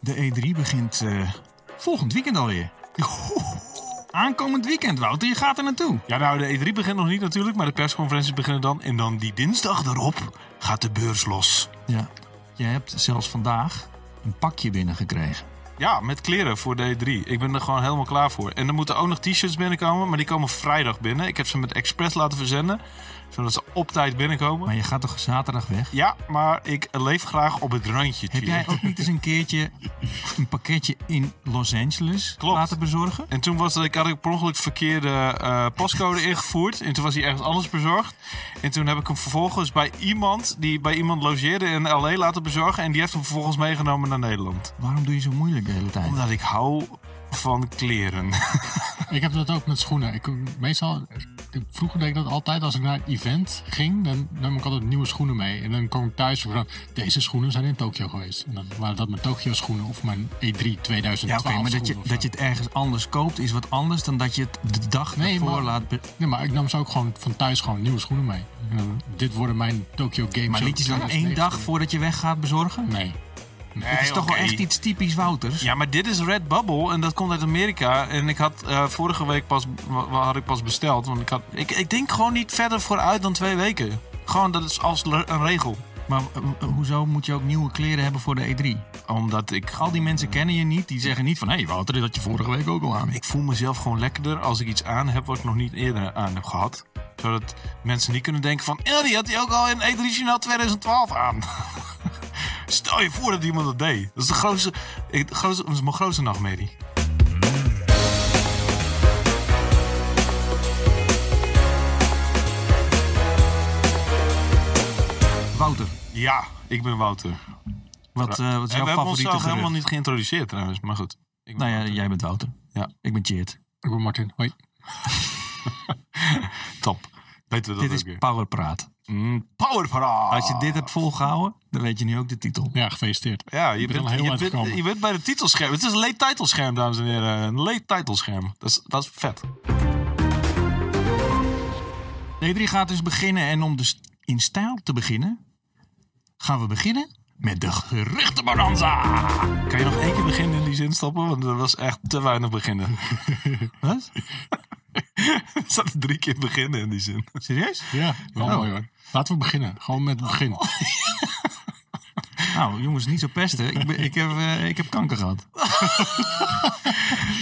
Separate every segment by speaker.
Speaker 1: De E3 begint eh, volgend weekend alweer. Aankomend weekend, Wouter, je gaat er naartoe.
Speaker 2: Ja, nou, de E3 begint nog niet natuurlijk, maar de persconferenties beginnen dan. En dan die dinsdag erop gaat de beurs los.
Speaker 1: Ja. Je hebt zelfs vandaag een pakje binnengekregen.
Speaker 2: Ja, met kleren voor de E3. Ik ben er gewoon helemaal klaar voor. En er moeten ook nog t-shirts binnenkomen, maar die komen vrijdag binnen. Ik heb ze met Express laten verzenden, zodat ze op tijd binnenkomen.
Speaker 1: Maar je gaat toch zaterdag weg?
Speaker 2: Ja, maar ik leef graag op het randje.
Speaker 1: Heb
Speaker 2: Tjie.
Speaker 1: jij ook niet eens een keertje een pakketje in Los Angeles
Speaker 2: Klopt.
Speaker 1: laten bezorgen?
Speaker 2: En toen was, ik had ik per ongeluk verkeerde eh, postcode ingevoerd. En toen was hij ergens anders bezorgd. En toen heb ik hem vervolgens bij iemand die bij iemand logeerde in LA laten bezorgen. En die heeft hem vervolgens meegenomen naar Nederland.
Speaker 1: Waarom doe je zo moeilijk de hele tijd?
Speaker 2: Omdat ik hou van kleren.
Speaker 3: Ik heb dat ook met schoenen. Ik, meestal, ik- vroeger deed ik dat altijd als ik naar een event ging. Dan nam ik altijd nieuwe schoenen mee. En dan kwam ik thuis en van deze schoenen zijn in Tokio geweest. En dan waren dat mijn Tokio schoenen of mijn E E3 2012
Speaker 1: Ja, oké, maar dat je,
Speaker 3: schoenen of zo.
Speaker 1: dat je het ergens anders koopt is wat anders dan dat je het de dag
Speaker 3: Nee,
Speaker 1: ervoor
Speaker 3: maar-
Speaker 1: laat... be-
Speaker 3: Nee, maar ik nam ze ook gewoon van thuis gewoon nieuwe schoenen mee. En dan, dit worden mijn Tokyo Games.
Speaker 1: Maar liet je ze dan één dag voordat je weg gaat bezorgen?
Speaker 3: Nee.
Speaker 1: Het is toch wel
Speaker 2: oké.
Speaker 1: echt iets typisch Wouters?
Speaker 2: Ja, maar dit is Red Bubble en dat komt uit Amerika. En ik had eh, vorige week pas, wa- wa- had ik pas besteld. Want ik, had, ik, ik denk gewoon niet verder vooruit dan twee weken. Gewoon, dat is als le- een regel.
Speaker 1: Maar eh, eh, hoezo moet je ook nieuwe kleren hebben voor de E3?
Speaker 2: Omdat ik
Speaker 1: Al die mensen kennen je niet, die zeggen niet van... Hé hey Wouter, dat had je vorige week ook al aan.
Speaker 2: Ik voel mezelf gewoon lekkerder als ik iets aan heb wat ik nog niet eerder aan heb gehad. Zodat mensen niet kunnen denken van... "Eh, die had hij ook al in E3 Journaal 2012 aan. Stel je voor dat iemand dat deed. Dat is, de grootste, ik- de grootste, dat is mijn grootste nachtmerrie.
Speaker 1: Wouter,
Speaker 2: Ja, ik ben Wouter. En
Speaker 1: wat, eh, wat
Speaker 2: we
Speaker 1: is jouw
Speaker 2: hebben
Speaker 1: favoriete
Speaker 2: onszelf
Speaker 1: gerucht?
Speaker 2: helemaal niet geïntroduceerd trouwens, maar goed. Ik ben
Speaker 1: Nou ja,
Speaker 2: Wouter.
Speaker 1: jij bent Wouter.
Speaker 2: Ja.
Speaker 1: Ik ben Cheert.
Speaker 3: Ik ben Martin. Hoi.
Speaker 2: Top. Weten we dat
Speaker 1: Dit is
Speaker 2: ook weer.
Speaker 1: Powerpraat.
Speaker 2: Mm, Power Parade.
Speaker 1: Als je dit hebt volgehouden, dan weet je nu ook de titel.
Speaker 3: Ja, gefeliciteerd.
Speaker 2: Ja, je,
Speaker 3: bent
Speaker 2: bent,
Speaker 3: al heel
Speaker 2: je,
Speaker 3: eind
Speaker 2: bent,
Speaker 3: gekomen.
Speaker 2: je bent bij de titelscherm. Het is een leed titelscherm, dames en heren. Een leed titelscherm. Dat is, dat is vet.
Speaker 1: De E3 gaat dus beginnen en om dus in stijl te beginnen, gaan we beginnen met de geruchtenbonanza.
Speaker 2: Kan je nog één keer beginnen in die zin stoppen? Want er was echt te weinig beginnen.
Speaker 1: Wat?
Speaker 2: Er zat drie keer beginnen in die zin.
Speaker 1: Serieus?
Speaker 3: Ja, wel
Speaker 1: Oh.
Speaker 3: mooi hoor. Laten we beginnen. Gewoon met het begin.
Speaker 1: Nou, jongens, niet zo pesten. Ik, ben- ik, heb, eh, ik heb kanker gehad.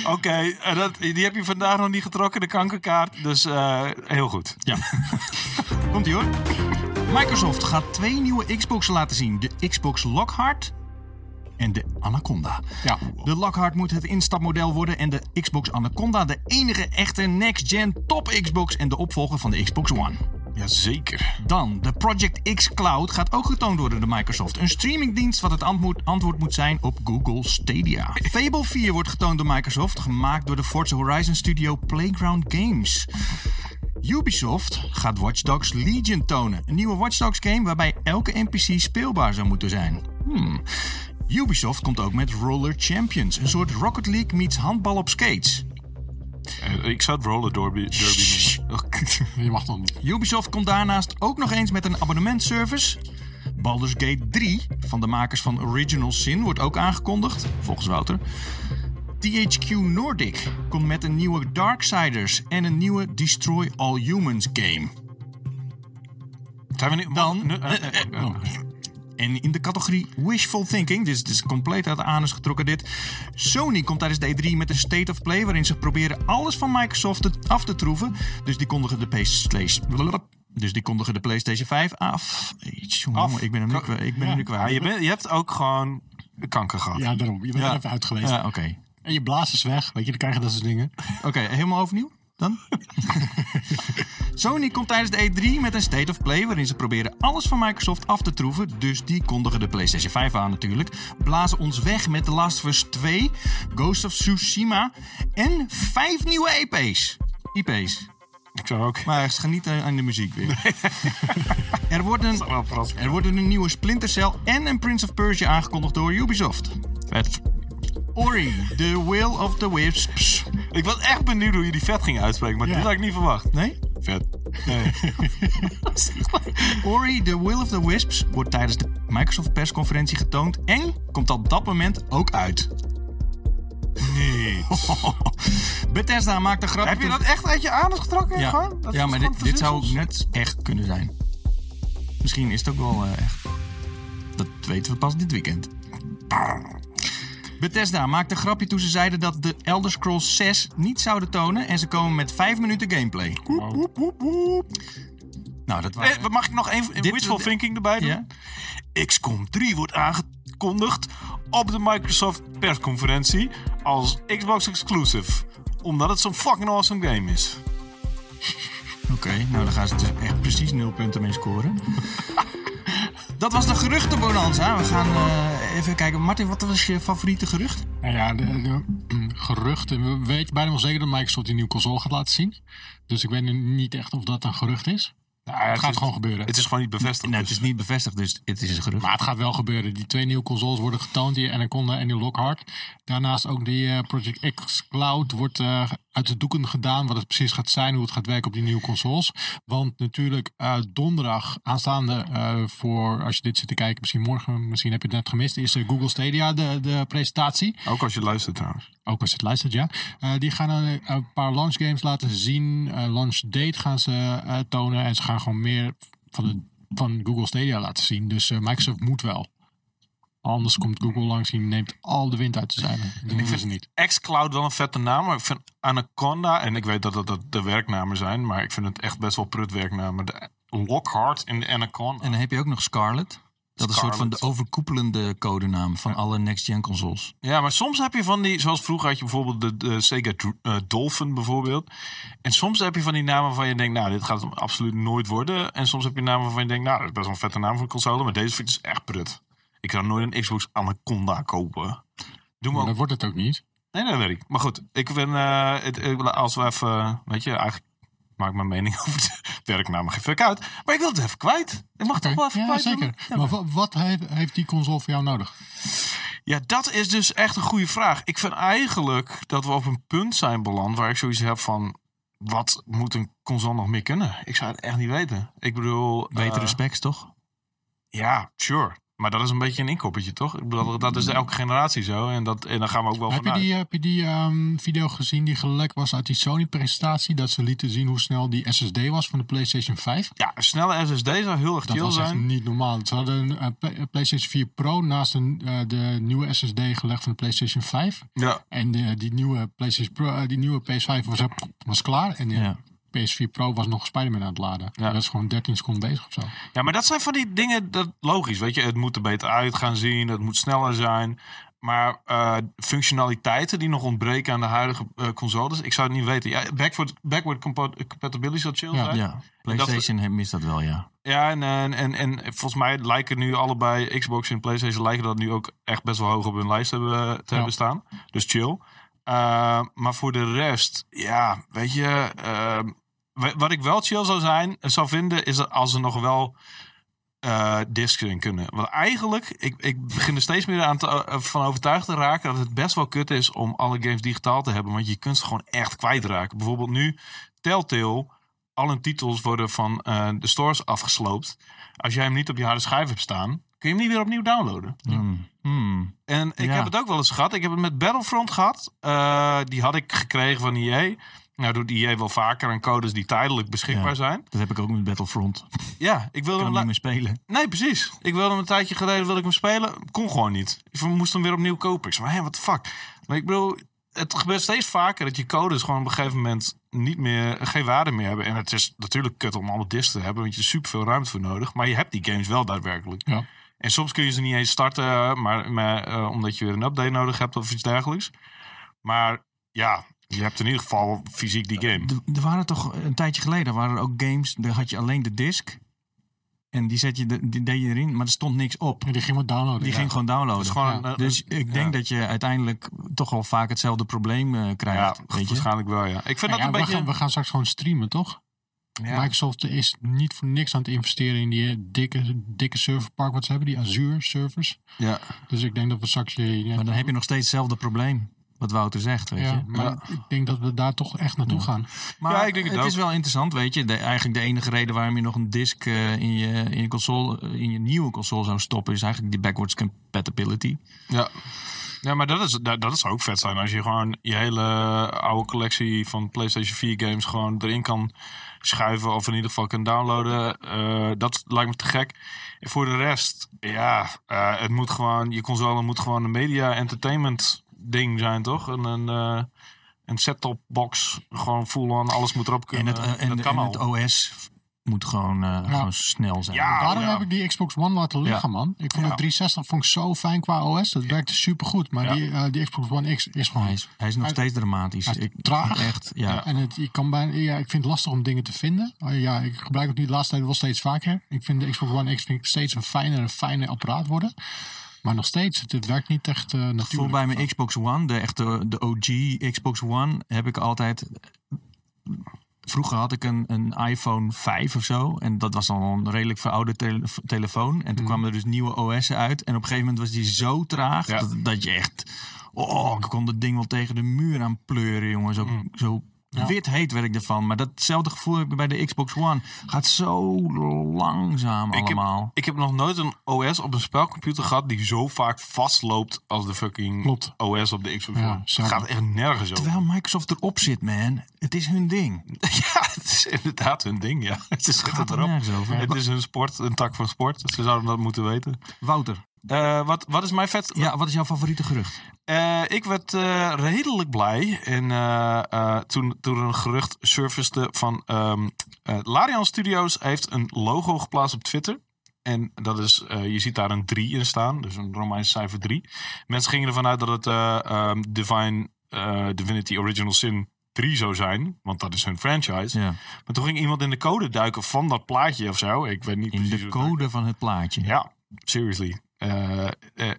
Speaker 2: Oké, en dat- die heb je vandaag nog niet getrokken, de kankerkaart. Dus eh, heel goed.
Speaker 1: Ja. Komt ie hoor. Microsoft gaat twee nieuwe Xboxen laten zien: de Xbox Lockhart en de Anaconda.
Speaker 3: Ja.
Speaker 1: De Lockhart moet het instapmodel worden en de Xbox Anaconda de enige echte next-gen top Xbox en de opvolger van de Xbox One.
Speaker 2: Jazeker.
Speaker 1: Dan, de Project X Cloud gaat ook getoond worden door Microsoft. Een streamingdienst wat het antwoord, antwoord moet zijn op Google Stadia. Fable 4 wordt getoond door Microsoft, gemaakt door de Forza Horizon studio Playground Games. Ubisoft gaat Watch Dogs Legion tonen. Een nieuwe Watch Dogs game waarbij elke NPC speelbaar zou moeten zijn. Hmm. Ubisoft komt ook met Roller Champions, een soort Rocket League meets handbal op skates.
Speaker 2: Eh, ik zou het roller derby, derby noemen.
Speaker 3: Je mag dan niet.
Speaker 1: Ubisoft komt daarnaast ook nog eens met een abonnementservice. Baldur's Gate 3 van de makers van Original Sin wordt ook aangekondigd, volgens Wouter. THQ Nordic komt met een nieuwe Darksiders en een nieuwe Destroy All Humans game.
Speaker 2: Zijn we nu...
Speaker 1: Dan-
Speaker 2: Nu- eh, eh, eh, oh.
Speaker 1: En in de categorie Wishful Thinking, dus het is compleet uit de anus getrokken dit. Sony komt tijdens de E3 met een State of Play waarin ze proberen alles van Microsoft te- af te troeven. Dus die kondigen de PlayStation... Dus die kondigen de PlayStation 5 af. Jongen,
Speaker 2: Af.
Speaker 1: ik ben hem nu,
Speaker 2: Ka-
Speaker 1: kwa- ik ben hem nu
Speaker 2: Ja, Ah,
Speaker 1: kwijt.
Speaker 2: je, bent- je hebt ook gewoon kanker gehad.
Speaker 3: Ja, daarom. Je bent
Speaker 1: Ja.
Speaker 3: er even uit geweest.
Speaker 1: Ja, Ah, oké.
Speaker 3: En je blaas is weg. Weet je, dan krijg je dat soort dingen.
Speaker 1: Oké, helemaal overnieuw dan? Sony komt tijdens de E3 met een State of Play waarin ze proberen alles van Microsoft af te troeven. Dus die kondigen de PlayStation 5 aan natuurlijk. Blazen ons weg met The Last of Us 2, Ghost of Tsushima en vijf nieuwe E EP's. IP's.
Speaker 2: Ik zou ook...
Speaker 1: Maar geniet eh, aan de muziek weer. er wordt een
Speaker 2: Wel verrassend.
Speaker 1: er worden een nieuwe Splinter Cell en een Prince of Persia aangekondigd door Ubisoft.
Speaker 2: Vet.
Speaker 1: Ori, The Will of the Wisps.
Speaker 2: Ik was echt benieuwd hoe je die vet ging uitspreken, maar
Speaker 3: Ja.
Speaker 2: dit had ik niet verwacht.
Speaker 1: Nee?
Speaker 2: Vet.
Speaker 1: Ori The Will of the Wisps wordt tijdens de Microsoft persconferentie getoond en komt op dat moment ook uit.
Speaker 2: Nee.
Speaker 1: Bethesda maakt een grap.
Speaker 2: Heb je
Speaker 1: toen-
Speaker 2: dat echt uit je anus getrokken?
Speaker 1: Ja,
Speaker 2: gewoon? Dat
Speaker 1: ja
Speaker 2: is
Speaker 1: maar
Speaker 2: gewoon
Speaker 1: dit, dit zou
Speaker 2: verzinsels?
Speaker 1: net echt kunnen zijn. Misschien is het ook wel eh, echt. Dat weten we pas dit weekend. Bethesda maakte een grapje toen ze zeiden dat de Elder Scrolls 6 niet zouden tonen en ze komen met 5 minuten gameplay.
Speaker 2: Woep, woep, woep.
Speaker 1: Nou, dat waren...
Speaker 2: Eh, mag ik nog één
Speaker 1: Dit-
Speaker 2: wishful thinking erbij doen?
Speaker 1: Ja.
Speaker 2: XCOM 3 wordt aangekondigd op de Microsoft persconferentie als Xbox exclusive. Omdat het zo'n fucking awesome game is.
Speaker 1: Oké, nou dan gaan ze dus echt precies nul punten mee scoren. dat was de geruchtenbonanza. We gaan eh, even kijken. Martin, wat was je favoriete gerucht?
Speaker 3: Nou ja, de, de- geruchten. We weten bijna wel zeker dat Microsoft die nieuwe console gaat laten zien. Dus ik weet nu niet echt of dat een gerucht is.
Speaker 2: Nou, ja, het
Speaker 3: gaat
Speaker 2: is-
Speaker 3: gewoon gebeuren.
Speaker 2: Het is gewoon niet bevestigd.
Speaker 1: Nou, het
Speaker 2: dus.
Speaker 1: is niet bevestigd, dus het is een gerucht.
Speaker 3: Maar het gaat wel gebeuren. Die twee nieuwe consoles worden getoond. Die Anaconda en die Lockhart. Daarnaast ook die eh, Project X Cloud wordt eh, uit de doeken gedaan. Wat het precies gaat zijn. Hoe het gaat werken op die nieuwe consoles. Want natuurlijk eh, donderdag aanstaande eh, voor... Als je dit zit te kijken. Misschien morgen. Misschien heb je het net gemist. Is eh, Google Stadia de, de presentatie.
Speaker 2: dus Ook als je luistert trouwens.
Speaker 3: Ook als je het luistert, ja. Eh, die gaan een, een paar launch games laten zien. Eh launch date gaan ze eh, tonen. En ze gaan gewoon meer van, de, van Google Stadia laten zien. Dus eh, Microsoft moet wel. Anders komt Google langs en neemt al de wind uit de zeilen. Dat doen ze niet.
Speaker 2: Xcloud wel een vette naam, maar ik vind Anaconda, en ik weet dat dat, dat de werknamen zijn, maar ik vind het echt best wel prut werknamen. De Lockhart en de Anaconda.
Speaker 1: En dan heb je ook nog Scarlet. Dat is een soort van de overkoepelende codenaam van alle next-gen consoles.
Speaker 2: Ja, maar soms heb je van die, zoals vroeger had je bijvoorbeeld de, de Sega Dr- eh, Dolphin bijvoorbeeld. En soms heb je van die namen waarvan je denkt, nou, dit gaat hem absoluut nooit worden. En soms heb je namen waarvan je denkt, nou, dat is best wel een vette naam voor een console, maar deze vind ik dus echt prut. Ik zou nooit een Xbox Anaconda kopen. Doe me
Speaker 3: Maar
Speaker 2: ook
Speaker 3: dat wordt het ook niet.
Speaker 2: Nee, dat weet ik. Maar goed, ik ben, eh, het, ik wil- als we even, eh, weet je, eigenlijk maak ik mijn mening over de werknamen geen fuck uit. Maar ik wil het even kwijt. Ik mag toch wel even
Speaker 3: Ja,
Speaker 2: kwijt. doen?
Speaker 3: zeker.
Speaker 2: Ja,
Speaker 3: Maar wa- wat heeft, heeft die console voor jou nodig?
Speaker 2: Ja, dat is dus echt een goede vraag. Ik vind eigenlijk dat we op een punt zijn beland waar ik zoiets heb van, wat moet een console nog meer kunnen? Ik zou het echt niet weten. Ik bedoel...
Speaker 1: Betere
Speaker 2: eh,
Speaker 1: specs, toch?
Speaker 2: Ja, sure. Maar dat is een beetje een inkoppertje, toch? Ik bedoel, dat is elke generatie zo. En, dat, en daar gaan we ook wel
Speaker 3: Mm. Heb
Speaker 2: van
Speaker 3: je
Speaker 2: uit.
Speaker 3: die, eh, heb je die ehm, video gezien die gelekt was uit die Sony-presentatie? Dat ze lieten zien hoe snel die SSD was van de PlayStation 5?
Speaker 2: Ja, een snelle SSD zou heel erg
Speaker 3: Dat
Speaker 2: chill
Speaker 3: was echt
Speaker 2: zijn.
Speaker 3: niet normaal. Ze hadden een eh, Play- eh, PlayStation 4 Pro naast een, eh, de nieuwe SSD gelegd van de PlayStation 5.
Speaker 2: Ja.
Speaker 3: En eh, die, nieuwe PlayStation Pro, eh, die nieuwe PS5 was, was klaar. En de
Speaker 1: Ja.
Speaker 3: PS4 Pro was nog Spider-Man aan het laden.
Speaker 2: Ja.
Speaker 3: Dat is gewoon 13 seconden bezig of zo.
Speaker 2: Ja, maar dat zijn van die dingen, dat logisch, weet je. Het moet er beter uit gaan zien, het moet sneller zijn. Maar eh, functionaliteiten die nog ontbreken aan de huidige eh, consoles, ik zou het niet weten. Ja, backward, backward compa- compatibility zou chill
Speaker 3: Ja,
Speaker 2: zijn. Ja,
Speaker 1: Ja. PlayStation heeft- mist dat wel, ja.
Speaker 2: en, eh, en, en, en volgens mij lijken nu allebei, Xbox en Playstation, lijken dat nu ook echt best wel hoog op hun lijst hebben, eh, te hebben staan. Dus chill. Eh, maar voor de rest, ja, weet je, ehm, wa- wat ik wel chill zou zijn, zou vinden, is dat als er nog wel eh, discs in kunnen. Want eigenlijk, ik, ik begin er steeds meer aan te, eh, van overtuigd te raken dat het best wel kut is om alle games digitaal te hebben, want je kunt ze gewoon echt kwijtraken. Bijvoorbeeld nu, Telltale, al hun titels worden van eh, de stores afgesloopt. Als jij hem niet op je harde schijf hebt staan, kun je hem niet weer opnieuw downloaden.
Speaker 1: Hmm. Hmm.
Speaker 2: En ik
Speaker 1: Ja.
Speaker 2: heb het ook wel eens gehad. Ik heb het met Battlefront gehad. Eh, die had ik gekregen van EA. Nou doet EA wel vaker aan codes die tijdelijk beschikbaar
Speaker 1: Ja.
Speaker 2: zijn.
Speaker 1: Dat heb ik ook met Battlefront. Ik
Speaker 2: Ja, ik wilde
Speaker 1: kan
Speaker 2: hem...
Speaker 1: hem
Speaker 2: la-
Speaker 1: niet meer spelen.
Speaker 2: Nee, precies. Ik wilde hem een tijdje geleden wilde ik hem spelen. Kon gewoon niet. Ik moest hem weer opnieuw kopen. Ik zei, hé, wat de fuck? Maar ik bedoel, het gebeurt steeds vaker dat je codes gewoon op een gegeven moment niet meer, geen waarde meer hebben. En het is natuurlijk kut om alle discs te hebben, want je hebt super veel ruimte voor nodig. Maar je hebt die games wel daadwerkelijk.
Speaker 3: Ja.
Speaker 2: En soms kun je ze niet eens starten, maar, maar, eh, omdat je weer een update nodig hebt of iets dergelijks. Maar ja, je hebt in ieder geval fysiek die game.
Speaker 1: Er- Er waren toch een tijdje geleden waren er ook games. Daar had je alleen de disc. En die, zet je de- die deed je erin, maar er stond niks op.
Speaker 3: En die ging wat downloaden.
Speaker 1: Die
Speaker 3: ja.
Speaker 1: ging gewoon downloaden.
Speaker 2: Het is gewoon
Speaker 3: Ja.
Speaker 2: een-
Speaker 1: Dus ik denk
Speaker 2: ja.
Speaker 1: dat je uiteindelijk toch wel vaak hetzelfde probleem eh,
Speaker 2: Ja,
Speaker 1: krijgt. weet je?
Speaker 2: waarschijnlijk wel, ja. Ik vind
Speaker 3: Nou
Speaker 2: dat
Speaker 3: ja,
Speaker 2: een
Speaker 3: we,
Speaker 2: beetje...
Speaker 3: gaan, we gaan straks gewoon streamen, toch?
Speaker 2: Ja.
Speaker 3: Microsoft is niet voor niks aan het investeren in die eh, dikke, dikke serverpark wat ze hebben. Die Azure servers.
Speaker 2: Ja.
Speaker 3: Dus ik denk dat we straks... je-
Speaker 1: Maar dan heb je nog steeds hetzelfde probleem. wat Wouter zegt, weet
Speaker 3: Ja,
Speaker 1: je.
Speaker 3: maar ik denk dat we daar toch echt naartoe gaan.
Speaker 1: Maar
Speaker 2: Ja, ik denk het
Speaker 1: het
Speaker 2: ook.
Speaker 1: is wel interessant, weet je. De, eigenlijk de enige reden waarom je nog een disc eh, in, je, in, je console, eh, in je nieuwe console zou stoppen... is eigenlijk die backwards compatibility.
Speaker 2: Ja. Ja, maar dat, is, dat, dat zou ook vet zijn als je gewoon je hele oude collectie van PlayStation 4 games gewoon erin kan schuiven of in ieder geval kan downloaden. Eh, dat lijkt me te gek. En voor de rest, ja, eh, het moet gewoon, je console moet gewoon een media entertainment ding zijn, toch? Een, een, eh, een set-top box, gewoon full on, alles moet erop
Speaker 1: en
Speaker 2: kunnen.
Speaker 1: het, eh, en,
Speaker 2: dat kan
Speaker 1: en
Speaker 2: al.
Speaker 1: het OS moet gewoon, eh, gewoon snel zijn.
Speaker 2: Ja,
Speaker 3: Daarom
Speaker 2: ja.
Speaker 3: heb ik die Xbox One laten liggen, man. Ik vond
Speaker 2: Ja.
Speaker 3: de 360 vond ik zo fijn qua OS. Dat werkte supergoed. Maar
Speaker 2: Ja.
Speaker 3: die, eh, die Xbox One X is gewoon...
Speaker 1: Hij is, hij is nog
Speaker 3: Hij-
Speaker 1: steeds dramatisch.
Speaker 3: hij is
Speaker 1: Ik-
Speaker 3: traag.
Speaker 1: Echt, ja.
Speaker 3: En het, ik, kan bijna, ja, ik vind het lastig om dingen te vinden. Eh, ja, ik gebruik het nu de laatste tijd wel steeds vaker. Ik vind de Xbox One X vind ik steeds een fijner en fijner apparaat worden. Maar nog steeds, het, het werkt niet echt eh,
Speaker 1: Ik voel
Speaker 3: natuurlijk.
Speaker 1: bij mijn Xbox One, de echte de OG Xbox One, heb ik altijd. Vroeger had ik een, een iPhone 5 of zo. En dat was dan een redelijk verouderd tele- telefoon. En toen kwamen er dus nieuwe OS'en uit. En op een gegeven moment was die zo traag
Speaker 2: Ja.
Speaker 1: dat, dat je echt. Oh, ik kon dat ding wel tegen de muur aan pleuren, jongen. Zo, zo wit heet werd ik ervan. Maar datzelfde gevoel heb ik bij de Xbox One. Gaat zo langzaam
Speaker 2: Ik heb,
Speaker 1: allemaal.
Speaker 2: ik heb nog nooit een OS op een spelcomputer gehad die zo vaak vastloopt als de fucking
Speaker 3: Klopt.
Speaker 2: OS op de Xbox
Speaker 3: Ja,
Speaker 2: One. Het
Speaker 3: zeker.
Speaker 2: gaat echt nergens over.
Speaker 1: Terwijl Microsoft erop zit, man. Het is hun ding.
Speaker 2: Ja, het is inderdaad hun ding, ja. Het is
Speaker 1: Gaat er
Speaker 2: erop.
Speaker 1: nergens over.
Speaker 2: Het is hun sport, een tak van sport. Ze zouden dat moeten weten.
Speaker 1: Wouter,
Speaker 2: Eh, wat, wat is mijn vet?
Speaker 1: Ja, wat is jouw favoriete gerucht?
Speaker 2: Eh, ik werd eh, redelijk blij. En eh, eh, toen, toen er een gerucht surfacede van... ehm, eh, Larian Studios heeft een logo geplaatst op Twitter. En dat is, eh, je ziet daar een 3 in staan. Dus een Romeins cijfer 3. Mensen gingen ervan uit dat het eh, ehm, Divine, eh, Divinity Original Sin 3 zou zijn. Want dat is hun franchise.
Speaker 1: Ja.
Speaker 2: Maar toen ging iemand in de code duiken van dat plaatje of zo. Ik weet niet
Speaker 1: In
Speaker 2: precies
Speaker 1: de
Speaker 2: hoe het
Speaker 1: code van het plaatje.
Speaker 2: ja, seriously. Eh, eh,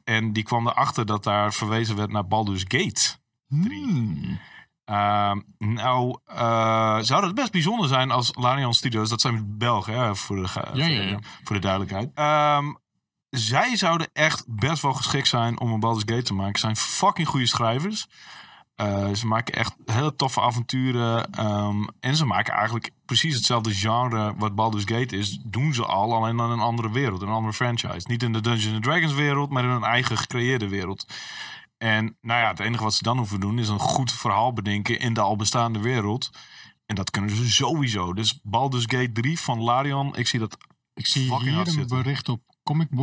Speaker 2: en die kwam erachter dat daar verwezen werd naar Baldur's Gate.
Speaker 1: Hmm.
Speaker 2: Ehm, nou, eh, zou het best bijzonder zijn als Larian Studios, dat zijn Belgen, hè, voor, de, ge-
Speaker 3: Ja, ja, ja.
Speaker 2: voor de duidelijkheid. Ehm, zij zouden echt best wel geschikt zijn om een Baldur's Gate te maken. Ze zijn fucking goede schrijvers. Eh, ze maken echt hele toffe avonturen. ehm, en ze maken eigenlijk precies hetzelfde genre wat Baldur's Gate is. Doen ze al, alleen dan in een andere wereld, in een andere franchise. Niet in de Dungeons Dragons wereld, maar in een eigen gecreëerde wereld. En nou ja, het enige wat ze dan hoeven doen is een goed verhaal bedenken in de al bestaande wereld. En dat kunnen ze sowieso. Dus Baldur's Gate 3 van Larian, ik zie dat.
Speaker 3: Ik zie
Speaker 2: fucking hard
Speaker 3: hier een
Speaker 2: zitten.
Speaker 3: bericht op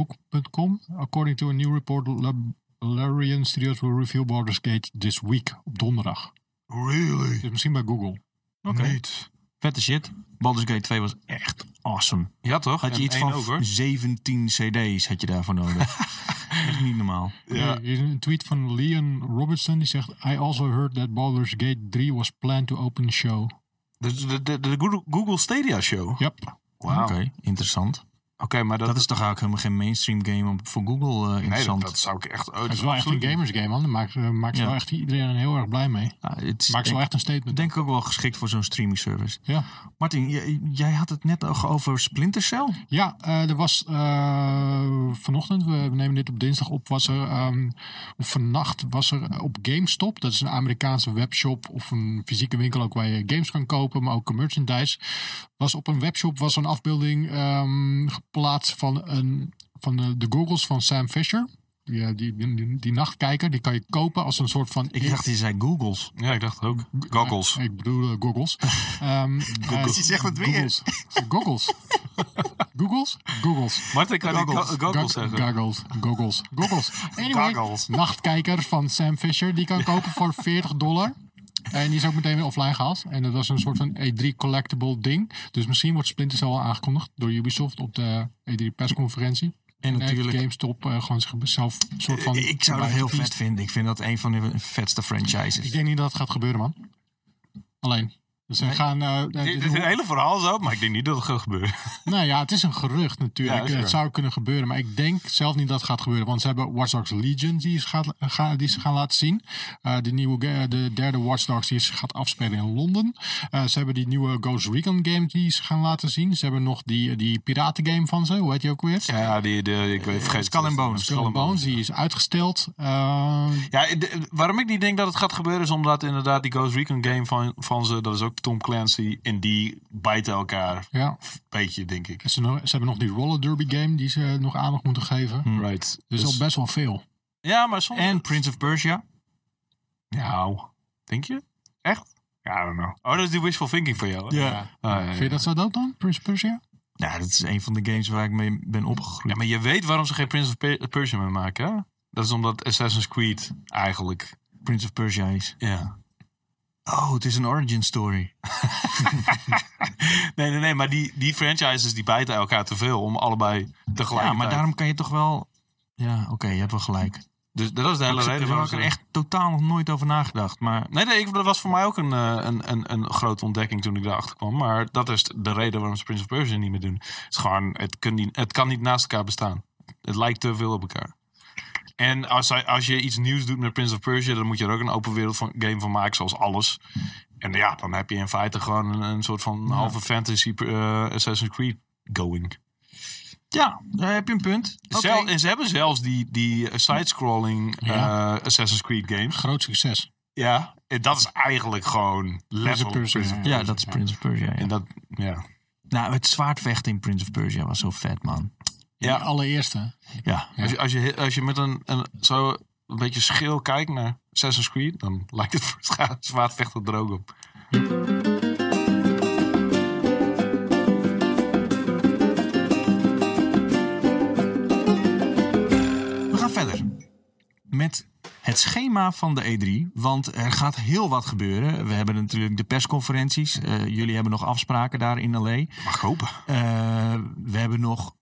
Speaker 3: comicbook.com. According to a new report, Lab- Larian Studios will reveal Baldur's Gate this week op donderdag.
Speaker 2: Really?
Speaker 3: Dus misschien bij Google.
Speaker 1: Oké.
Speaker 2: Niet.
Speaker 1: Vette shit. Baldur's Gate 2 was echt awesome.
Speaker 2: Ja, toch?
Speaker 1: Had je
Speaker 2: En
Speaker 1: iets
Speaker 2: één
Speaker 1: van
Speaker 2: ook, hoor.
Speaker 1: 17 cd's had je daarvoor nodig. echt niet normaal.
Speaker 2: Ja.
Speaker 3: Hier is een tweet van Leon Robertson. Die zegt, I also heard that Baldur's Gate 3 was planned to open show.
Speaker 2: De, de, de, de Google- Google Stadia Show.
Speaker 3: Yep.
Speaker 2: Wauw.
Speaker 1: Oké,
Speaker 2: Oké,
Speaker 1: interessant.
Speaker 2: maar dat,
Speaker 1: Dat is toch eigenlijk helemaal geen mainstream game om- voor Google eh,
Speaker 2: nee, dat,
Speaker 1: interessant.
Speaker 2: dat zou ik echt. Oh,
Speaker 3: Het is wel echt een gamers game, man. Daar maakt, eh, maakt ze
Speaker 1: Ja.
Speaker 3: wel echt iedereen heel erg blij mee.
Speaker 1: Ja, Ah, het is
Speaker 3: Maakt ze wel
Speaker 1: denk,
Speaker 3: echt een statement.
Speaker 1: denk ik ook wel geschikt voor zo'n streaming service.
Speaker 3: Ja,
Speaker 1: Martin, jij, jij had het net al over Splinter Cell.
Speaker 3: ja eh, er was eh, vanochtend, we nemen dit op dinsdag op, was er, ehm, of vannacht was er eh, op GameStop, dat is een Amerikaanse webshop of een fysieke winkel ook waar je games kan kopen, maar ook merchandise, was op een webshop was een afbeelding ehm, geplaatst van, een, van de, de goggles van Sam Fisher. Die, die, die, die nachtkijker, die kan je kopen als een soort van...
Speaker 1: Ik dacht, je zei Googles.
Speaker 2: Ja, ik dacht ook. Goggles.
Speaker 3: Ik bedoel eh, goggles. Ehm goggles.
Speaker 1: Die zegt het weer.
Speaker 3: Goggles. Goggles. Goggles? Goggles.
Speaker 2: Martin kan die
Speaker 1: Goggles.
Speaker 2: go- goggles
Speaker 3: Gog-
Speaker 2: zeggen.
Speaker 3: Goggles. Goggles. Goggles. Anyway,
Speaker 2: Goggles.
Speaker 3: nachtkijker van Sam Fisher. Die kan je kopen voor 40 dollar. En die is ook meteen weer offline gehaald. En dat was een soort van E3 collectible ding. Dus misschien wordt Splinter Cell al aangekondigd door Ubisoft op de E3 persconferentie.
Speaker 1: En
Speaker 3: En heeft
Speaker 1: natuurlijk
Speaker 3: GameStop eh, gewoon zichzelf een soort van...
Speaker 1: Ik zou dat
Speaker 3: erbij
Speaker 1: heel vet
Speaker 3: gepiept.
Speaker 1: vinden. Ik vind dat een van de vetste franchises.
Speaker 3: Ik denk niet dat het gaat gebeuren, man. Alleen, Dus ze gaan. eh, eh,
Speaker 2: Dit
Speaker 3: dit-
Speaker 2: is een hele verhaal zo, maar ik denk niet dat het gaat gebeuren.
Speaker 3: nou ja, het is een gerucht natuurlijk.
Speaker 2: Ja, is
Speaker 3: het
Speaker 2: waar.
Speaker 3: zou kunnen gebeuren, maar ik denk zelf niet dat het gaat gebeuren. Want ze hebben Watch Dogs Legion die ze, gaat, ga- die ze gaan laten zien. Eh, de, nieuwe, ga- de derde Watch Dogs die ze gaat afspelen in Londen. Eh, ze hebben die nieuwe Ghost Recon game die ze gaan laten zien. Ze hebben nog die, eh, die piraten game van ze. Hoe heet die ook weer?
Speaker 2: Ja, die, de, ik weet, vergeet
Speaker 1: Skull and Bones.
Speaker 2: Skull and Bones.
Speaker 3: Bones, die is uitgesteld. Eh,
Speaker 2: Ja, de- waarom ik niet denk dat het gaat gebeuren is omdat inderdaad die Ghost Recon game van, van ze, dat is ook Tom Clancy, en die bijten elkaar
Speaker 3: ja.
Speaker 2: een beetje, denk ik.
Speaker 3: Ze, nog- ze hebben nog die roller derby game die ze nog aandacht moeten geven.
Speaker 2: Right.
Speaker 3: Dus, al best wel veel.
Speaker 2: Hm. ja, maar soms...
Speaker 1: En Prince of Persia.
Speaker 2: Nou, denk je? Echt? Ja, I don't know. Oh, dat is die wishful thinking van jou. hè?
Speaker 1: Ja.
Speaker 2: Ah, ja, ja.
Speaker 3: Vind je dat zo dood dan, Prince of Persia?
Speaker 1: Nou, dat is een van de games waar ik mee ben opgegroeid.
Speaker 2: Ja, maar je weet waarom ze geen Prince of Per- Persia meer maken, hè? Dat is omdat Assassin's Creed eigenlijk...
Speaker 1: Prince of Persia is.
Speaker 2: Ja.
Speaker 1: Oh, het is een origin story.
Speaker 2: Nee, nee, nee, maar die, die franchises die bijten elkaar te veel om allebei tegelijk.
Speaker 1: Ja, maar daarom kan je toch wel... Ja, oké, je hebt wel gelijk.
Speaker 2: Dus dat is de hele
Speaker 1: Ik-
Speaker 2: reden
Speaker 1: Daar heb
Speaker 2: waarom
Speaker 1: ik
Speaker 2: ze...
Speaker 1: er
Speaker 2: Echt...
Speaker 1: echt totaal nog nooit over nagedacht. Maar
Speaker 2: Nee, nee, ik, dat was voor mij ook een, eh, een, een, een grote ontdekking toen ik daarachter kwam. Maar dat is de reden waarom ze Prince of Persia niet meer doen. Het is gewoon, het, kun niet, het kan niet naast elkaar bestaan. Het lijkt te veel op elkaar. En als, hij- als je iets nieuws doet met Prince of Persia, dan moet je er ook een open wereld van, game van maken, zoals alles. En ja, dan heb je in feite gewoon een, een soort van halve fantasy eh, Assassin's Creed going.
Speaker 1: ja, daar heb je een punt. Oké.
Speaker 2: Zel- en ze hebben zelfs die, die eh, side-scrolling
Speaker 3: Ja.
Speaker 2: eh, Assassin's Creed games.
Speaker 3: Groot succes.
Speaker 2: Ja. En dat is eigenlijk gewoon
Speaker 3: Prince
Speaker 2: level.
Speaker 3: of Persia,
Speaker 2: Prince of-
Speaker 1: Ja, dat is Prince of Persia. ja.
Speaker 2: En dat, ja.
Speaker 1: Nou, het zwaardvechten in Prince of Persia was zo vet, man.
Speaker 2: Ja.
Speaker 3: Die allereerste.
Speaker 1: Ja.
Speaker 2: Als, je, als, je, als je met een, een zo een beetje schil kijkt naar Assassin's Creed, dan lijkt het voor zwaardvechter er ook op.
Speaker 1: We gaan verder met het schema van de E3. Want er gaat heel wat gebeuren. We hebben natuurlijk de persconferenties. Eh, jullie hebben nog afspraken daar in L.A.
Speaker 2: Mag hopen.
Speaker 1: Eh, we hebben nog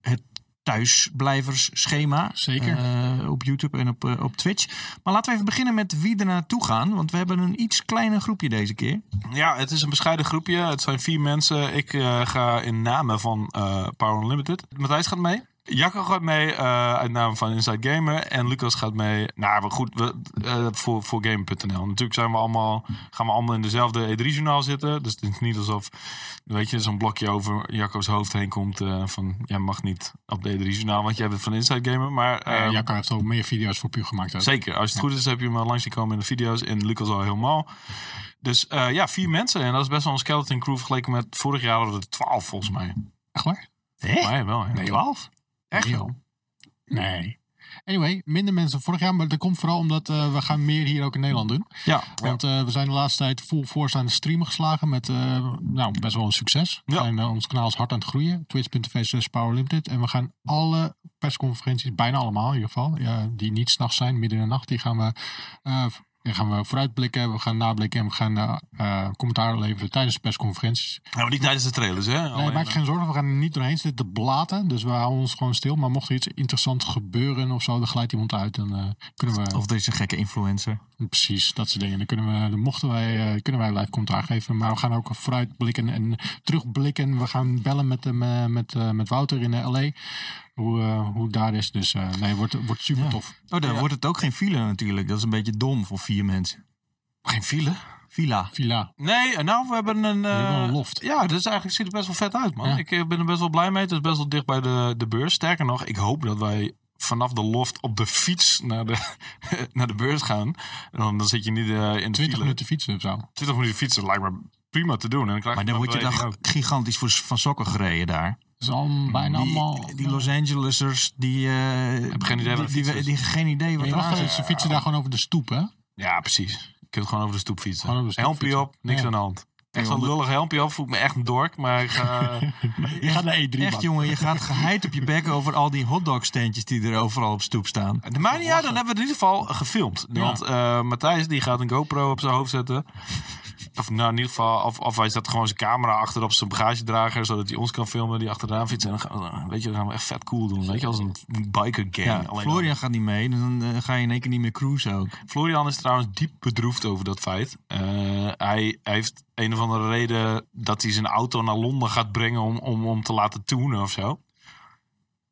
Speaker 1: het thuisblijversschema.
Speaker 3: Zeker.
Speaker 1: eh, op YouTube en op, eh, op Twitch. Maar laten we even beginnen met wie er naartoe gaan. Want we hebben een iets kleiner groepje deze keer.
Speaker 2: Ja, het is een bescheiden groepje. Het zijn vier mensen. Ik eh, ga in namen van eh, Power Unlimited. Matthijs gaat mee. Jacco gaat mee eh, uit naam van Inside Gamer. En Lucas gaat mee. Nou, maar goed, we, eh, voor, voor Gamer.nl. Natuurlijk zijn we allemaal, gaan we allemaal in dezelfde E3-journaal zitten. Dus het is niet alsof, weet je, zo'n blokje over Jacco's hoofd heen komt. eh, van, jij mag niet op de E3-journaal, want jij bent van Inside Gamer. Maar
Speaker 3: Eh
Speaker 2: ehm,
Speaker 3: Jacco heeft al meer video's voor Pu gemaakt. Ook.
Speaker 2: Zeker. Als het goed is, heb je hem al langs zien komen in de video's. En Lucas al helemaal. Dus eh, ja, vier mensen. En dat is best wel een skeleton crew vergeleken met vorig jaar hadden we er twaalf volgens mij.
Speaker 3: Echt waar?
Speaker 2: Volgens mij wel. ja.
Speaker 1: twaalf?
Speaker 2: Echt
Speaker 3: joh.
Speaker 2: wel.
Speaker 3: Nee. Anyway, minder mensen vorig jaar. Maar dat komt vooral omdat eh, we gaan meer hier ook in Nederland doen.
Speaker 1: Ja.
Speaker 2: Nou,
Speaker 3: Want eh, we zijn de laatste tijd full force aan de streamen geslagen. Met eh, nou, best wel een succes. We
Speaker 2: Ja.
Speaker 3: Zijn, eh, ons kanaal is hard aan het groeien. Twitch.tv slash Power Limited. En we gaan alle persconferenties, bijna allemaal in ieder geval. ja, die niet s'nachts zijn, midden in de nacht. Die gaan we, eh, die gaan we vooruitblikken. We gaan nablikken. En we gaan eh, eh, commentaar leveren tijdens de persconferenties.
Speaker 2: Ja, maar niet tijdens de trailers, hè?
Speaker 3: Nee,
Speaker 1: Nou,
Speaker 2: Alleen, eh,
Speaker 3: maak je
Speaker 1: eh,
Speaker 3: geen zorgen. We gaan er niet doorheen zitten te blaten. Dus we houden ons gewoon stil. Maar mocht er iets interessants gebeuren of zo, dan glijdt iemand uit. Dan eh, kunnen we,
Speaker 1: Of er is een gekke influencer.
Speaker 3: precies, dat soort dingen. Dan, kunnen we, dan mochten wij, eh, kunnen wij live commentaar geven. Maar we gaan ook vooruitblikken en terugblikken. We gaan bellen met, hem, eh, met, eh, met Wouter in eh, L.A. Hoe, eh, hoe het daar is. Dus eh, nee, wordt, wordt super tof.
Speaker 1: Oh, daar wordt het ook geen file natuurlijk. Dat is een beetje dom voor vier mensen.
Speaker 2: Geen file.
Speaker 1: Villa.
Speaker 3: Villa.
Speaker 2: Nee, nou, we hebben een... eh,
Speaker 3: hebben een loft.
Speaker 2: Ja, dus eigenlijk ziet het best wel vet uit, man.
Speaker 3: Ja.
Speaker 2: Ik eh, ben er best wel blij mee. Het is best wel dicht bij de, de beurs. Sterker nog, ik hoop dat wij vanaf de loft op de fiets naar de, naar de beurs gaan. En dan, dan zit je niet eh, in de
Speaker 3: 20
Speaker 2: file.
Speaker 3: minuten fietsen of zo.
Speaker 2: 20 minuten fietsen lijkt me prima te doen. En dan krijg
Speaker 1: Maar
Speaker 2: je
Speaker 1: dan word je
Speaker 2: beweging
Speaker 1: daar
Speaker 2: ook.
Speaker 1: gigantisch voor van sokken gereden daar.
Speaker 3: Dus al bijna allemaal...
Speaker 1: Die, die Los Angelesers, die... eh
Speaker 2: geen idee waar
Speaker 1: die,
Speaker 2: de
Speaker 1: die,
Speaker 2: fiets is.
Speaker 1: die- geen idee wat
Speaker 3: Maar je
Speaker 1: er
Speaker 3: mag
Speaker 1: aan
Speaker 3: daar-
Speaker 1: zit.
Speaker 3: ze fietsen daar gewoon over de stoep, hè?
Speaker 2: Ja, precies. Je kunt gewoon over de stoep fietsen.
Speaker 3: Gewoon over de stoep
Speaker 2: helmpje
Speaker 3: fietsen.
Speaker 2: op, niks
Speaker 3: Ja.
Speaker 2: aan de hand. Echt zo'n
Speaker 1: onder-
Speaker 2: lullig helmpje op, voel ik me echt een dork. Maar eh, ik ga...
Speaker 3: Je gaat naar E E3,
Speaker 1: Echt jongen, je gaat geheid op je bek over al die hotdogstandjes die er overal op stoep staan.
Speaker 2: De maar niet uit, dan hebben we het in ieder geval gefilmd. Want eh, Matthijs die gaat een GoPro op zijn hoofd zetten. Of nou, in ieder geval, of, of hij zet gewoon zijn camera achter op zijn bagagedrager, zodat hij ons kan filmen die achteraan fietst. En dan gaan we, weet je, dan gaan we echt vet cool doen. Weet je, als een biker gang.
Speaker 1: Ja,
Speaker 2: Alleen
Speaker 1: Florian gaat niet mee, dan eh, ga je in één keer niet meer cruisen ook.
Speaker 2: Florian is trouwens diep bedroefd over dat feit. Eh, hij heeft een of andere reden dat hij zijn auto naar Londen gaat brengen om, om, om te laten tunen of zo.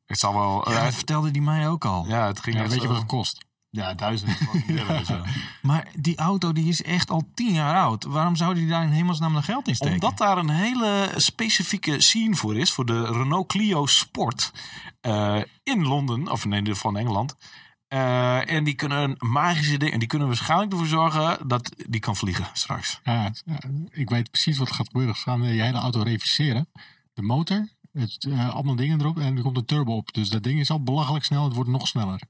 Speaker 2: Het zal wel.
Speaker 1: Ja,
Speaker 2: eh,
Speaker 1: dat vertelde die mij ook al.
Speaker 2: ja, het ging
Speaker 3: Ja,
Speaker 2: echt
Speaker 3: weet je
Speaker 2: zo.
Speaker 3: wat het kost?
Speaker 2: Ja, duizend. fucking euro of zo.
Speaker 1: Maar die auto die is echt al tien jaar oud. Waarom zou die daar in hemelsnaam nog geld in steken?
Speaker 2: Omdat daar een hele specifieke scene voor is, voor de Renault Clio Sport eh, in Londen, of in ieder geval in Engeland. Eh, en die kunnen magische dingen, en die kunnen waarschijnlijk ervoor zorgen dat die kan vliegen straks.
Speaker 3: Ja, ja, ik weet precies wat er gaat gebeuren. Ze gaan eh, je hele auto reviseren. De motor, het, eh, allemaal dingen erop en er komt een turbo op. Dus dat ding is al belachelijk snel. Het wordt nog sneller.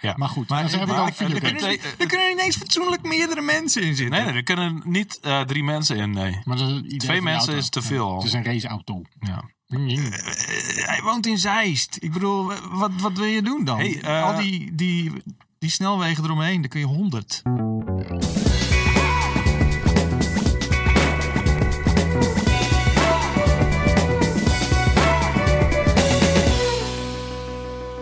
Speaker 2: Ja.
Speaker 3: Maar goed, maar, ze hebben
Speaker 2: maar-
Speaker 3: ook
Speaker 2: maar-
Speaker 3: videoclips.
Speaker 1: Er kunnen- er kunnen ineens fatsoenlijk meerdere mensen in zitten.
Speaker 2: Nee, nee, er kunnen niet eh, drie mensen in, nee.
Speaker 3: Maar dat is het idee
Speaker 2: Twee
Speaker 3: van die
Speaker 2: mensen
Speaker 3: auto.
Speaker 2: is te
Speaker 3: Ja,
Speaker 2: veel.
Speaker 3: het is een raceauto. Mm.
Speaker 2: Ja.
Speaker 1: Eh, Hij woont in Zeist. Ik bedoel, eh, wat, wat wil je doen dan?
Speaker 2: Hey, eh,
Speaker 1: Al die, die, die snelwegen eromheen, daar kun je honderd.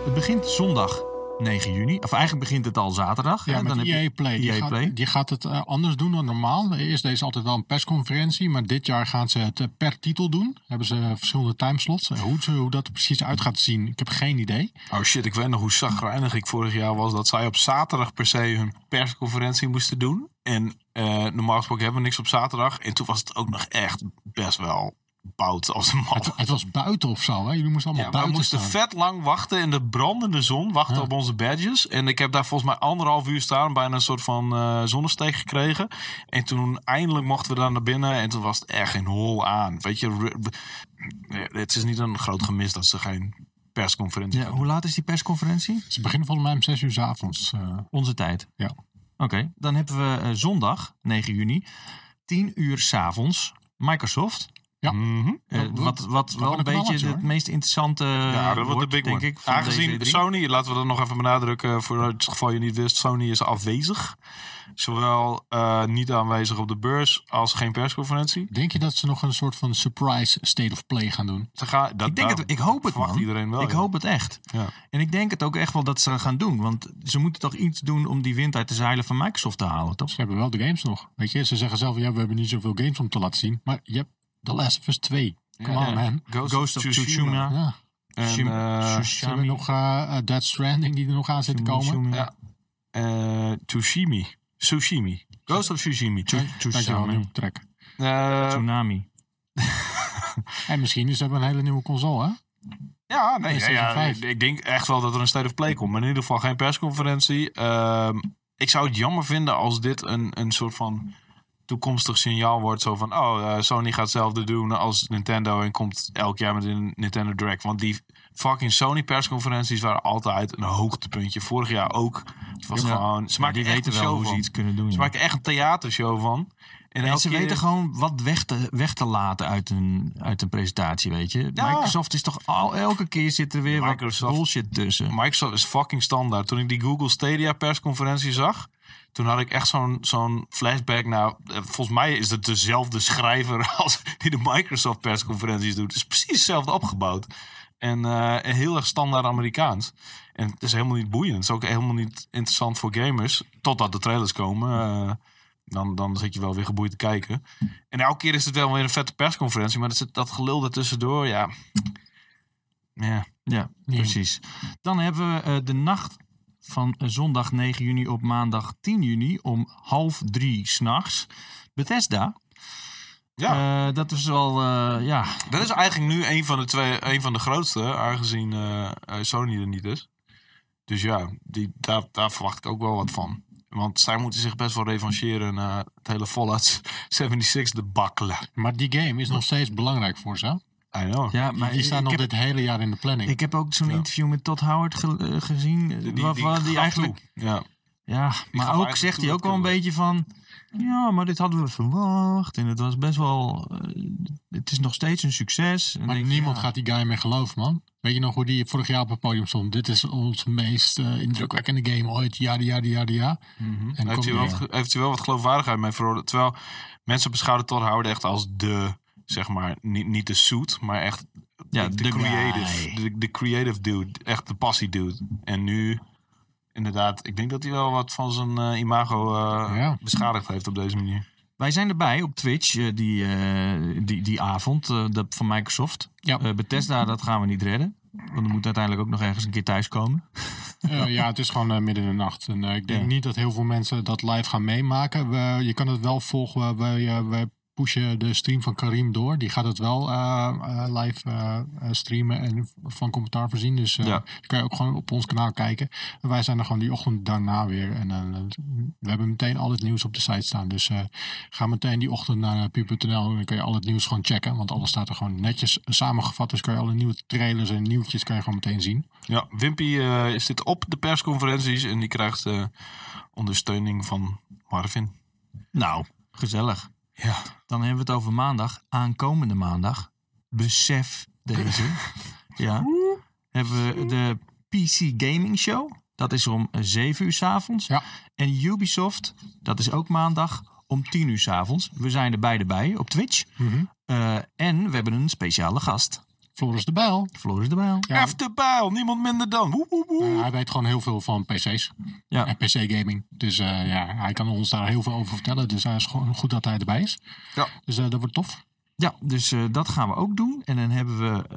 Speaker 1: Het begint zondag 9 juni. Of eigenlijk begint het al zaterdag.
Speaker 3: Ja,
Speaker 1: hè?
Speaker 3: met
Speaker 1: heb je
Speaker 3: EA E Play.
Speaker 2: E
Speaker 3: Die,
Speaker 1: EA
Speaker 3: gaat,
Speaker 1: Play.
Speaker 3: die gaat het eh, anders doen dan normaal. Eerst is altijd wel een persconferentie, maar dit jaar gaan ze het eh, per titel doen. Hebben ze verschillende timeslots. Eh, hoe, ze- hoe dat er precies uit gaat zien, ik heb geen idee.
Speaker 2: Oh shit, ik weet nog hoe zagrijnig ik vorig jaar was dat zij op zaterdag per se hun persconferentie moesten doen. En eh, normaal gesproken hebben we niks op zaterdag. En toen was het ook nog echt best wel bout als een man.
Speaker 3: Het, het was buiten of zo, hè? Jullie moesten
Speaker 2: Ja,
Speaker 3: allemaal
Speaker 2: wij
Speaker 3: buiten
Speaker 2: moesten
Speaker 3: staan.
Speaker 2: vet lang wachten in de brandende zon, wachten op onze badges. En ik heb daar volgens mij anderhalf uur staan, bijna een soort van eh zonnesteek gekregen. En toen eindelijk mochten we daar naar binnen en toen was het echt geen hol aan. Weet je, ru- eh, het is niet een groot gemis dat ze geen persconferentie
Speaker 1: Ja,
Speaker 2: hebben.
Speaker 1: hoe laat is die persconferentie?
Speaker 3: Ze beginnen volgens mij om zes uur 's avonds. eh.
Speaker 1: Onze tijd.
Speaker 3: Ja.
Speaker 1: Oké, dan hebben we eh, zondag 9 juni, 10 uur s'avonds, Microsoft.
Speaker 3: Ja.
Speaker 2: Mhm.
Speaker 1: Eh,
Speaker 3: Dat wordt-
Speaker 1: wat wat wel een
Speaker 3: wordt een
Speaker 1: beetje
Speaker 3: knallertje,
Speaker 1: het
Speaker 3: hoor.
Speaker 1: meest interessante
Speaker 2: Ja, dat wordt de big
Speaker 1: Eh, denk
Speaker 2: one.
Speaker 1: ik. Van
Speaker 2: Aangezien
Speaker 1: deze drie.
Speaker 2: Sony, laten we dat nog even benadrukken voor het geval je niet wist, Sony is afwezig. Zowel eh, niet aanwezig op de beurs als geen persconferentie.
Speaker 3: Denk je dat ze nog een soort van surprise state of play gaan doen?
Speaker 2: Ze gaan, dat,
Speaker 1: Ik denk
Speaker 2: daar
Speaker 1: het, ik hoop het
Speaker 2: verwacht
Speaker 1: man.
Speaker 2: iedereen wel.
Speaker 1: ik
Speaker 2: ja.
Speaker 1: hoop het echt.
Speaker 2: Ja.
Speaker 1: En ik denk het ook echt wel dat ze gaan doen. Want ze moeten toch iets doen om die wind uit de zeilen van Microsoft te halen, toch?
Speaker 3: Ze hebben wel de games nog. Weet je, ze zeggen zelf, ja, we hebben niet zoveel games om te laten zien. Maar je hebt The Last of Us 2. Come
Speaker 2: Ja.
Speaker 3: on, man.
Speaker 2: Ghost,
Speaker 1: Ghost of Tsushima.
Speaker 3: Ja.
Speaker 2: En,
Speaker 1: Tsushima.
Speaker 2: eh,
Speaker 3: Ze hebben
Speaker 1: Tsushima.
Speaker 3: nog eh eh, Dead Stranding die er nog aan zit te komen.
Speaker 1: Tsushima.
Speaker 2: Ja. eh, Tsushimi. Tsushimi. Ghost of Tsushimi.
Speaker 3: Dankjewel,
Speaker 1: Tsushima.
Speaker 3: nieuw trek.
Speaker 2: Eh,
Speaker 1: Tsunami.
Speaker 3: En misschien is hebben we een hele nieuwe console, hè?
Speaker 2: ja, nee, ja,
Speaker 3: PlayStation
Speaker 2: ja,
Speaker 3: 5.
Speaker 2: ik denk echt wel dat er een state of play komt. Maar in ieder geval geen persconferentie. Ehm, ik zou het jammer vinden als dit een, een soort van toekomstig signaal wordt. Zo van, oh, eh, Sony gaat hetzelfde doen als Nintendo en komt elk jaar met een Nintendo Direct. Want die fucking Sony persconferenties waren altijd een hoogtepuntje. Vorig jaar ook. Het was
Speaker 1: Ja.
Speaker 2: gewoon, ze
Speaker 1: Maar
Speaker 2: maken
Speaker 1: die
Speaker 2: echt
Speaker 1: weten
Speaker 2: een
Speaker 1: wel
Speaker 2: show
Speaker 1: hoe ze
Speaker 2: van.
Speaker 1: iets kunnen doen.
Speaker 2: Ze
Speaker 1: ja.
Speaker 2: maken echt een theatershow van. En,
Speaker 1: En
Speaker 2: elke
Speaker 1: ze
Speaker 2: keer-
Speaker 1: weten gewoon wat weg te, weg te laten uit een, uit een presentatie, weet je.
Speaker 2: Ja.
Speaker 1: Microsoft is toch al, elke keer zit er weer wat
Speaker 2: Microsoft.
Speaker 1: bullshit tussen.
Speaker 2: Microsoft is fucking standaard. Toen ik die Google Stadia persconferentie zag, toen had ik echt zo'n zo'n flashback. Nou, eh, volgens mij is het dezelfde schrijver als die de Microsoft persconferenties doet. Het is precies hetzelfde opgebouwd. En eh, en heel erg standaard Amerikaans. En het is helemaal niet boeiend. Het is ook helemaal niet interessant voor gamers. Totdat de trailers komen. eh, dan, dan zit je wel weer geboeid te kijken. En elke keer is het wel weer een vette persconferentie. Maar dat, zit- dat gelul ertussendoor, ja. Ja.
Speaker 1: Ja,
Speaker 3: Nee.
Speaker 1: precies. Dan hebben we eh, de nacht van eh, zondag 9 juni op maandag 10 juni om half drie s'nachts. Bethesda.
Speaker 2: Ja.
Speaker 1: Eh, dat is wel, eh, ja,
Speaker 2: Dat is eigenlijk nu een van de, twee, een van de grootste, aangezien eh, eh, Sony er niet is. Dus ja, die, daar, daar verwacht ik ook wel wat van. Want zij moeten zich best wel revancheren na het hele Fallout 76 debakkelen.
Speaker 3: Maar die game is nog steeds belangrijk voor ze.
Speaker 2: I know.
Speaker 1: ja
Speaker 3: Maar
Speaker 1: maar
Speaker 3: die staan
Speaker 1: ik,
Speaker 3: nog
Speaker 1: heb,
Speaker 3: dit hele jaar in de planning.
Speaker 1: ik heb ook zo'n
Speaker 2: Ja.
Speaker 1: interview met Todd Howard ge- eh, gezien. eh,
Speaker 2: Die,
Speaker 1: waarvan die
Speaker 2: gaf
Speaker 1: eigenlijk
Speaker 2: toe. Ja.
Speaker 1: Ja, maar
Speaker 2: ga maar
Speaker 1: ook
Speaker 2: even
Speaker 1: zegt
Speaker 2: toe
Speaker 1: hij
Speaker 2: dat
Speaker 1: ook wel een
Speaker 2: kunnen we.
Speaker 1: beetje van... Ja, maar dit hadden we verwacht. En het was best wel... eh, het is nog steeds een succes. En dan
Speaker 3: Maar
Speaker 1: denk je,
Speaker 3: niemand
Speaker 1: ja.
Speaker 3: gaat die guy meer geloven, man. Weet je nog hoe die vorig jaar op het podium stond? Dit is ons meest eh, indrukwekkende game ooit. Ja, ja, ja, ja. En
Speaker 2: Heeft
Speaker 3: komt
Speaker 2: hij, wel,
Speaker 3: die-
Speaker 2: wat- heeft hij wel wat geloofwaardigheid mee verloren. Terwijl mensen beschouwen Todd Howard echt als de, zeg maar, niet, niet de suit, maar echt
Speaker 1: Ja,
Speaker 2: de, dus.
Speaker 1: de
Speaker 2: creative.
Speaker 1: guy.
Speaker 2: De, de creative dude. Echt de passie dude. En nu, inderdaad, ik denk dat hij wel wat van zijn eh, imago eh,
Speaker 3: Ja.
Speaker 2: beschadigd heeft op deze manier.
Speaker 1: Wij zijn erbij op Twitch eh, die, eh, die, die avond eh, dat van Microsoft.
Speaker 3: Ja.
Speaker 1: Eh, Bethesda, dat gaan we niet redden. Want er moet uiteindelijk ook nog ergens een keer thuiskomen.
Speaker 3: Eh, ja, het is gewoon eh, midden in de nacht. En eh, ik denk
Speaker 1: Ja.
Speaker 3: niet dat heel veel mensen dat live gaan meemaken. We, je kan het wel volgen. We, we, we pushen de stream van Karim door. Die gaat het wel eh, eh, live eh, eh, streamen en van commentaar voorzien. Dus eh
Speaker 2: Ja.
Speaker 3: dat kan je ook gewoon op ons kanaal kijken. En wij zijn er gewoon die ochtend daarna weer. En eh, we hebben meteen al het nieuws op de site staan. Dus eh, ga meteen die ochtend naar eh, pu.nl. En dan kan je al het nieuws gewoon checken. Want alles staat er gewoon netjes samengevat. Dus kan je alle nieuwe trailers en nieuwtjes kan je gewoon meteen zien.
Speaker 2: Ja, Wimpy eh, is zit op de persconferenties en die krijgt eh, ondersteuning van Marvin.
Speaker 1: Nou, gezellig.
Speaker 2: Ja.
Speaker 1: Dan hebben we het over maandag. Aankomende maandag. Besef deze. ja. Hebben we de PC Gaming Show. Dat is om 7 uur s'avonds.
Speaker 3: Ja.
Speaker 1: En Ubisoft, dat is ook maandag om 10 uur s'avonds. We zijn er beide bij op Twitch. Eh, en we hebben een speciale gast.
Speaker 3: Floris de Bijl.
Speaker 1: Floris de Bijl.
Speaker 3: Ja.
Speaker 2: F de bijl, niemand minder dan. Woe, woe, woe.
Speaker 3: Uh, hij weet gewoon heel veel van PC's
Speaker 1: Ja.
Speaker 3: en PC-gaming. Dus eh, ja, hij kan ons daar heel veel over vertellen. Dus hij is gewoon goed dat hij erbij is.
Speaker 2: Ja.
Speaker 3: Dus eh, dat wordt tof.
Speaker 1: Ja, dus eh, dat gaan we ook doen. En dan hebben we,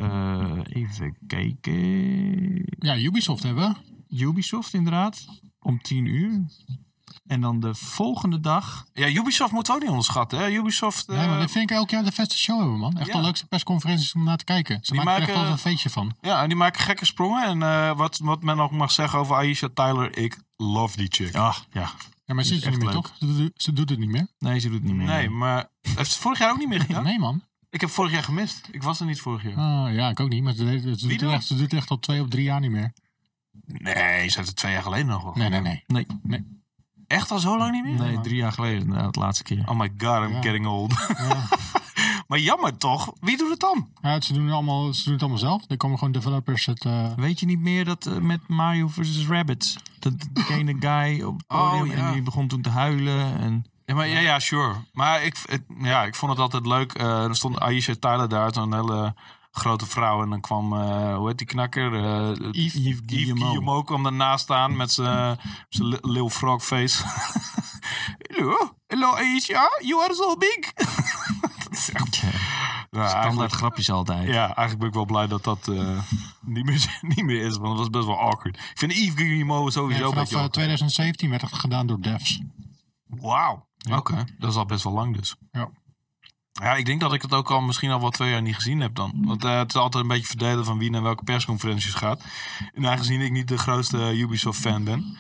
Speaker 1: eh, even kijken,
Speaker 3: Ja, Ubisoft hebben we.
Speaker 1: Ubisoft inderdaad, om 10 uur. En dan de volgende dag,
Speaker 2: Ja, Ubisoft moeten we ook niet onderschatten. Hè? Ubisoft, eh,
Speaker 3: Nee, maar dat vind ik elk jaar de beste show hebben, man. Echt
Speaker 2: ja.
Speaker 3: de leukste persconferenties om naar te kijken. Ze
Speaker 2: Die
Speaker 3: maken er echt
Speaker 2: maken-
Speaker 3: altijd een feestje van.
Speaker 2: ja, en die maken gekke sprongen. En eh, wat, wat men ook mag zeggen over Aisha Tyler, ik love die chick.
Speaker 1: ja, ja.
Speaker 3: Ja, maar ze
Speaker 2: is
Speaker 3: is er niet
Speaker 2: echt
Speaker 3: meer, toch? Ze, doet- ze doet het niet meer.
Speaker 1: Nee, ze doet het niet meer.
Speaker 2: Nee, maar heeft ze vorig jaar ook niet meer gedaan?
Speaker 3: Nee, man.
Speaker 2: Ik heb vorig jaar gemist. Ik was er niet vorig jaar.
Speaker 3: Ah, ja, ik ook niet. Maar ze, deed- ze doet
Speaker 2: dan?
Speaker 3: het echt, ze doet het echt al twee of drie jaar niet meer.
Speaker 2: Nee, ze heeft het twee jaar geleden nog wel.
Speaker 3: Nee, nee, nee.
Speaker 1: Nee,
Speaker 2: Echt al zo lang niet meer?
Speaker 1: nee, drie jaar geleden, inderdaad, de laatste keer.
Speaker 2: Oh my god, I'm
Speaker 3: Ja.
Speaker 2: getting old. maar jammer toch? Wie doet het dan?
Speaker 3: Ja, ze, doen het allemaal, ze doen het allemaal zelf. Er komen gewoon developers het... eh,
Speaker 1: Weet je niet meer dat eh, met Mario vs. Rabbits? Dat degene guy op het
Speaker 2: Oh,
Speaker 1: podium
Speaker 2: ja.
Speaker 1: en die begon toen te huilen. En,
Speaker 2: Ja, maar, ja, ja, sure. Maar ik, het- ja, ik vond het altijd leuk. Eh er stond Aisha Tyler daar, zo'n hele grote vrouw. En dan kwam, eh, hoe heet die knakker? Eh,
Speaker 3: Yves-
Speaker 1: Yves Guillemot.
Speaker 2: Guillemot kwam daarnaast staan met zijn eh, zijn li- Lil Frog face. hello, hello Aisha, you are so big. dat is echt...
Speaker 1: ja,
Speaker 2: Ja,
Speaker 1: standaard
Speaker 2: eigenlijk,
Speaker 1: grapjes altijd.
Speaker 2: ja, eigenlijk ben ik wel blij dat dat eh, niet, meer, niet meer is. Want het was best wel awkward. Ik vind Yves Guillemot
Speaker 3: en
Speaker 2: sowieso een
Speaker 3: vanaf
Speaker 2: beetje
Speaker 3: eh,
Speaker 2: awkward.
Speaker 3: 2017 werd het gedaan door devs.
Speaker 2: Wauw. Oké, dat is al best wel lang dus.
Speaker 3: Ja.
Speaker 2: Ja, ik denk dat ik het ook al misschien al wel twee jaar niet gezien heb dan. Want eh, het is altijd een beetje verdelen van wie naar welke persconferenties gaat. En aangezien ik niet de grootste Ubisoft-fan ben,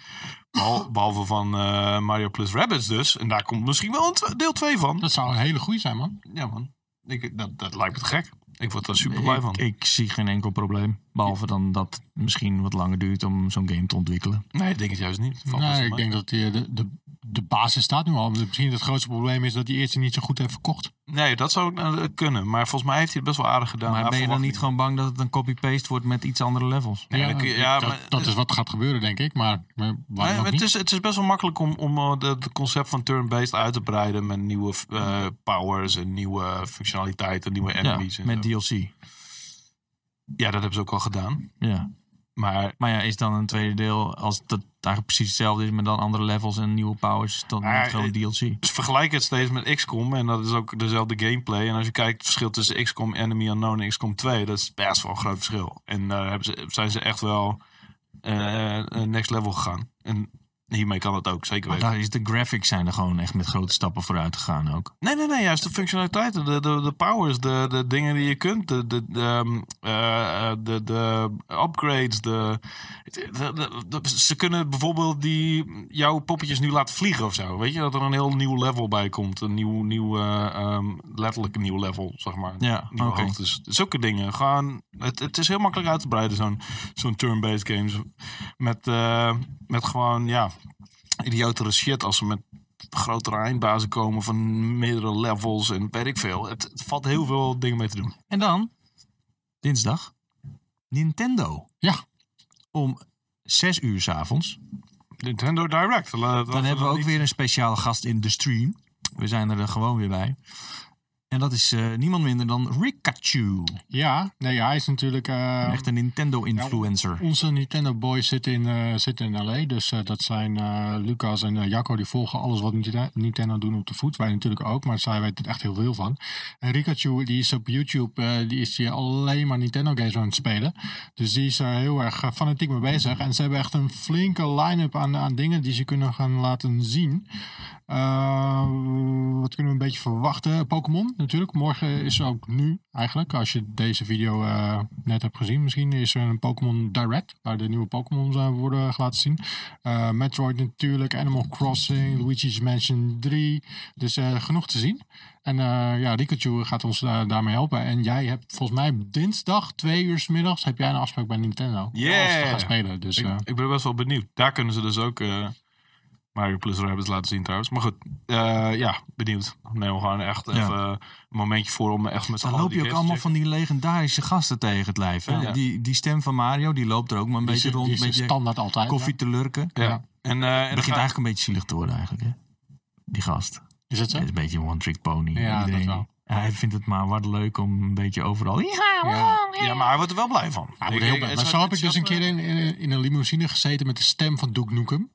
Speaker 2: behal- behalve van eh, Mario Plus Rabbits dus. En daar komt misschien wel een tw- deel 2 van.
Speaker 3: Dat zou een hele goeie zijn, man.
Speaker 2: Ja man, ik, dat, dat lijkt me te gek. Ik word er super blij van.
Speaker 1: Ik, ik zie geen enkel probleem. Behalve dan dat het misschien wat langer duurt om zo'n game te ontwikkelen.
Speaker 2: Nee, ik denk het juist niet. Valt best
Speaker 3: Nee,
Speaker 2: wel
Speaker 3: ik
Speaker 2: mee.
Speaker 3: denk dat die, de, de, de basis staat nu al. Misschien het grootste probleem is dat die eerste niet zo goed heeft verkocht.
Speaker 2: nee, dat zou eh, kunnen. Maar volgens mij heeft hij het best wel aardig gedaan.
Speaker 1: maar
Speaker 2: Hij
Speaker 1: ben je dan
Speaker 2: nou, verwacht-
Speaker 1: niet gewoon bang dat het een copy-paste wordt met iets andere levels?
Speaker 2: Nee, dan kun je- ja,
Speaker 3: dat,
Speaker 2: maar-
Speaker 3: dat is wat gaat gebeuren, denk ik. Maar, maar waarom
Speaker 2: Nee,
Speaker 3: ook
Speaker 2: maar het,
Speaker 3: niet?
Speaker 2: is, het is best wel makkelijk om, om eh, de- het concept van turn-based uit te breiden met nieuwe eh, powers en nieuwe functionaliteiten, nieuwe
Speaker 1: Ja,
Speaker 2: enemies. en
Speaker 1: met
Speaker 2: zo.
Speaker 1: DLC.
Speaker 2: ja, dat hebben ze ook al gedaan.
Speaker 1: Ja.
Speaker 2: Maar
Speaker 1: Maar ja, is dan een tweede deel, als dat eigenlijk precies hetzelfde is, maar dan andere levels en nieuwe powers, dan
Speaker 2: Ah,
Speaker 1: niet gewoon
Speaker 2: eh,
Speaker 1: DLC.
Speaker 2: ze vergelijken het steeds met XCOM en dat is ook dezelfde gameplay. En als je kijkt het verschil tussen XCOM Enemy Unknown en XCOM 2, dat is best wel een groot verschil. En daar hebben ze, zijn ze echt wel eh, eh, next level gegaan. En hiermee kan het ook, zeker
Speaker 1: Maar
Speaker 2: weten.
Speaker 1: daar is de graphics zijn er gewoon echt met grote stappen vooruit gegaan ook.
Speaker 2: Nee, nee, nee. Juist de functionaliteiten, de, de, de powers, de, de dingen die je kunt, de, de, de, ehm, eh, eh, de, de upgrades. De, de- de- de- ze kunnen bijvoorbeeld die, jouw poppetjes nu laten vliegen of zo. Weet je, dat er een heel nieuw level bij komt. Een nieuw, nieuw eh, ehm, letterlijk een nieuw level, zeg maar.
Speaker 1: Ja,
Speaker 2: Nieuwe
Speaker 1: oké.
Speaker 2: hoogtes. Zulke dingen. Gewoon, het, het is heel makkelijk uit te breiden, zo'n zo'n turn-based games. Met, eh, met gewoon, ja, idiotere shit als ze met grotere eindbazen komen van meerdere levels en weet ik veel. Het, het valt heel veel dingen mee te doen.
Speaker 1: En dan, dinsdag, Nintendo.
Speaker 3: Ja.
Speaker 1: Om zes uur s'avonds.
Speaker 2: Nintendo Direct.
Speaker 1: Dan hebben we ook weer een speciale gast in de stream. We zijn er eh, gewoon weer bij. En dat is eh, niemand minder dan Rikachu.
Speaker 3: Ja, nee, hij is natuurlijk... eh,
Speaker 1: Een echte Nintendo-influencer.
Speaker 3: Onze Nintendo Boys zitten in, eh, zitten in LA. Dus eh, dat zijn eh, Lucas en eh, Jacco. Die volgen alles wat Nita- Nintendo doen op de voet. Wij natuurlijk ook, maar zij weten er echt heel veel van. En Rikachu, die is op YouTube. eh, die is hier alleen maar Nintendo games aan het spelen. Dus die is er heel erg eh, fanatiek mee bezig. En ze hebben echt een flinke line-up aan, aan dingen die ze kunnen gaan laten zien. Eh, wat kunnen we een beetje verwachten? Pokémon natuurlijk. Morgen is ook nu eigenlijk. Als je deze video eh, net hebt gezien, misschien is er een Pokémon Direct. Waar de nieuwe Pokémon worden laten zien. Eh, Metroid natuurlijk. Animal Crossing. Luigi's Mansion 3. Dus eh, genoeg te zien. En eh, ja, Rikachu gaat ons eh, daarmee helpen. En jij hebt volgens mij dinsdag, twee uur 's middags, heb jij een afspraak bij Nintendo.
Speaker 2: Yeah.
Speaker 3: Als we gaan spelen. Dus,
Speaker 2: Ik,
Speaker 3: eh,
Speaker 2: ik ben best wel benieuwd. Daar kunnen ze dus ook eh, Mario Plus Rabbids laten zien trouwens. Maar goed, eh, ja, benieuwd. Neem we gewoon echt
Speaker 1: Ja.
Speaker 2: even een momentje voor om echt met z'n
Speaker 1: Dan
Speaker 2: allen
Speaker 1: loop
Speaker 2: die
Speaker 1: je ook
Speaker 2: games te
Speaker 1: allemaal van die legendarische gasten tegen het lijf. Hè?
Speaker 2: Ja.
Speaker 1: Die, die stem van Mario, die loopt er ook maar een
Speaker 3: die is-
Speaker 1: beetje rond.
Speaker 3: die
Speaker 1: Een
Speaker 3: is
Speaker 1: beetje
Speaker 3: standaard altijd.
Speaker 1: koffie te lurken.
Speaker 2: checken. Ja.
Speaker 3: Ja.
Speaker 2: En, eh, en
Speaker 1: Het
Speaker 2: dan
Speaker 1: begint
Speaker 2: ga-
Speaker 1: eigenlijk een beetje zielig te worden eigenlijk. Hè? Die gast.
Speaker 3: Is dat zo?
Speaker 1: Hij is een beetje een one-trick pony.
Speaker 3: Ja, dat wel.
Speaker 1: Hij vindt het maar wat leuk om een beetje overal... Ja,
Speaker 3: Ja.
Speaker 2: Ja, maar hij wordt er wel blij van.
Speaker 3: Ja,
Speaker 2: Ik-
Speaker 3: maar
Speaker 2: ik-
Speaker 3: heel blij.
Speaker 2: het
Speaker 3: Maar
Speaker 2: zou-
Speaker 3: zo heb ik
Speaker 2: het
Speaker 3: dus een
Speaker 2: zou-
Speaker 3: keer in, in, in een limousine gezeten met de stem van Duke Nukem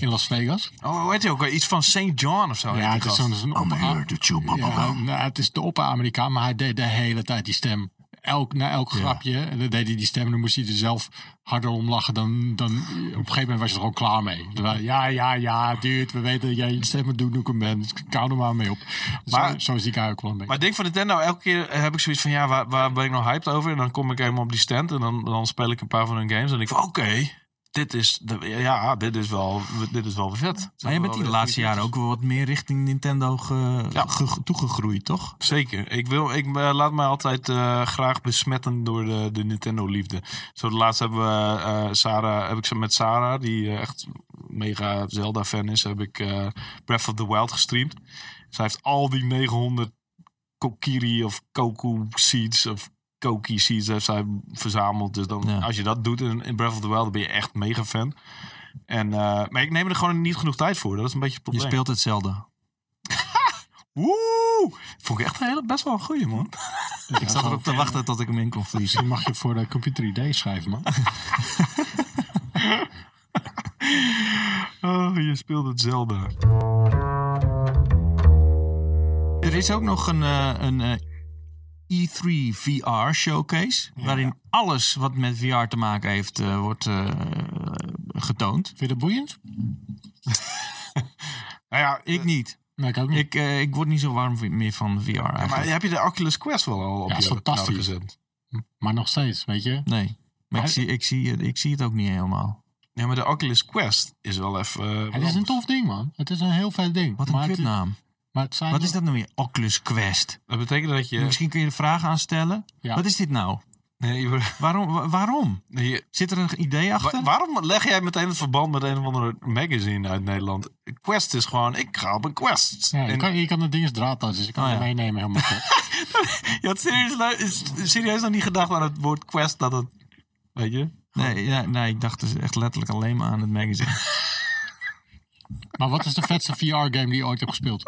Speaker 3: in Las Vegas.
Speaker 2: Oh, hoe heet hij ook? alweer? Iets van St. John of zo. heet
Speaker 3: Ja,
Speaker 2: die
Speaker 3: het
Speaker 2: gast.
Speaker 3: is zo'n zo'n
Speaker 1: I'm
Speaker 3: opera-
Speaker 1: here to chew
Speaker 3: ja,
Speaker 1: bubblegum.
Speaker 3: nou, het is de opper-Amerikaan, maar hij deed de hele tijd die stem. Elk, na elk grapje en dan deed hij die stem en dan moest hij er zelf harder om lachen. Dan, dan, op een gegeven moment was je er gewoon klaar mee. Dan waren- Ja, ja, ja, duurt. We weten dat jij je stem van Duke Nukem bent. dus Kou er maar mee op. zo,
Speaker 2: Maar-
Speaker 3: zo is die guy ook wel een beetje.
Speaker 2: Maar ik denk van Nintendo, elke keer heb ik zoiets van, ja, waar, waar ben ik nou hyped over? En dan kom ik helemaal op die stand en dan, dan speel ik een paar van hun games. En denk ik van, oké, dit is, de, ja, dit is wel, dit is wel weer vet.
Speaker 1: Maar je bent die de laatste jaren ook wel wat meer richting Nintendo ge-
Speaker 2: Ja.
Speaker 1: ge- toegegroeid, toch?
Speaker 2: Zeker. Ik, wil, ik eh, laat mij altijd eh, graag besmetten door de, de Nintendo-liefde. Zo de laatste hebben we eh, Sarah, heb ik ze met Sarah, die eh, echt mega Zelda-fan is, heb ik eh, Breath of the Wild gestreamd. Zij heeft al die 900 kokiri of koku seeds of koki seeds heeft zij verzameld. Dus dan,
Speaker 1: Ja.
Speaker 2: als je dat doet in, in Breath of the Wild, dan ben je echt mega fan. En, eh, maar ik neem er gewoon niet genoeg tijd voor. Dat is een beetje het
Speaker 1: Je
Speaker 2: probleem.
Speaker 1: speelt hetzelfde.
Speaker 2: Woe! Vond ik echt een hele, best wel een goeie, man.
Speaker 3: Dus ja,
Speaker 1: Ik zat
Speaker 3: zo-
Speaker 1: erop te wachten tot ik hem in kon vliezen.
Speaker 3: Misschien mag je voor de computer ID schrijven, man.
Speaker 2: Oh, je speelt Nou het Zelda.
Speaker 1: Er is ook nog een, eh, een eh, E E3 VR showcase. Waarin alles wat met VR te maken heeft, eh, wordt eh, getoond.
Speaker 3: Vind je dat boeiend?
Speaker 2: Nou ja, ik,
Speaker 1: Ik niet.
Speaker 3: Nee, ik ook niet.
Speaker 1: Ik, eh, ik word niet zo warm v- meer van VR eigenlijk.
Speaker 2: maar heb je de Oculus Quest wel al op
Speaker 3: Ja,
Speaker 2: je
Speaker 3: is fantastisch.
Speaker 2: knop gezet?
Speaker 3: Maar nog steeds, weet je.
Speaker 1: Nee. Maar ik
Speaker 3: Maar-
Speaker 1: zie, ik, zie, ik zie het ook niet helemaal.
Speaker 2: Ja, maar de Oculus Quest is wel even... eh,
Speaker 3: Het is een tof ding, man. Het is een heel vet ding.
Speaker 1: Wat een
Speaker 3: maar, het,
Speaker 1: kutnaam.
Speaker 3: maar het zijn
Speaker 1: Wat is dat nou weer? Oculus Quest.
Speaker 2: Dat betekent dat je...
Speaker 1: Misschien kun je de vraag aanstellen.
Speaker 3: Ja.
Speaker 1: Wat is dit nou?
Speaker 2: Nee, je-
Speaker 1: Waarom? wa- waarom?
Speaker 2: je-
Speaker 1: Zit er een idee achter?
Speaker 2: wa- waarom leg jij meteen het verband met een of andere magazine uit Nederland? Quest is gewoon, ik ga op een Quest.
Speaker 3: Ja, je,
Speaker 2: En-
Speaker 3: kan, je kan dat ding eens draadloos, dus je kan
Speaker 1: Oh,
Speaker 3: het
Speaker 1: ja.
Speaker 3: meenemen helemaal goed.
Speaker 2: Je had serieus, lu- is- serieus nog niet gedacht aan het woord Quest dat het... Weet je?
Speaker 1: Nee, ja, nee, ik dacht dus echt letterlijk alleen maar aan het magazine.
Speaker 3: maar wat is de vetste VR-game die je ooit hebt gespeeld?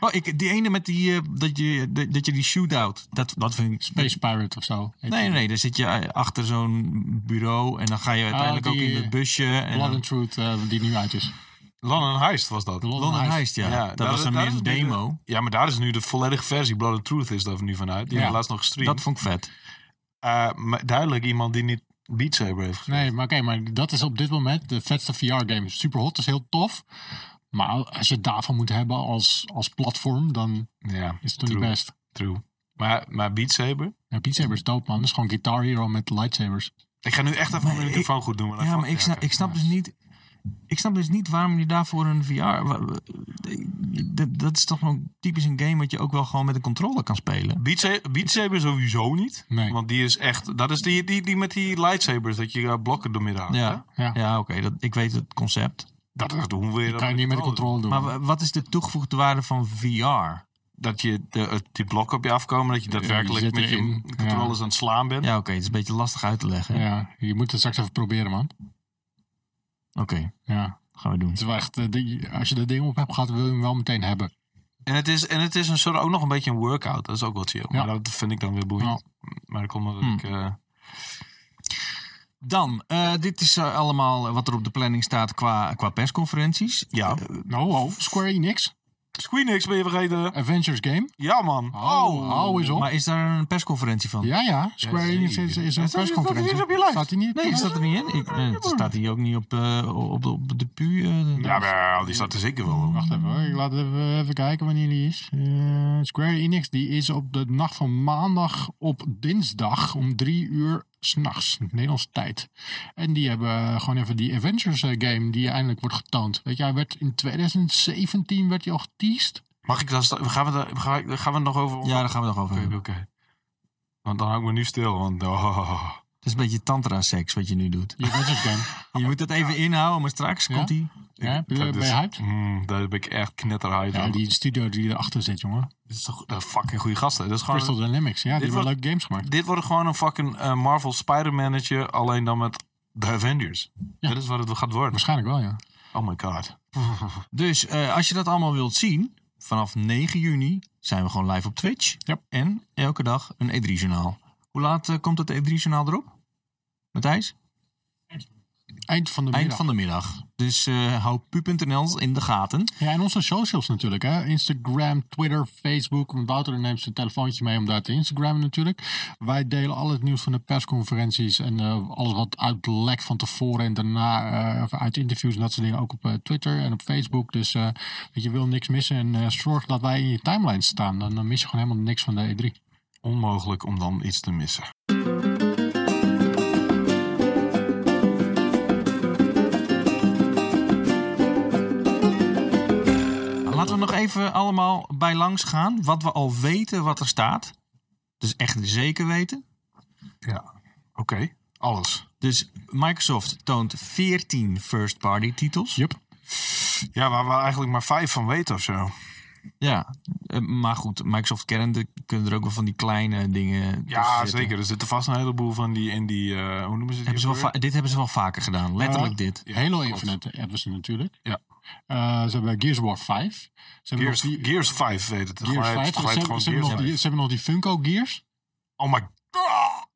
Speaker 1: Oh, ik, die ene met die, eh, dat, je, dat, dat je die shootout, dat, dat vind ik...
Speaker 3: Space Pirate of zo. heet
Speaker 1: Nee,
Speaker 3: die.
Speaker 1: nee, daar zit je eh, achter zo'n bureau en dan ga je uiteindelijk ook
Speaker 3: die,
Speaker 1: in dat busje. En
Speaker 3: Blood
Speaker 1: dan,
Speaker 3: and Truth, eh, die nu uit is.
Speaker 2: London Heist was dat.
Speaker 3: De London
Speaker 1: London
Speaker 3: Heist.
Speaker 1: Heist, ja.
Speaker 2: Ja,
Speaker 1: dat
Speaker 2: daar-
Speaker 1: was dan
Speaker 2: daar
Speaker 1: meer
Speaker 2: is
Speaker 1: een
Speaker 2: het nu
Speaker 1: demo.
Speaker 2: Ja, maar daar is nu de volledige versie. Blood and Truth is daar nu vanuit. Die
Speaker 3: Ja.
Speaker 2: hebben we laatst nog gestreamd.
Speaker 1: Dat vond ik vet.
Speaker 2: Eh, maar duidelijk iemand die niet Beat Saber heeft gespeeld.
Speaker 3: Nee, maar oké, maar dat is op dit moment de vetste VR-game. Super hot, is heel tof. Maar als je het daarvan moet hebben als, als platform, dan
Speaker 2: Ja,
Speaker 3: is het toch niet
Speaker 2: True.
Speaker 3: best.
Speaker 2: true. Maar, maar Beat Saber...
Speaker 3: Ja, Beat Saber is dope, man. Dat is gewoon Guitar Hero met lightsabers.
Speaker 2: Ik ga nu echt even mijn
Speaker 1: ik-
Speaker 2: microfoon goed doen.
Speaker 1: Ja, maar ik snap, ik snap dus niet... Ik snap dus niet waarom je daarvoor een VR... wa- wa- dat- Dat is toch gewoon typisch een game wat je ook wel gewoon met een controller kan spelen.
Speaker 2: Beat Saber, Beat Saber sowieso niet.
Speaker 3: Nee.
Speaker 2: Want die is echt... Dat is die, die, die met die lightsabers. Dat je eh, blokken doormidden haalt.
Speaker 1: Ja,
Speaker 3: Ja.
Speaker 1: ja oké, dat ik weet het concept.
Speaker 2: Dat, dat doen we weer.
Speaker 3: Dat kan je niet met de controle doen.
Speaker 1: Maar wa- wat is de toegevoegde waarde van VR?
Speaker 2: Dat je de, eh, die blokken op je afkomen, dat je daadwerkelijk
Speaker 3: zit
Speaker 2: met je
Speaker 3: erin.
Speaker 2: controllers aan het slaan bent.
Speaker 1: Ja, oké, het is een beetje lastig uit te leggen.
Speaker 3: ja, je moet het straks even proberen, man.
Speaker 1: Oké,
Speaker 3: Ja.
Speaker 1: gaan we doen.
Speaker 3: Het is wel echt, eh, die- als je dat ding op hebt gehad, wil je hem wel meteen hebben.
Speaker 2: En het is, en het is een soort, ook nog een beetje een workout. Dat is ook wel chill.
Speaker 3: Ja.
Speaker 2: Maar dat vind ik dan weer boeiend. Maar dat komt omdat
Speaker 1: Hmm.
Speaker 2: ik... eh,
Speaker 1: Dan, eh, dit is eh, allemaal wat er op de planning staat qua, qua persconferenties.
Speaker 2: ja.
Speaker 3: Nou, oh, Square Enix.
Speaker 2: Squeenix ben je vergeten?
Speaker 3: Adventures Game.
Speaker 2: Ja, man.
Speaker 3: Oh, hou eens op.
Speaker 1: Eh, Maar is daar een persconferentie van?
Speaker 3: Ja, ja. Square
Speaker 2: Jazeker.
Speaker 3: Enix is, is een
Speaker 2: Staat die- staat
Speaker 3: persconferentie.
Speaker 2: die niet op je lijst?
Speaker 3: Staat hij niet?
Speaker 1: Nee, die staat er niet in. Ik, eh, het staat hier ook niet op, eh, op, de- op de pu. eh,
Speaker 2: Ja, maar die staat er zeker wel op.
Speaker 3: Oh, Wacht even hoor, ik laat even, even kijken wanneer die is. Eh, Square Enix die is op de nacht van maandag op dinsdag om drie uur s'nachts, Nederlandse tijd. En die hebben gewoon even die Avengers eh, game die eindelijk wordt getoond. Weet je, hij werd in 2017 werd hij al geteased.
Speaker 2: Mag ik dat... sta- Gaan we, daar- ga ik- gaan we het nog over...
Speaker 1: ja, daar gaan we nog
Speaker 3: Ah,
Speaker 1: over
Speaker 2: Oké, oké.
Speaker 1: hebben.
Speaker 2: Want dan hou ik me nu stil, want... oh.
Speaker 1: Het is een beetje tantra-seks wat je nu doet.
Speaker 3: Die Avengers game.
Speaker 1: Je moet het even inhouden, maar straks
Speaker 3: Ja?
Speaker 1: komt die.
Speaker 3: Ja, heb je-
Speaker 2: Dat
Speaker 3: ben
Speaker 2: is-
Speaker 3: je hyped?
Speaker 2: Mm, daar heb ik echt knetterheid
Speaker 3: Ja,
Speaker 2: over.
Speaker 3: die studio die erachter zit, jongen.
Speaker 2: Dit is toch dat is fucking goede gasten. Dat is gewoon,
Speaker 3: Crystal Dynamics, ja, die
Speaker 2: dit
Speaker 3: hebben
Speaker 2: wordt-
Speaker 3: leuke games gemaakt.
Speaker 2: Dit wordt gewoon een fucking eh, Marvel Spider-Manetje, alleen dan met de Avengers.
Speaker 3: Ja.
Speaker 2: Dat is wat het gaat worden.
Speaker 3: Waarschijnlijk wel, ja.
Speaker 2: Oh my god.
Speaker 1: Dus eh, als je dat allemaal wilt zien, vanaf 9 juni zijn we gewoon live op Twitch.
Speaker 3: Ja.
Speaker 1: En elke dag een E3-journaal. Hoe laat eh, komt het E3-journaal erop? Matthijs?
Speaker 3: Eind van de middag.
Speaker 1: Eind van de middag. Dus eh, hou pu.nl in de gaten.
Speaker 3: Ja, en onze socials natuurlijk. Hè? Instagram, Twitter, Facebook. Want Wouter neemt zijn telefoontje mee om daar te Instagrammen natuurlijk. Wij delen al het nieuws van de persconferenties. En eh, alles wat uitlekt van tevoren en daarna. eh, of uit interviews en dat soort dingen. Ook op eh, Twitter en op Facebook. Dus eh, weet je wil niks missen. En eh, zorg dat wij in je timeline staan. Dan eh, mis je gewoon helemaal niks van de E E3.
Speaker 2: Onmogelijk om dan iets te missen.
Speaker 1: Laten we nog even allemaal bij langs gaan. Wat we al weten wat er staat. Dus echt zeker weten.
Speaker 2: Ja. Oké. Alles.
Speaker 1: Dus Microsoft toont 14 first-party titels.
Speaker 3: Yup.
Speaker 2: Ja, waar we eigenlijk maar vijf van weten of zo.
Speaker 1: Ja, eh, maar goed, Microsoft kennende kunnen er ook wel van die kleine dingen. tussen
Speaker 2: Ja,
Speaker 1: zitten.
Speaker 2: zeker. Er zitten vast een heleboel van die in die... eh, hoe noemen ze die?
Speaker 1: Hebben ze wel
Speaker 2: ook weer?
Speaker 1: va- dit hebben ze wel vaker gedaan, letterlijk
Speaker 3: Ja.
Speaker 1: dit.
Speaker 2: Ja,
Speaker 3: Halo
Speaker 2: klopt.
Speaker 3: Infinite hebben ze natuurlijk.
Speaker 2: Ja.
Speaker 3: Eh, ze hebben Gears of War 5. Ze hebben
Speaker 2: Gears,
Speaker 3: nog die...
Speaker 2: Gears 5 weet het.
Speaker 3: Gears 5. Ze hebben, ze, hebben nog die, ze hebben nog die Funko Gears.
Speaker 2: Oh my god.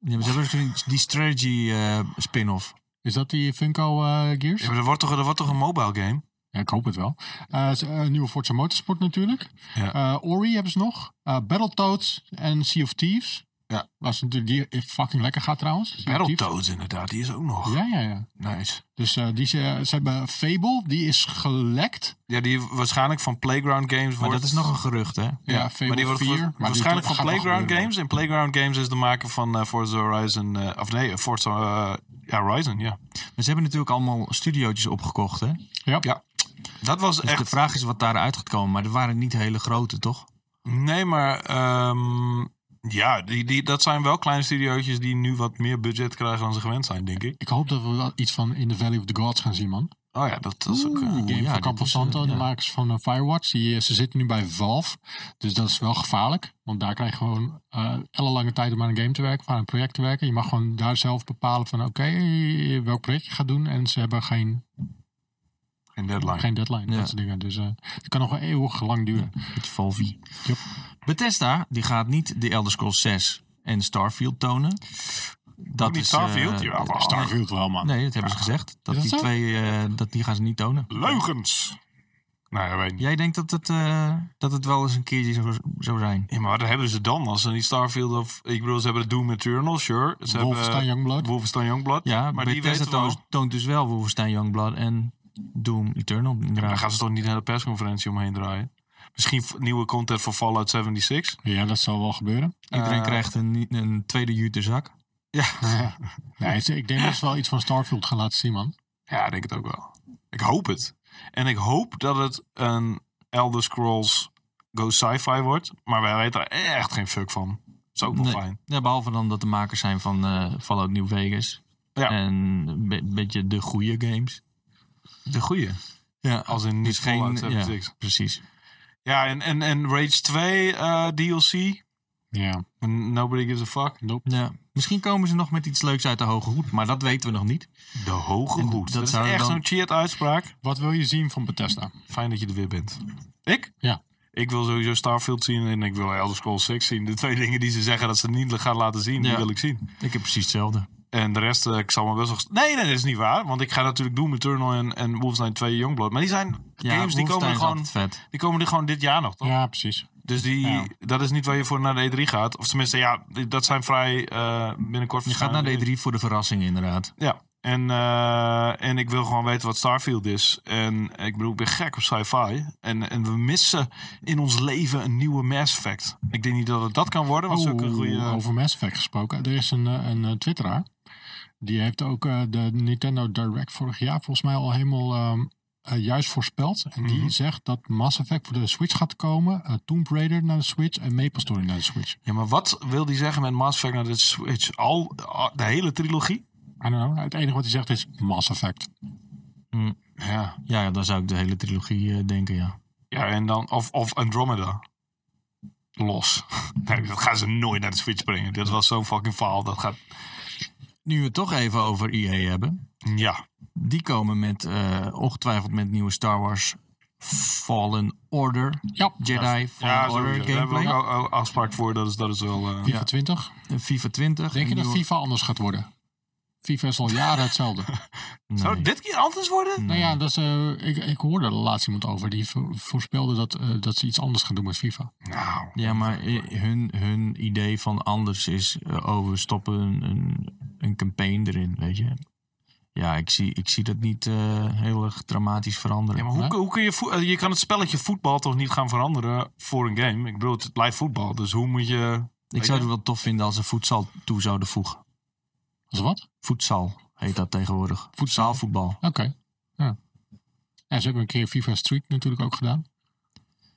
Speaker 1: Ja, maar ze hebben ook die- die strategy eh, spin-off.
Speaker 3: Is dat die Funko eh, Gears?
Speaker 2: Ja, maar er, wordt toch, er wordt toch een mobile game?
Speaker 3: Ja, ik hoop het wel. Eh, ze- eh, nieuwe Forza Motorsport natuurlijk.
Speaker 2: Ja.
Speaker 3: Eh, Ori hebben ze nog. Eh, Battletoads en Sea of Thieves.
Speaker 2: Ja.
Speaker 3: Was natuurlijk die fucking lekker gaat trouwens. Sea of Thieves.
Speaker 2: Battletoads inderdaad, die is ook nog.
Speaker 3: Ja, ja, ja.
Speaker 2: Nice.
Speaker 3: Dus eh, die, ze, ze hebben Fable, die is gelekt.
Speaker 2: Ja, die waarschijnlijk van Playground Games wordt...
Speaker 1: Maar dat is nog een gerucht, hè?
Speaker 3: Ja, Fable
Speaker 2: maar die wordt
Speaker 3: 4.
Speaker 2: wa-
Speaker 3: Maar die-
Speaker 2: waarschijnlijk
Speaker 3: dat
Speaker 2: van
Speaker 3: gaat nog
Speaker 2: Playground
Speaker 3: gebeuren.
Speaker 2: Games. En Playground Games is de maker van eh, Forza Horizon... eh, of nee, Forza eh, ja, Horizon, ja.
Speaker 1: Maar ze hebben natuurlijk allemaal studiootjes opgekocht, hè? Dus
Speaker 3: Ja.
Speaker 2: Ja. Dat
Speaker 3: Dus
Speaker 2: was echt...
Speaker 1: de vraag is wat daaruit gaat komen. Maar er waren niet hele grote, toch?
Speaker 2: Nee, maar... ehm, ja, die, die, dat zijn wel kleine studiootjes die nu wat meer budget krijgen dan ze gewend zijn, denk ik.
Speaker 3: Ik hoop dat we wel iets van In the Valley of the Gods gaan zien, man.
Speaker 2: Oh ja, dat, dat is ook... eh,
Speaker 1: Oeh,
Speaker 3: Game
Speaker 1: ja,
Speaker 3: van
Speaker 1: dit
Speaker 3: Campo
Speaker 1: is,
Speaker 3: Santo,
Speaker 1: eh,
Speaker 3: de
Speaker 1: ja.
Speaker 3: makers van eh, Firewatch. Die, eh, ze zitten nu bij Valve. Dus dat is wel gevaarlijk. Want daar krijg je gewoon eh ellenlange tijd om aan een game te werken, of aan een project te werken. Je mag gewoon daar zelf bepalen van oké, welk project je gaat doen. En ze hebben geen,
Speaker 2: geen deadline.
Speaker 3: geen deadline,
Speaker 1: Ja.
Speaker 3: dat soort dingen. Dus eh, het kan nog wel eeuwig lang duren.
Speaker 1: Met Volvi.
Speaker 3: Yep.
Speaker 1: Bethesda, die gaat niet de Elder Scrolls 6 en Starfield tonen. Dat
Speaker 2: Ook niet
Speaker 1: is, eh,
Speaker 2: Starfield? Ja, maar-
Speaker 3: Starfield wel, man.
Speaker 1: Nee, dat hebben ze gezegd. Dat,
Speaker 3: dat
Speaker 1: die
Speaker 3: zo?
Speaker 1: twee, eh, dat die gaan ze niet tonen.
Speaker 2: Leugens! Nou, ja, weet ik niet.
Speaker 1: Jij denkt dat het, eh, dat het wel eens een keertje zou, zou zijn.
Speaker 2: Ja, maar wat hebben ze dan? Als ze niet Starfield of... Ik bedoel, ze hebben de Doom Eternal, sure. Ze
Speaker 3: Wolfenstein
Speaker 2: hebben, eh,
Speaker 3: Youngblood.
Speaker 2: Wolfenstein Youngblood.
Speaker 1: Ja,
Speaker 2: maar
Speaker 1: maar
Speaker 2: die
Speaker 1: Bethesda
Speaker 2: weten wel...
Speaker 1: toont, toont dus wel Wolfenstein Youngblood en Doom Eternal.
Speaker 2: Daar
Speaker 1: Inderdaad.
Speaker 2: gaan ze toch niet een hele persconferentie omheen draaien? Misschien v- nieuwe content voor Fallout 76?
Speaker 3: Ja, dat zal wel gebeuren.
Speaker 1: Iedereen
Speaker 2: Eh,
Speaker 1: krijgt een, een tweede jute zak.
Speaker 3: nee, ze- ik denk dat ze wel iets van Starfield gaan laten zien, man.
Speaker 2: Ja, ik denk het ook wel. Ik hoop het. En ik hoop dat het een Elder Scrolls Go Sci-Fi wordt. Maar wij weten er echt geen fuck van. Dat is ook wel
Speaker 1: Nee.
Speaker 2: fijn.
Speaker 1: Ja, behalve dan dat de makers zijn van eh, Fallout New Vegas.
Speaker 2: Ja.
Speaker 1: En een be- beetje de goede games.
Speaker 2: De goeie. Ja, als in niet
Speaker 1: Dus geen-
Speaker 2: Fallout 76.
Speaker 1: ja, precies.
Speaker 2: Ja, en, en, en Rage 2 eh, DLC.
Speaker 3: Ja.
Speaker 2: Nobody gives a fuck.
Speaker 1: Ja. Misschien komen ze nog met iets leuks uit de hoge hoed, maar dat weten we nog niet.
Speaker 2: De hoge
Speaker 1: En
Speaker 2: hoed.
Speaker 1: dat
Speaker 2: Dat, is
Speaker 1: zou
Speaker 2: echt
Speaker 1: dan-
Speaker 2: zo'n cheat uitspraak.
Speaker 3: Wat wil je zien van Bethesda?
Speaker 2: Fijn dat je er weer bent. Ik?
Speaker 3: Ja.
Speaker 2: Ik wil sowieso Starfield zien en ik wil Elder Scrolls 6 zien. De twee dingen die ze zeggen dat ze niet gaan laten zien, die
Speaker 1: Ja.
Speaker 2: wil ik zien.
Speaker 1: Ik heb precies hetzelfde.
Speaker 2: En de rest, eh, ik zal me best nog... Nee, nee, dat is niet waar. Want ik ga natuurlijk Doom Eternal en, en Wolfenstein 2 Youngblood. Maar die zijn games die
Speaker 1: Wolfenstein
Speaker 2: komen,
Speaker 1: is
Speaker 2: gewoon,
Speaker 1: altijd vet.
Speaker 2: die komen er gewoon dit jaar nog, toch?
Speaker 3: Ja, precies.
Speaker 2: Dus die,
Speaker 3: Ja.
Speaker 2: dat is niet waar je voor naar de E3 gaat. Of tenminste, ja, dat zijn vrij eh, binnenkort
Speaker 1: Je gaat naar
Speaker 2: verschijnen.
Speaker 1: D3 voor de E verrassing inderdaad.
Speaker 2: Ja. En, eh, en ik wil gewoon weten wat Starfield is. En ik bedoel, ik ben gek op sci-fi. En, en we missen in ons leven een nieuwe Mass Effect. Ik denk niet dat het dat kan worden, want zulke
Speaker 3: Oh,
Speaker 2: goede...
Speaker 3: Over Mass Effect gesproken. Er is een, eh, een eh, twitteraar. Die heeft ook eh, de Nintendo Direct vorig jaar volgens mij al helemaal ehm, eh, juist voorspeld. En
Speaker 2: Mhm.
Speaker 3: die zegt dat Mass Effect voor de Switch gaat komen. eh, Tomb Raider naar de Switch en Maple Story naar de Switch. I
Speaker 2: Ja, maar wat wil die zeggen met Mass Effect Nou, naar de Switch? Al, al- de hele trilogie?
Speaker 3: don't know. Het enige wat hij zegt is Mass Effect.
Speaker 2: Ja.
Speaker 1: Ja, ja, dan zou ik de hele trilogie eh, denken, ja.
Speaker 2: Ja, en dan... Of, of Andromeda. Los. Nee, dat gaan ze nooit naar de Switch brengen. Dat was zo'n fucking faal. Dat gaat...
Speaker 1: Nu we het toch even over EA hebben.
Speaker 2: Ja.
Speaker 1: Die komen met, eh, ongetwijfeld met nieuwe Star Wars Fallen Order.
Speaker 3: Ja,
Speaker 1: Jedi Fallen
Speaker 2: Ja,
Speaker 1: Order
Speaker 2: sowieso. daar hebben
Speaker 1: gameplay.
Speaker 2: we ook al- al- afspraak voor. Dat is, dat is wel... eh,
Speaker 3: FIFA 20.
Speaker 1: Een FIFA 20.
Speaker 3: Denk je
Speaker 1: een
Speaker 3: dat
Speaker 1: nieuwe-
Speaker 3: FIFA anders gaat worden? FIFA is al jaren hetzelfde.
Speaker 1: Nee.
Speaker 2: Zou het dit keer anders worden?
Speaker 3: Nou ja, dat is, eh, ik, ik hoorde er laatst iemand over die vo- voorspelde dat, eh, dat ze iets anders gaan doen met FIFA.
Speaker 2: Nou,
Speaker 1: Ja, maar i- hun, hun idee van anders is, eh, oh, we stoppen een, een, een campaign erin, weet je. Ja, ik zie, ik zie dat niet eh, heel erg dramatisch veranderen.
Speaker 2: Ja, maar hoe,
Speaker 3: Nee?
Speaker 2: hoe kun je voet- eh, Je kan het spelletje voetbal toch niet gaan veranderen voor een game? Ik bedoel, het blijft voetbal. Dus hoe moet je.
Speaker 1: ik zou het wel tof vinden als ze voedsel toe zouden voegen.
Speaker 3: Als wat?
Speaker 1: Voedsel heet dat tegenwoordig.
Speaker 3: Voedsal.
Speaker 1: Zaalvoetbal.
Speaker 3: Oké. Ja. En ze hebben een keer FIFA Street natuurlijk ook gedaan.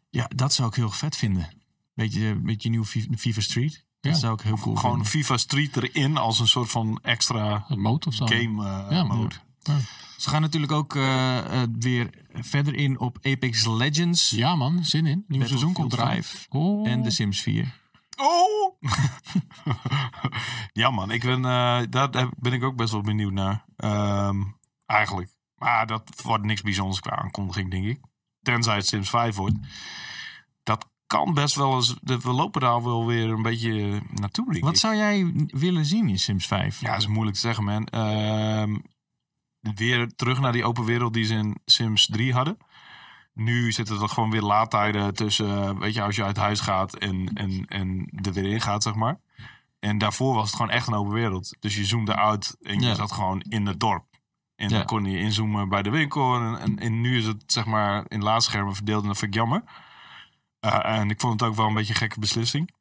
Speaker 1: Ja, dat zou ik heel vet vinden. Weet je, met je nieuwe FIFA FIFA Street. Dat
Speaker 3: Ja.
Speaker 1: zou ik heel cool
Speaker 2: Gewoon
Speaker 1: vinden.
Speaker 2: FIFA Street erin als een soort van extra
Speaker 3: Dat mode of zo.
Speaker 2: game eh,
Speaker 3: Ja,
Speaker 2: mode.
Speaker 1: Ze gaan natuurlijk ook eh, eh, weer verder in op Apex Legends.
Speaker 3: Ja man, zin in. Nieuw seizoen komt
Speaker 1: Battlefield
Speaker 3: eraan.
Speaker 1: 5
Speaker 3: Oh.
Speaker 1: En The Sims 4.
Speaker 2: Oh! ja, man. Ik ben, eh, daar heb- ben ik ook best wel benieuwd naar. Ehm, eigenlijk. Maar dat wordt niks bijzonders qua aankondiging, denk ik. Tenzij het Sims 5 wordt. Dat kan best wel eens. We lopen daar wel weer een beetje naartoe, denk ik.
Speaker 1: Wat zou jij willen zien in Sims 5?
Speaker 2: Ja, dat is moeilijk te zeggen, man. Ehm, weer terug naar die open wereld die ze in Sims 3 hadden. Nu zitten er gewoon weer laadtijden tussen, eh, weet je, als je uit huis gaat en, en, en er weer in gaat, zeg maar. En daarvoor was het gewoon echt een open wereld. Dus je zoomde uit en je
Speaker 1: Ja.
Speaker 2: zat gewoon in het dorp. En
Speaker 1: Ja.
Speaker 2: dan kon je inzoomen bij de winkel. En, en, en nu is het, zeg maar, in laadschermen verdeeld en dat vind ik jammer. Eh, en ik vond het ook wel een beetje een gekke beslissing.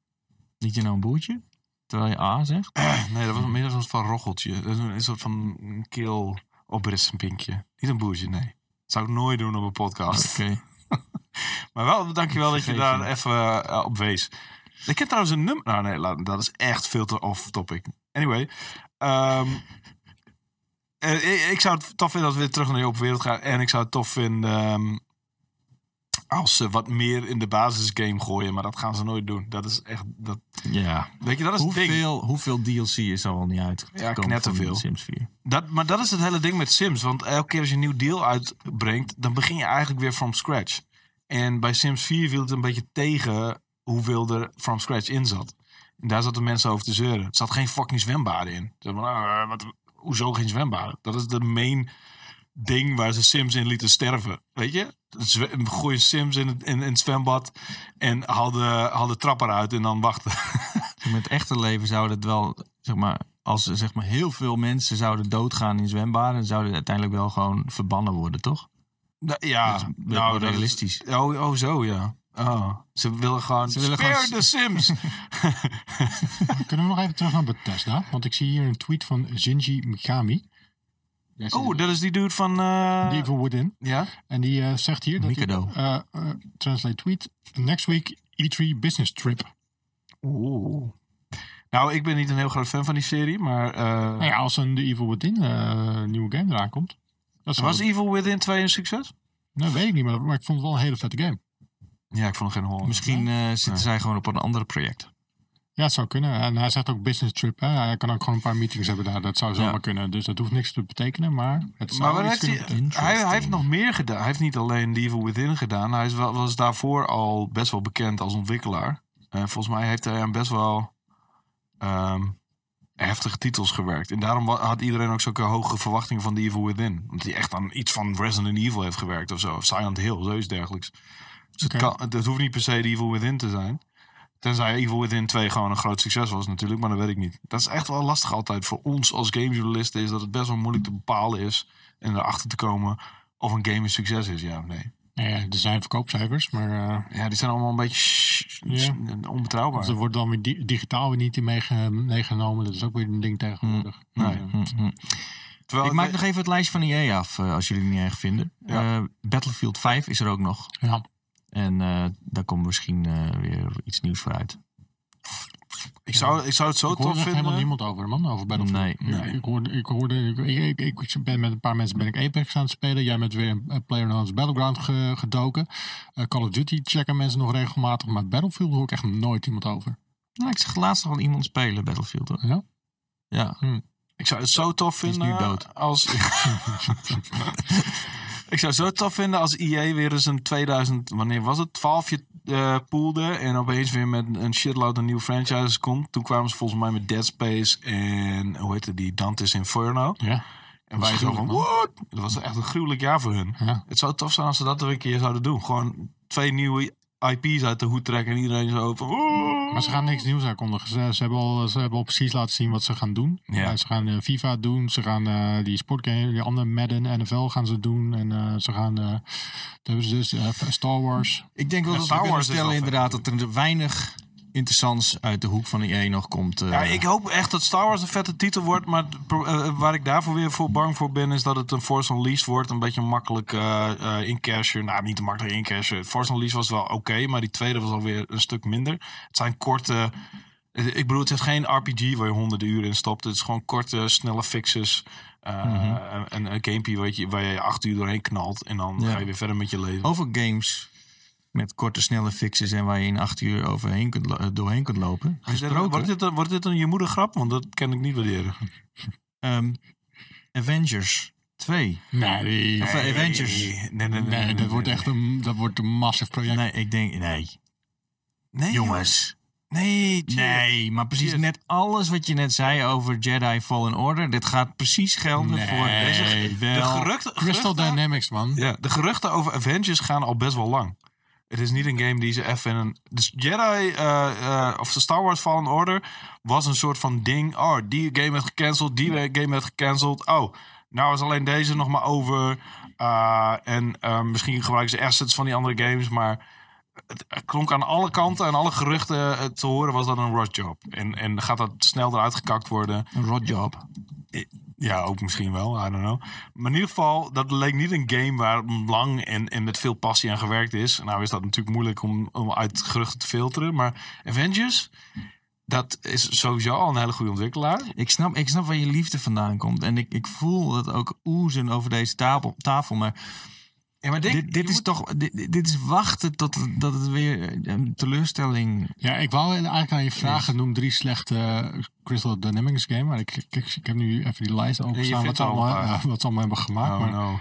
Speaker 1: Niet je nou een boertje? Terwijl je A zegt?
Speaker 2: Nee, dat was meer een soort van rocheltje. Dat is een, een soort van keel oprispinkje. Niet een boertje, nee. Dat zou ik nooit doen op een podcast. Maar wel, dankjewel dat je
Speaker 1: Vergeef je.
Speaker 2: daar even eh, op wees. Ik heb trouwens een nummer... Nou nee, laat- dat is echt veel te off-topic. Anyway. ehm, eh, ik- ik zou het tof vinden als we weer terug naar die open wereld gaan. En ik zou het tof vinden ehm, als ze wat meer in de basisgame gooien. Maar dat gaan ze nooit doen. Dat is echt... Dat,
Speaker 1: Ja.
Speaker 2: weet je, dat is het ding.
Speaker 1: Hoeveel, hoeveel DLC is er al niet uitgekomen
Speaker 2: Ja, knetterveel.
Speaker 1: van Sims 4?
Speaker 2: Dat, maar dat is het hele ding met Sims. Want elke keer als je een nieuw deel uitbrengt, dan begin je eigenlijk weer from scratch. En bij Sims 4 viel het een beetje tegen hoeveel er from scratch in zat. En daar zaten mensen over te zeuren. Er zat geen fucking zwembaden in. Ze zeiden, "Ah, wat, hoezo geen zwembaden? Dat is de main ding waar ze Sims in lieten sterven. Weet je? Zwe- Gooi Sims in het, in, in het zwembad en haal de, haal de trap eruit en dan wachten.
Speaker 1: Met echte leven zou dat wel, zeg maar, als er, zeg maar, heel veel mensen zouden doodgaan in zwembaden, zouden ze uiteindelijk wel gewoon verbannen worden, toch?
Speaker 2: Nou, ja,
Speaker 1: Dat is wel
Speaker 2: nou, dat is-
Speaker 1: realistisch.
Speaker 2: oh, oh, zo ja. Oh, ze willen gewoon.
Speaker 1: Ze willen
Speaker 2: spare
Speaker 1: gewoon-
Speaker 2: the Sims!
Speaker 3: Kunnen we nog even terug naar Bethesda? Want ik zie hier een tweet van Shinji Mikami. Jij ziet
Speaker 2: oh,
Speaker 3: het.
Speaker 2: dat is die dude van. eh,
Speaker 3: The Evil Within.
Speaker 2: ja?
Speaker 3: En die eh, zegt hier... Dat hij-
Speaker 1: Mikado.
Speaker 3: eh, eh, translate tweet. Next week E3 business trip.
Speaker 2: Oeh. Nou, ik ben niet een heel groot fan van die serie, maar. eh,
Speaker 3: Nou ja, als een The Evil Within eh, nieuwe game eraan komt. Dat zou-
Speaker 2: was Evil Within 2 een succes?
Speaker 3: Nou, weet ik niet, maar, maar ik vond het wel een hele vette game.
Speaker 2: Ja, ik vond het geen hol.
Speaker 1: Misschien eh, zitten
Speaker 2: Nee.
Speaker 1: zij gewoon op een ander project.
Speaker 3: Ja, het zou kunnen. En hij zegt ook business trip. Hè? Hij kan ook gewoon een paar meetings hebben daar. Dat zou zomaar
Speaker 1: Ja.
Speaker 3: kunnen. Dus dat hoeft niks te betekenen. Maar het zou
Speaker 2: Maar wat
Speaker 3: iets
Speaker 2: heeft hij,
Speaker 3: kunnen betekenen.
Speaker 2: hij, hij heeft nog meer gedaan. Hij heeft niet alleen The Evil Within gedaan. Hij is wel, was daarvoor al best wel bekend als ontwikkelaar. Eh, volgens mij heeft hij aan best wel ehm, heftige titels gewerkt. En daarom wa- had iedereen ook zulke hoge verwachtingen van The Evil Within. Omdat hij echt aan iets van Resident Evil heeft gewerkt of zo. Of Silent Hill, zoiets dergelijks. Dus
Speaker 3: Oké.
Speaker 2: het, kan, het- het hoeft niet per se The Evil Within te zijn. Tenzij Evil Within 2 gewoon een groot succes was natuurlijk, maar dat weet ik niet. Dat is echt wel lastig altijd voor ons als gamejournalisten. Is dat het best wel moeilijk te bepalen is en erachter te komen of een game een succes is, ja of nee.
Speaker 3: Nou ja, er zijn verkoopcijfers, maar eh,
Speaker 2: Ja, die zijn allemaal een beetje sh- sh-
Speaker 3: Ja.
Speaker 2: onbetrouwbaar.
Speaker 3: er wordt dan weer di- digitaal weer niet in meege- meegenomen. Dat is ook weer een ding tegenwoordig.
Speaker 2: Mm, Nee.
Speaker 3: Ja.
Speaker 2: Terwijl
Speaker 1: Mm, Ik
Speaker 2: het-
Speaker 1: maak nog even het lijstje van EA af, eh, als jullie het niet erg vinden.
Speaker 2: Ja.
Speaker 1: Eh, Battlefield 5 is er ook nog.
Speaker 3: Ja.
Speaker 1: En eh, daar komt misschien eh, weer iets nieuws voor uit.
Speaker 2: ik, zou, ik zou het zo
Speaker 3: Ik hoor
Speaker 2: tof
Speaker 3: echt helemaal
Speaker 2: vinden.
Speaker 3: niemand over, man. Over Battlefield.
Speaker 1: Nee,
Speaker 3: Ik-
Speaker 2: nee.
Speaker 3: Ik, hoorde, ik, hoorde, ik, ik, ik- ik ben met een paar mensen ben ik Apex aan het spelen. Jij bent weer een PlayerUnknown's Battleground ge- gedoken. Eh, Call of Duty checken mensen nog regelmatig. Maar Battlefield hoor ik echt nooit iemand over.
Speaker 1: Nou, ik zag laatst nog wel iemand spelen, Battlefield. Hoor.
Speaker 3: Ja?
Speaker 1: Ja.
Speaker 2: Ik zou het zo tof
Speaker 1: Die is
Speaker 2: vinden
Speaker 1: nu dood.
Speaker 2: als... ik zou het zo tof vinden als EA weer eens een 2000... Wanneer was het? 12 je eh, poelde en opeens weer met een shitload aan nieuwe franchises komt. Toen kwamen ze volgens mij met Dead Space en... Hoe heette die? Dante's Inferno.
Speaker 3: Ja.
Speaker 2: En wij zo van,
Speaker 3: gruwelijk, man.
Speaker 2: what? Dat was echt een gruwelijk jaar voor hun.
Speaker 3: Ja.
Speaker 2: Het zou tof zijn als ze dat weer een keer zouden doen. Gewoon twee nieuwe IP's uit de hoed trekken en iedereen zo van... "Oeh."
Speaker 3: Maar ze gaan niks nieuws aankondigen. Ze, ze, hebben al, ze hebben al precies laten zien wat ze gaan doen.
Speaker 2: Ja.
Speaker 3: Eh, ze gaan eh, FIFA doen. Ze gaan eh, die sportgame, die andere Madden, NFL gaan ze doen. En eh, ze gaan... eh, dat hebben ze dus eh, Star Wars.
Speaker 1: Ik denk wel
Speaker 2: Ja,
Speaker 1: dat
Speaker 2: Star
Speaker 1: we kunnen
Speaker 2: Wars is wel
Speaker 1: stellen
Speaker 2: vet
Speaker 1: inderdaad dat er weinig interessants uit de hoek van EA nog komt. eh.
Speaker 2: Ja, ik hoop echt dat Star Wars een vette titel wordt. Maar het pro- eh, waar ik daarvoor weer voor bang voor ben, is dat het een Force Unleashed wordt. Een beetje makkelijk eh eh incashen. Nou, niet te makkelijk incashen. Force Unleashed was wel oké, maar die tweede was alweer een stuk minder. Het zijn korte... eh, Ik bedoel, het is geen RPG waar je honderden uren in stopt. Het is gewoon korte, snelle fixes. eh,
Speaker 3: Mhm.
Speaker 2: een, een gamepje waar je, waar je acht uur doorheen knalt. En dan
Speaker 1: Ja.
Speaker 2: ga je weer verder met je leven.
Speaker 1: Over games met korte, snelle fixes en waar je in acht uur overheen kunt, lo- eh, doorheen kunt lopen. Gesproken.
Speaker 2: wordt, dit, een- wordt dit een je moeder grap? Want dat kan ik niet waarderen.
Speaker 1: Ehm, Avengers 2.
Speaker 3: Nee, die-
Speaker 1: Of, eh, Avengers.
Speaker 2: Nee, nee, nee, nee,
Speaker 3: Nee,
Speaker 2: nee,
Speaker 3: dat wordt
Speaker 2: nee.
Speaker 3: echt een, dat wordt een massief project.
Speaker 1: Nee, ik denk, nee.
Speaker 2: Nee,
Speaker 1: Jongens.
Speaker 2: Nee, chill.
Speaker 1: Nee, maar precies
Speaker 2: Shit.
Speaker 1: net alles wat je net zei over Jedi Fallen Order. Dit gaat precies gelden
Speaker 3: Nee,
Speaker 1: voor deze.
Speaker 2: De
Speaker 1: Wel.
Speaker 2: geruchten,
Speaker 3: Crystal
Speaker 2: geruchten-
Speaker 3: Dynamics, man.
Speaker 2: ja, de geruchten over Avengers gaan al best wel lang. Het is niet een game die ze even in een... Dus Jedi, eh, eh, of de Star Wars Fallen Order, was een soort van ding. Oh, die game werd gecanceld, die game werd gecanceld. Oh, nou is alleen deze nog maar over. Eh, en eh, misschien gebruiken ze assets van die andere games, maar... Het klonk aan alle kanten en alle geruchten eh, te horen was dat een rotjob. En, en gaat dat snel eruit gekakt worden?
Speaker 1: Een rotjob.
Speaker 2: Ja, ook misschien wel. I don't know. Maar in ieder geval, dat leek niet een game waar lang en, en met veel passie aan gewerkt is. Nou is dat natuurlijk moeilijk om, om uit geruchten te filteren. Maar Avengers, dat is sowieso al een hele goede ontwikkelaar.
Speaker 1: Ik snap, ik snap waar je liefde vandaan komt. En ik, ik voel dat ook oezen over deze tafel. tafel maar
Speaker 2: Ja, maar
Speaker 1: dit, dit is toch dit, dit is wachten tot dat het weer een teleurstelling...
Speaker 3: Ja, ik wou eigenlijk aan je vragen, noem drie slechte eh, Crystal Dynamics game. Maar ik, ik, ik- ik heb nu even die lijst openstaan wat,
Speaker 2: vindt
Speaker 3: ze
Speaker 2: er al
Speaker 3: allemaal,
Speaker 2: een paar.
Speaker 3: ja, wat ze allemaal hebben gemaakt.
Speaker 2: Oh,
Speaker 3: maar
Speaker 2: no.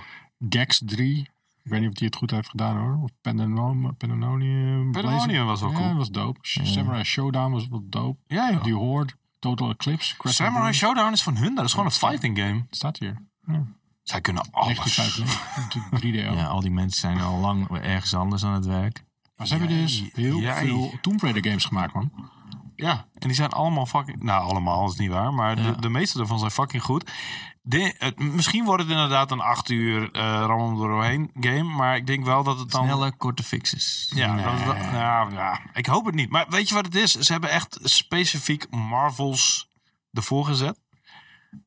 Speaker 3: Gex 3, ik weet niet of die het goed heeft gedaan hoor. Of Pandemonium. Pandemonium
Speaker 2: Pandemonium was wel
Speaker 3: Ja,
Speaker 2: cool.
Speaker 3: dat was dope. Samurai Showdown was wel dope.
Speaker 2: Ja, joh.
Speaker 3: Die Horde, Total Eclipse. Crash
Speaker 2: Samurai
Speaker 3: Bandicoot.
Speaker 2: Showdown is van hun. Dat is gewoon een fighting game.
Speaker 3: Staat hier.
Speaker 2: Zij kunnen alles.
Speaker 3: 1995, 3D ook.
Speaker 1: Ja, al die mensen zijn al lang ergens anders aan het werk.
Speaker 3: Maar ze hebben
Speaker 2: Jij-
Speaker 3: dus heel
Speaker 2: jij.
Speaker 3: veel Tomb Raider games gemaakt, man.
Speaker 2: Ja, en die zijn allemaal fucking... Nou, allemaal is niet waar, maar
Speaker 1: Ja.
Speaker 2: de, de meeste daarvan zijn fucking goed. De, het- misschien wordt het inderdaad een acht uur eh rammen we er doorheen game, maar ik denk wel dat het dan...
Speaker 1: Snelle, korte fixes.
Speaker 2: Ja, dat het wel- nou, ja, ik hoop het niet. Maar weet je wat het is? Ze hebben echt specifiek Marvels ervoor gezet.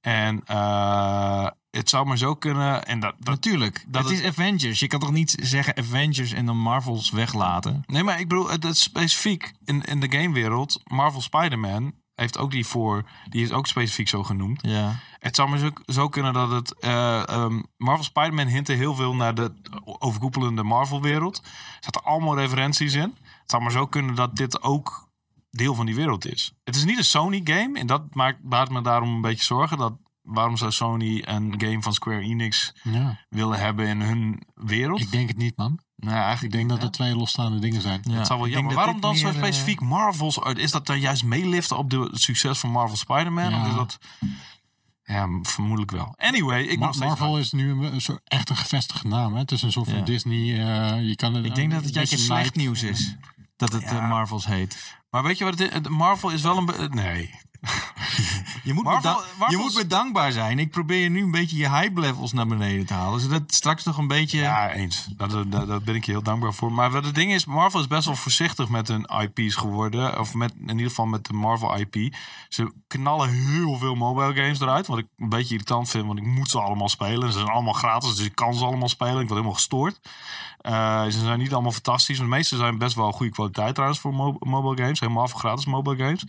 Speaker 2: En eh, het zou maar zo kunnen... En dat, dat,
Speaker 1: Natuurlijk,
Speaker 2: dat
Speaker 1: dat het is Avengers. Je kan toch niet zeggen Avengers en dan Marvels weglaten?
Speaker 2: Nee, maar ik bedoel, het, het is specifiek in, in de gamewereld, Marvel Spider-Man heeft ook die voor, die is ook specifiek zo genoemd.
Speaker 1: Ja.
Speaker 2: Het zou maar zo, zo kunnen dat het. eh, ehm, Marvel Spider-Man hintte heel veel naar de overkoepelende Marvel-wereld. Er zaten allemaal referenties in. Het zou maar zo kunnen dat dit ook deel van die wereld is. Het is niet een Sony-game en dat maakt, baart me daarom een beetje zorgen. Dat, waarom zou Sony een game van Square Enix
Speaker 3: Ja,
Speaker 2: willen hebben in hun wereld?
Speaker 3: ik denk het niet, man.
Speaker 2: nou, ja, eigenlijk
Speaker 3: Ik denk dat
Speaker 2: ja.
Speaker 3: het twee losstaande dingen zijn.
Speaker 1: Ja.
Speaker 2: Het zal wel
Speaker 1: Ik denk
Speaker 2: jammer.
Speaker 1: dat
Speaker 2: Waarom
Speaker 1: dit
Speaker 2: dan zo
Speaker 1: meer, eh,
Speaker 2: specifiek Marvels? uit? Is dat dan juist meeliften op de, het succes van Marvel Spider-Man?
Speaker 3: Ja.
Speaker 2: Of is dat... Ja, m- vermoedelijk wel. Anyway, ik
Speaker 3: Ma-
Speaker 2: nog steeds...
Speaker 3: Marvel is nu een, een soort, echt een gevestigde naam. Hè? Het is een soort van
Speaker 1: Ja.
Speaker 3: Disney. eh, je kan het,
Speaker 1: Ik denk dat het
Speaker 3: een
Speaker 1: juist
Speaker 3: beetje
Speaker 1: slecht
Speaker 3: Nike-
Speaker 1: nieuws is. Dat het
Speaker 2: Ja.
Speaker 1: eh, Marvels heet.
Speaker 2: Maar weet je wat het is? Het- Marvel is wel een... be- eh, Nee.
Speaker 1: Je moet,
Speaker 2: Marvel-
Speaker 1: bedank- je
Speaker 2: Marvels-
Speaker 1: moet bedankbaar zijn. Ik probeer je nu een beetje je hype levels naar beneden te halen. Zodat straks nog een beetje...
Speaker 2: Ja, eens. Daar dat, dat daar ben ik je heel dankbaar voor. Maar wat het ding is, Marvel is best wel voorzichtig met hun IP's geworden. Of met, in ieder geval met de Marvel IP. Ze knallen heel veel mobile games eruit. Wat ik een beetje irritant vind, want ik moet ze allemaal spelen. Ze zijn allemaal gratis, dus ik kan ze allemaal spelen. Ik word helemaal gestoord. Eh, ze zijn niet allemaal fantastisch. Maar de meeste zijn best wel goede kwaliteit trouwens voor mo- mobile games. Helemaal voor gratis mobile games.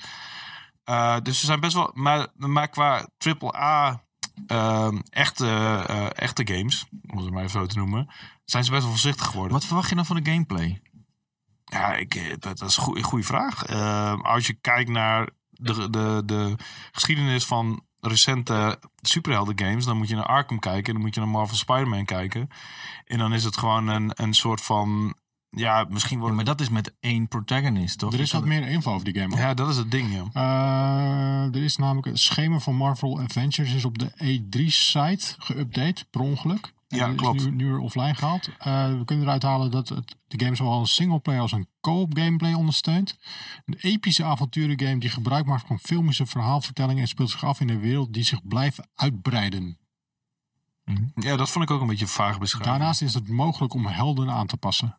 Speaker 2: Eh, dus ze zijn best wel... Maar, maar qua AAA... ehm echte, eh, echte games, om het maar even zo te noemen, zijn ze best wel voorzichtig geworden.
Speaker 1: Wat verwacht je dan van de gameplay?
Speaker 2: Ja, ik, eh, dat, dat is een goede vraag. Eh, als je kijkt naar de, de, de geschiedenis van recente superhelden games, dan moet je naar Arkham kijken, dan moet je naar Marvel Spider-Man kijken. En dan is het gewoon een, een soort van, ja, misschien
Speaker 1: Ja,
Speaker 2: wordt
Speaker 1: maar dat is met één protagonist, toch?
Speaker 3: Er is wat meer info over die game.
Speaker 2: Ja, dat is het ding, ja.
Speaker 3: Eh, er is namelijk het schema van Marvel Adventures is op de E3-site geüpdate, per ongeluk. En
Speaker 2: Ja,
Speaker 3: is
Speaker 2: klopt.
Speaker 3: Nu, nu weer offline gehaald. Eh, we kunnen eruit halen dat het, de game zowel een singleplayer als een co-op gameplay ondersteunt. Een epische avonturengame die gebruik maakt van filmische verhaalvertellingen en speelt zich af in een wereld die zich blijft uitbreiden.
Speaker 2: Ja, dat vond ik ook een beetje vaag beschreven.
Speaker 3: Daarnaast is het mogelijk om helden aan te passen.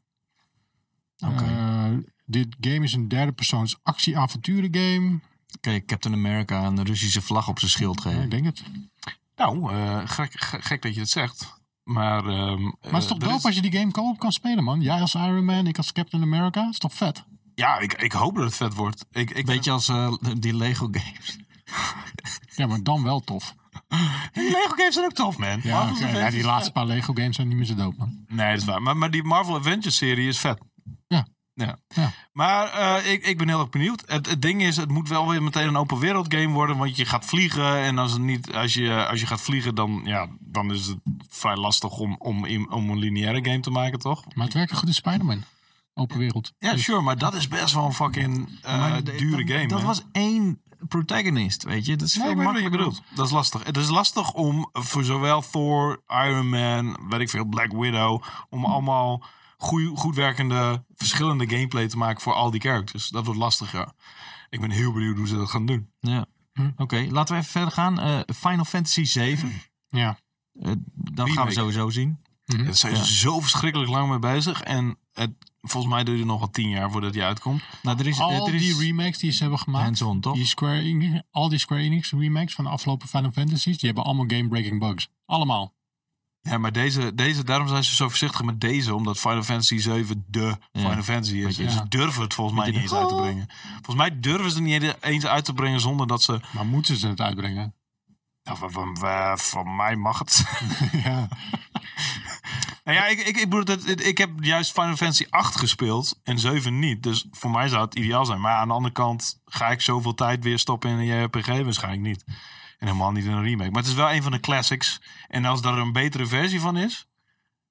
Speaker 1: Oké.
Speaker 3: Eh, dit game is een derde persoons actie-avonturengame.
Speaker 1: Kijk, Captain America een Russische vlag op zijn schild
Speaker 3: Ja,
Speaker 1: geven.
Speaker 3: ik denk het.
Speaker 2: Nou, eh, gek, gek, gek dat je het zegt. Maar, ehm,
Speaker 3: Maar het is
Speaker 2: eh,
Speaker 3: toch
Speaker 2: er
Speaker 3: dope als je die game co-op kan spelen, man. Jij als Iron Man, ik als Captain America. Is toch vet?
Speaker 2: Ja, ik, ik hoop dat het vet wordt. Ik, ik
Speaker 1: Beetje als eh, die Lego games.
Speaker 3: Ja, maar dan wel tof.
Speaker 2: Die Lego games zijn ook tof, man.
Speaker 3: Ja,
Speaker 2: Marvel's
Speaker 3: oké. Ja,
Speaker 2: Avengers
Speaker 3: die
Speaker 2: is
Speaker 3: laatste paar Lego games zijn niet meer zo dope, man.
Speaker 2: Nee, dat is waar. Maar, maar die Marvel Avengers serie is vet.
Speaker 3: Ja.
Speaker 2: ja.
Speaker 3: Ja.
Speaker 2: Maar eh, ik, ik ben heel erg benieuwd. Het, het ding is, het moet wel weer meteen een open wereld game worden. Want je gaat vliegen. En als, het niet, als, je, als je gaat vliegen, dan, ja, dan is het vrij lastig om, om, in- om een lineaire game te maken, toch?
Speaker 3: Maar het werkt goed in Spider-Man. Open wereld. Dus,
Speaker 2: Ja, sure. Maar dat is best wel een fucking eh,
Speaker 1: Maar de-
Speaker 2: dure
Speaker 1: dat-
Speaker 2: game.
Speaker 1: Dat
Speaker 2: hè?
Speaker 1: was één protagonist, weet je. Dat is
Speaker 2: Nee,
Speaker 1: veel
Speaker 2: ik weet wat je
Speaker 1: makkelijker.
Speaker 2: bedoelt. Dat is lastig. Het is lastig om voor zowel Thor, Iron Man, weet ik veel, Black Widow, om allemaal goeie- goed werkende, verschillende gameplay te maken voor al die characters. Dat wordt lastig, ja. Ik ben heel benieuwd hoe ze dat gaan doen.
Speaker 1: Ja.
Speaker 3: Hm.
Speaker 1: Oké, laten we even verder gaan. Eh, Final Fantasy 7.
Speaker 3: Ja.
Speaker 1: dan gaan
Speaker 2: Remake.
Speaker 1: we sowieso zien.
Speaker 3: Hm.
Speaker 2: Daar zijn ze zo verschrikkelijk lang mee bezig. En het, volgens mij duurt het nog wel tien jaar voordat die uitkomt.
Speaker 1: Nou, er is,
Speaker 3: Al
Speaker 1: er is
Speaker 3: die remakes die ze hebben gemaakt.
Speaker 1: hands-on, toch?
Speaker 3: Die Square Enix, al die Square Enix remakes van de afgelopen Final Fantasies. Die hebben allemaal game-breaking bugs. Allemaal.
Speaker 2: Ja, maar deze, deze, daarom zijn ze zo voorzichtig met deze. Omdat Final Fantasy 7 de Final Fantasy is.
Speaker 1: Beetje,
Speaker 2: Dus
Speaker 3: ja.
Speaker 2: ze durven het volgens mij
Speaker 1: Beetje
Speaker 2: niet eens uit te brengen. Volgens mij durven ze het niet eens uit te brengen zonder dat ze
Speaker 3: Maar moeten ze het uitbrengen?
Speaker 2: Nou, van, van, van- van mij mag het.
Speaker 3: ja.
Speaker 2: nou ja, ik, ik, ik, bedoel, dat- ik heb juist Final Fantasy 8 gespeeld en 7 niet. Dus voor mij zou het ideaal zijn. Maar aan de andere kant ga ik zoveel tijd weer stoppen in een JRPG? Waarschijnlijk niet. En helemaal niet in een remake. Maar het is wel een van de classics. En als daar een betere versie van is,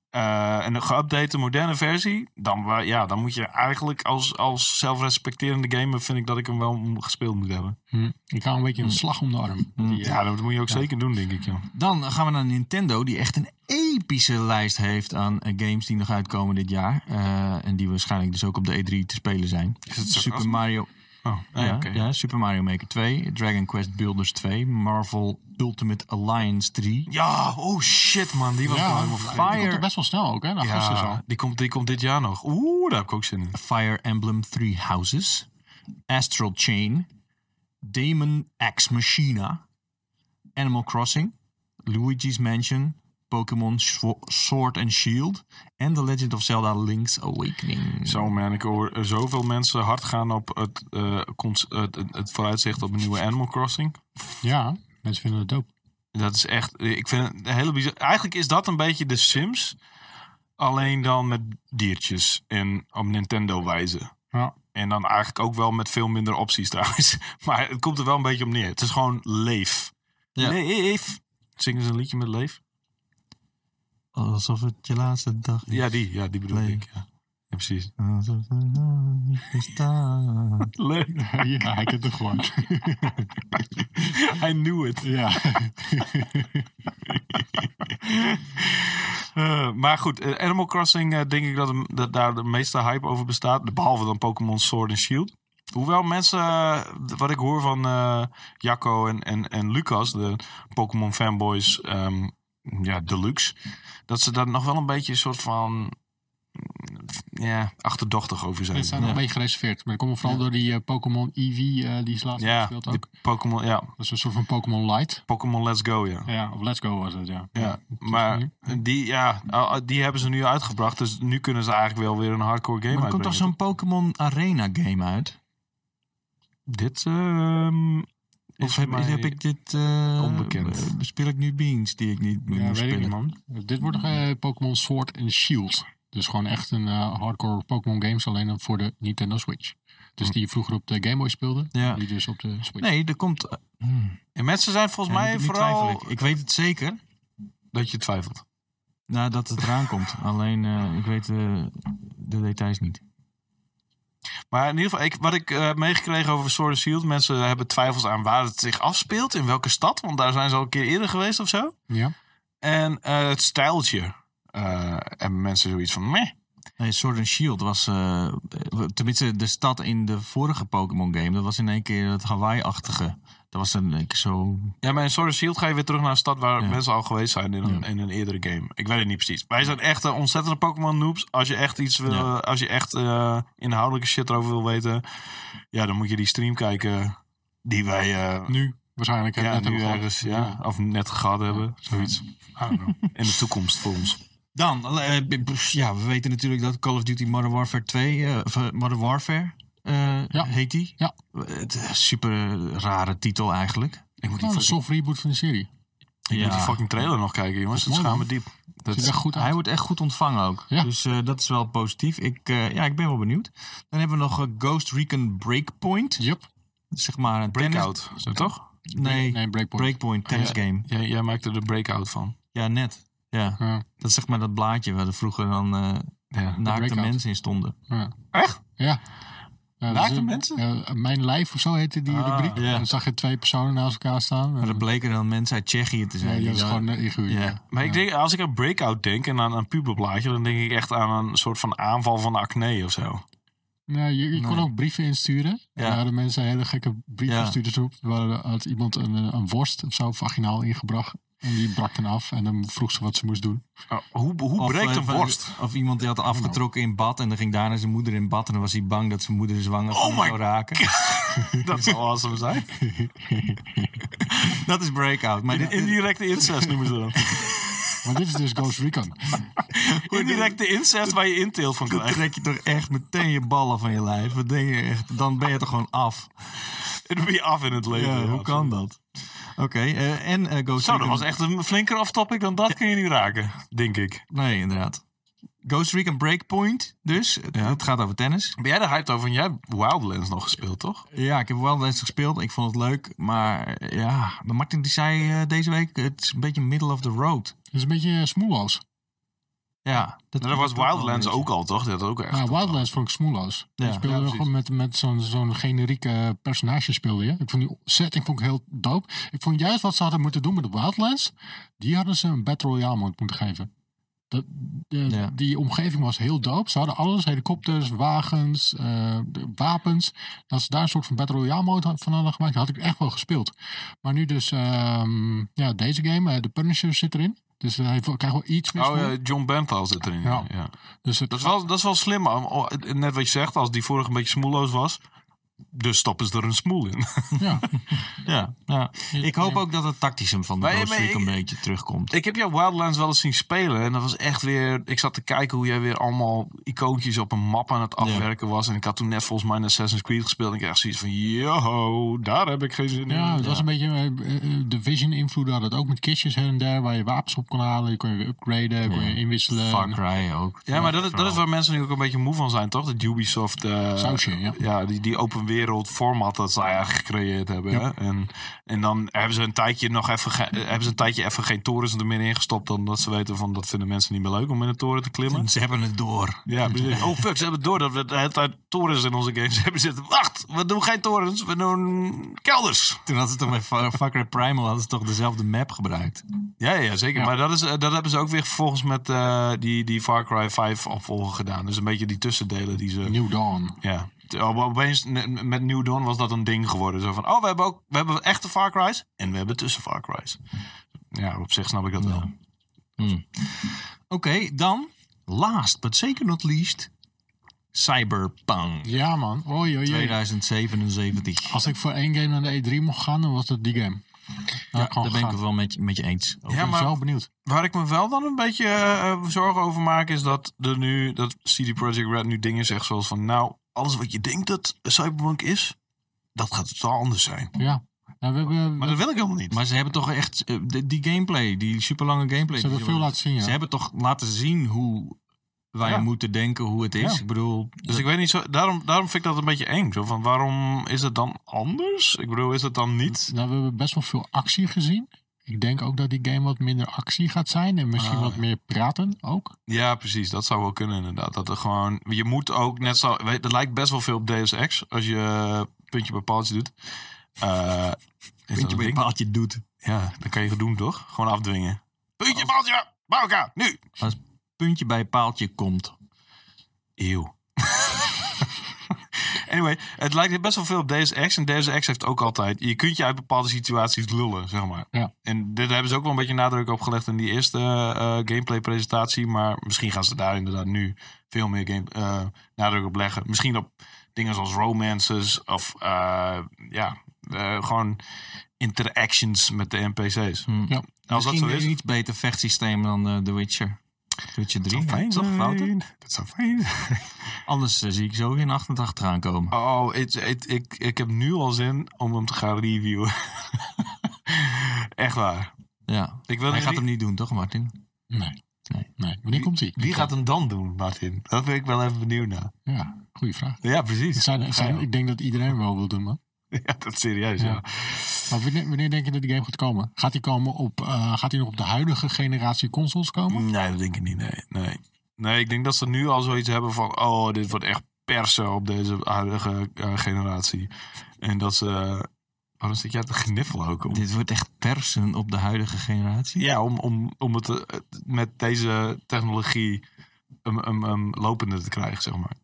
Speaker 2: eh, en een geüpdate moderne versie, dan, wa- ja, dan moet je eigenlijk als, als zelfrespecterende gamer, vind ik dat ik hem wel gespeeld moet hebben.
Speaker 3: Hm. Ik hou een beetje een slag om de arm. Die, eh,
Speaker 2: Ja, dat moet je ook zeker doen, denk ik. joh.
Speaker 1: Dan gaan we naar Nintendo, die echt een epische lijst heeft aan eh, games die nog uitkomen dit jaar. Eh, en die waarschijnlijk dus ook op de E3 te spelen zijn.
Speaker 2: het sarcasme?
Speaker 1: Super Mario,
Speaker 2: Oh, nee,
Speaker 1: ja,
Speaker 2: oké.
Speaker 1: ja, Super Mario Maker 2, Dragon Quest Builders 2, Marvel Ultimate Alliance 3.
Speaker 2: Ja, oh shit man, die was ik
Speaker 3: Ja,
Speaker 2: al helemaal vergeten.
Speaker 3: Die komt er best wel snel ook, hè? in Augustus al.
Speaker 2: Ja, die komt, die komt dit jaar nog. Oeh, daar heb ik ook zin in.
Speaker 1: Fire Emblem Three Houses, Astral Chain, Demon X Machina, Animal Crossing, Luigi's Mansion, Pokémon Swo- Sword and Shield en The Legend of Zelda Link's Awakening.
Speaker 2: Zo man, ik hoor eh, zoveel mensen hard gaan op het, eh, cons- het, het, het vooruitzicht op een nieuwe Animal Crossing.
Speaker 3: Ja, mensen vinden het dope.
Speaker 2: Dat is echt, ik vind het een hele bizar. Eigenlijk is dat een beetje de Sims, alleen dan met diertjes en op Nintendo wijze.
Speaker 3: Ja.
Speaker 2: En dan eigenlijk ook wel met veel minder opties trouwens. Maar het komt er wel een beetje op neer. Het is gewoon leef.
Speaker 1: Ja.
Speaker 2: Leef. Zingen ze een liedje met leef?
Speaker 1: Alsof het je laatste dag is.
Speaker 2: Ja, die, ja, die bedoel
Speaker 1: Leef.
Speaker 2: ik. Ja. Ja, precies.
Speaker 1: Alsof het niet bestaat.
Speaker 2: Leuk.
Speaker 3: ja, hij kent het gewoon.
Speaker 2: I knew it.
Speaker 3: ja.
Speaker 2: Eh, maar goed, eh, Animal Crossing eh, denk ik dat, hem- dat daar de meeste hype over bestaat. Behalve dan Pokémon Sword and Shield. Hoewel mensen, eh, wat ik hoor van eh, Jacco en, en, en Lucas, de Pokémon fanboys ehm, ja, deluxe, dat ze daar nog wel een beetje een soort van mm, ja, achterdochtig over zijn.
Speaker 3: Mensen Eh, zijn nog
Speaker 2: Hmm, Ja.
Speaker 3: een beetje gereserveerd. Maar dat komt vooral
Speaker 2: Ja.
Speaker 3: door die eh, Pokémon Eevee eh, die is laatst
Speaker 2: Ja,
Speaker 3: gespeeld ook.
Speaker 2: die Pokémon, ja,
Speaker 3: Dat is een soort van Pokémon Light.
Speaker 2: Pokémon Let's Go, ja.
Speaker 3: Ja, of Let's Go was het, ja.
Speaker 2: Ja, maar die, ja, al- die hebben ze nu uitgebracht. Dus nu kunnen ze eigenlijk wel weer een hardcore game
Speaker 1: Maar er komt
Speaker 2: uitbrengen.
Speaker 1: toch zo'n Pokémon Arena game uit?
Speaker 2: Dit ehm,
Speaker 1: Of
Speaker 2: is
Speaker 1: heb,
Speaker 2: mij-
Speaker 1: heb ik dit... eh,
Speaker 2: onbekend.
Speaker 1: eh, Speel ik nu beans die ik niet meer
Speaker 3: Ja,
Speaker 1: moet
Speaker 3: weet ik
Speaker 1: spelen?
Speaker 3: niet, man. Dit wordt eh, Pokémon Sword and Shield. Dus gewoon echt een eh, hardcore Pokémon games, alleen dan voor de Nintendo Switch. Dus
Speaker 2: Hm.
Speaker 3: die je vroeger op de Game Boy speelde,
Speaker 1: Ja.
Speaker 3: die dus op de Switch.
Speaker 1: Nee, er komt... eh, hmm.
Speaker 2: En mensen zijn volgens
Speaker 1: Ja,
Speaker 2: mij
Speaker 1: nu- nu
Speaker 2: vooral...
Speaker 1: twijfel ik. Ik weet het zeker.
Speaker 2: Dat je twijfelt.
Speaker 1: Nadat het eraan komt. Alleen, eh, ik weet eh, de details niet.
Speaker 2: Maar in ieder geval, ik, wat ik eh, heb meegekregen over Sword and Shield... mensen hebben twijfels aan waar het zich afspeelt. In welke stad, want daar zijn ze al een keer eerder geweest of zo.
Speaker 3: Ja?
Speaker 2: En eh, het stijltje. eh, hebben mensen zoiets van... Meh.
Speaker 1: Nee, Sword and Shield was... eh, eh, tenminste, de stad in de vorige Pokémon game... dat was in één keer het Hawaii-achtige. Dat was in één keer zo...
Speaker 2: Ja, maar in Sword and Shield ga je weer terug naar een stad waar
Speaker 1: Ja.
Speaker 2: mensen al geweest zijn in een,
Speaker 1: Ja.
Speaker 2: in een eerdere game. Ik weet het niet precies. Wij zijn echt eh, ontzettende Pokémon noobs. Als je echt iets wil,
Speaker 1: Ja.
Speaker 2: als je echt eh, inhoudelijke shit erover wil weten, ja, dan moet je die stream kijken die wij eh,
Speaker 3: Nu, waarschijnlijk.
Speaker 2: ja,
Speaker 3: net
Speaker 2: nu
Speaker 3: hebben we
Speaker 2: ergens,
Speaker 3: gehad.
Speaker 2: ja, of net gehad hebben. Zoiets. I don't know. In de toekomst voor ons.
Speaker 1: Dan, eh, b- b- ja, we weten natuurlijk dat Call of Duty Modern Warfare 2, eh, of, eh, Modern Warfare eh,
Speaker 3: Ja.
Speaker 1: heet die.
Speaker 3: Ja.
Speaker 1: Het is een super eh, rare titel eigenlijk.
Speaker 2: Ik moet die,
Speaker 3: Nou, een
Speaker 2: fucking,
Speaker 3: soft reboot van de serie.
Speaker 2: ik moet die fucking trailer nog kijken, jongens. Dat
Speaker 3: Mooi,
Speaker 2: gaan we
Speaker 3: man.
Speaker 2: diep. Dat
Speaker 3: Ziet er
Speaker 2: is,
Speaker 3: goed
Speaker 1: Hij
Speaker 3: uit.
Speaker 1: wordt echt goed ontvangen ook.
Speaker 3: Ja.
Speaker 1: Dus eh, dat is wel positief. Ik, eh, ja, ik ben wel benieuwd. Dan hebben we nog eh, Ghost Recon Breakpoint.
Speaker 3: Yup.
Speaker 1: Zeg maar een tennis-
Speaker 2: breakout, is dat toch?
Speaker 1: Nee,
Speaker 3: Nee, Breakpoint.
Speaker 1: Breakpoint tennis game.
Speaker 2: Jij, jij maakte de breakout van.
Speaker 1: Ja, net. Ja,
Speaker 3: Ja,
Speaker 1: dat is zeg maar dat blaadje waar er vroeger dan eh
Speaker 2: Ja.
Speaker 1: naakte
Speaker 3: Breakout.
Speaker 1: mensen in stonden.
Speaker 3: ja.
Speaker 2: Echt?
Speaker 3: Ja. Ja,
Speaker 2: Naakte
Speaker 3: dus, eh,
Speaker 2: mensen?
Speaker 3: eh, mijn lijf of zo heette die
Speaker 2: Ah,
Speaker 3: rubriek.
Speaker 1: ja.
Speaker 3: En dan zag je twee personen naast elkaar staan.
Speaker 1: Maar
Speaker 3: En,
Speaker 1: dat bleken dan mensen uit Tsjechië te
Speaker 3: ja,
Speaker 1: zijn.
Speaker 3: die
Speaker 1: die
Speaker 3: was
Speaker 1: dan-
Speaker 3: gewoon eh, een figuur.
Speaker 1: Ja.
Speaker 3: Ja.
Speaker 2: Maar ik denk, als ik aan breakout denk en aan een puberblaadje, dan denk ik echt aan een soort van aanval van acne of zo.
Speaker 3: Ja, je, je kon
Speaker 1: Nee.
Speaker 3: ook brieven insturen. En
Speaker 1: Ja.
Speaker 3: daar hadden mensen hele gekke brieven
Speaker 1: Ja.
Speaker 3: gestuurd. Dus waar had iemand een, eh, een worst of zo vaginaal ingebracht. En die brak dan af. En dan vroeg ze wat ze moest doen.
Speaker 2: hoe hoe breekt
Speaker 1: eh,
Speaker 2: een
Speaker 1: van-
Speaker 2: worst?
Speaker 1: Of iemand die had afgetrokken in bad en dan ging daarna zijn moeder in bad en dan was hij bang dat zijn moeder zwanger
Speaker 2: Oh
Speaker 1: van hem
Speaker 2: my
Speaker 1: zou raken.
Speaker 2: Dat zou awesome zijn.
Speaker 1: Dat is breakout. Maar dit,
Speaker 2: Indirecte incest noemen ze dat.
Speaker 3: Maar dit is dus Ghost Recon.
Speaker 2: Indirecte incest waar je inteelt van
Speaker 1: dan
Speaker 2: krijgt.
Speaker 1: trek je toch echt meteen je ballen van je lijf. Wat denk je echt? Dan ben je toch gewoon af.
Speaker 2: En dan ben je af in het leven.
Speaker 1: Ja, hoe kan dat? Oké, eh, en eh Ghost
Speaker 2: Zo, dat
Speaker 1: Recon...
Speaker 2: was echt een flinker off-topic dan dat kun je niet raken, denk ik.
Speaker 1: Nee, inderdaad. Ghost Recon Breakpoint, dus. Het- Het gaat over tennis.
Speaker 2: Ben jij er hyped over? Jij hebt Wildlands nog gespeeld, toch?
Speaker 1: Ja, ik heb wel eens gespeeld. Ik vond het leuk. Maar eh, ja, de Martin die zei eh, deze week, het is een beetje middle of the road.
Speaker 3: Het is een beetje eh, smoelloos.
Speaker 1: Ja,
Speaker 2: Nou, dat was
Speaker 1: wel een
Speaker 2: Wildlands
Speaker 1: beetje.
Speaker 2: ook al, toch? Dat had ook echt.
Speaker 3: Ja, Nou, Wildlands vond ik smoelloos.
Speaker 1: Ja,
Speaker 3: je speelde
Speaker 2: ja, precies.
Speaker 3: gewoon met, met zo'n zo'n generieke personage speelde je. Ik vond die setting vond ik heel dope. Ik vond juist wat ze hadden moeten doen met de Wildlands. Die hadden ze een Battle Royale mode moeten geven. Dat, de-
Speaker 1: Ja.
Speaker 3: Die omgeving was heel dope. Ze hadden alles, helikopters, wagens, eh, de- wapens. Dat ze daar een soort van Battle Royale mode had- van hadden gemaakt, had ik echt wel gespeeld. Maar nu dus, ehm, ja, deze game, eh, de Punisher zit erin. Dus hij krijgt wel iets meer
Speaker 2: Oh
Speaker 3: smoel.
Speaker 2: ja, John Benthal zit erin.
Speaker 3: Ja.
Speaker 2: ja.
Speaker 3: Dus het
Speaker 2: Dat is wel, dat is wel slim. om- om- Net wat je zegt, als die vorige een beetje smoelloos was. Dus stoppen ze er een smoel in.
Speaker 3: Ja.
Speaker 1: Ja. ja. Ik hoop ook dat het tactischem van de
Speaker 2: Maar-
Speaker 1: Ghost
Speaker 2: maar
Speaker 1: Freak
Speaker 2: ik-
Speaker 1: een beetje terugkomt.
Speaker 2: Ik heb jou Wildlands wel eens zien spelen. En dat was echt weer. Ik zat te kijken hoe jij weer allemaal icoontjes op een map aan het afwerken was. En ik had toen net volgens mij een Assassin's Creed gespeeld. En ik had echt zoiets van: yo, daar heb ik geen zin in.
Speaker 3: Ja, het was een beetje eh, eh, de vision invloed had het ook met kistjes her en der waar je wapens op kon halen, die kon je weer upgraden, kon je inwisselen.
Speaker 1: Far Cry ook.
Speaker 2: Ja, maar dat, is- dat is waar mensen nu ook een beetje moe van zijn, toch? Dat Ubisoft. eh,
Speaker 3: Sausje, ja.
Speaker 2: die, die open wereld format dat zij eigenlijk gecreëerd hebben. hè. En, en dan hebben ze een tijdje nog even, ge- hebben ze een tijdje even geen torens er meer ingestopt. Omdat ze weten van dat vinden mensen niet meer leuk om in een toren te klimmen.
Speaker 1: Ze hebben het door.
Speaker 2: Ja, precies. Oh fuck, ze hebben door dat we de hele tijd torens in onze games hebben zitten. Wacht, we doen geen torens, we doen kelders.
Speaker 1: Toen hadden ze toch met Far Far Cry Primal hadden ze toch dezelfde map gebruikt.
Speaker 2: Ja, ja zeker.
Speaker 3: Ja.
Speaker 2: Maar dat, is, eh, dat hebben ze ook weer vervolgens met eh, die, die Far Cry 5 opvolger gedaan. Dus een beetje die tussendelen die ze...
Speaker 3: New Dawn.
Speaker 2: Ja. Op- Opeens ne- met New Dawn was dat een ding geworden. Zo van, oh, we hebben ook we hebben echte Far Cry's en we hebben tussen Far Cry's. Ja, op zich snap ik dat wel.
Speaker 1: Oké, dan last but zeker not least Cyberpunk
Speaker 3: Ja man, oei oei, oei.
Speaker 1: 2077.
Speaker 3: Als ik voor één game naar de E3 mocht gaan, dan was dat die game. Nou,
Speaker 1: Ja, oh, daar ben ik het
Speaker 3: wel.
Speaker 1: wel met, je- met je eens. over.
Speaker 2: Ja,
Speaker 3: Ik ben
Speaker 2: maar-
Speaker 3: zo benieuwd.
Speaker 2: Waar ik me wel dan een beetje eh, zorgen over maak, is dat, er nu, dat CD Projekt Red nu dingen zegt zoals van... Nou, alles wat je denkt dat Cyberpunk is, dat gaat totaal anders zijn.
Speaker 3: Ja. Nou, we hebben,
Speaker 2: Maar dat wil ik helemaal niet.
Speaker 1: Maar ze hebben toch echt eh, de- die gameplay, die superlange gameplay.
Speaker 3: ze
Speaker 1: die
Speaker 3: hebben veel laten zien,
Speaker 1: Ze
Speaker 3: ja.
Speaker 1: hebben toch laten zien hoe wij
Speaker 2: Ja.
Speaker 1: moeten denken, hoe het is.
Speaker 3: Ja.
Speaker 1: Ik bedoel,
Speaker 2: Dus ik weet niet zo... Daarom, daarom vind ik dat een beetje eng. Zo van, waarom is het dan anders? Ik bedoel, is het dan niet...
Speaker 3: Nou, we hebben best wel veel actie gezien. Ik denk ook dat die game wat minder actie gaat zijn. En misschien
Speaker 2: Ah,
Speaker 3: wat
Speaker 2: ja.
Speaker 3: meer praten ook.
Speaker 2: Ja, precies. Dat zou wel kunnen inderdaad. Dat er gewoon... Je moet ook net zo... weet- Dat lijkt best wel veel op Deus Ex. Als je eh, puntje bij paaltje doet. Eh, is dat
Speaker 1: vind
Speaker 2: een
Speaker 1: je
Speaker 2: ding?
Speaker 1: bepaald je doet.
Speaker 2: Ja, dat kan je goed doen, toch? Gewoon afdwingen. Puntje bij paaltje! Bij elkaar! Nu!
Speaker 1: Als puntje bij paaltje komt.
Speaker 2: Eeuw. anyway, het lijkt best wel veel op Deus Ex. En Deus Ex heeft ook altijd... Je kunt je uit bepaalde situaties lullen, zeg maar.
Speaker 3: Ja.
Speaker 2: En dit hebben ze ook wel een beetje nadruk op gelegd in die eerste eh, gameplay presentatie. Maar misschien gaan ze daar inderdaad nu veel meer game, eh, nadruk op leggen. Misschien op dingen zoals romances of eh, ja, eh, gewoon interactions met de NPC's.
Speaker 3: Ja.
Speaker 2: Als dat
Speaker 1: Misschien
Speaker 2: zo
Speaker 1: een
Speaker 2: is...
Speaker 1: iets beter vechtsysteem dan eh, The Witcher. The Witcher 3,
Speaker 2: zou
Speaker 1: hè? toch Wouter?
Speaker 2: Dat zou fijn zijn.
Speaker 1: Anders eh, zie ik zo in 88 aankomen.
Speaker 2: Oh, het- het- ik, ik heb nu al zin om hem te gaan reviewen. Echt waar.
Speaker 1: Ja.
Speaker 2: Ik wil
Speaker 1: Hij
Speaker 2: nu
Speaker 1: gaat
Speaker 2: niet-
Speaker 1: hem niet doen, toch Martin?
Speaker 3: Nee.
Speaker 1: Nee.
Speaker 3: nee. Wanneer komt die?
Speaker 2: Wie gaat hem dan doen, Martin? Dat ben ik wel even benieuwd naar.
Speaker 3: Ja, goede vraag.
Speaker 2: Ja, precies.
Speaker 3: Zijn, zijn, ik denk dat iedereen wel wil doen, man.
Speaker 2: Ja, dat is serieus,
Speaker 3: Ja.
Speaker 2: ja.
Speaker 3: Maar wanneer, wanneer denk je dat die game gaat komen? Gaat die, komen op, eh, gaat die nog op de huidige generatie consoles komen?
Speaker 2: Nee, dat denk ik niet, nee. nee. Nee, ik denk dat ze nu al zoiets hebben van... Oh, dit wordt echt persen op deze huidige eh, generatie. En dat ze... waarom zit jij te gniffelen ook? Om,
Speaker 1: Dit wordt echt persen op de huidige generatie.
Speaker 2: ja, om, om, om het eh, met deze technologie um, um, um, lopende te krijgen, zeg maar.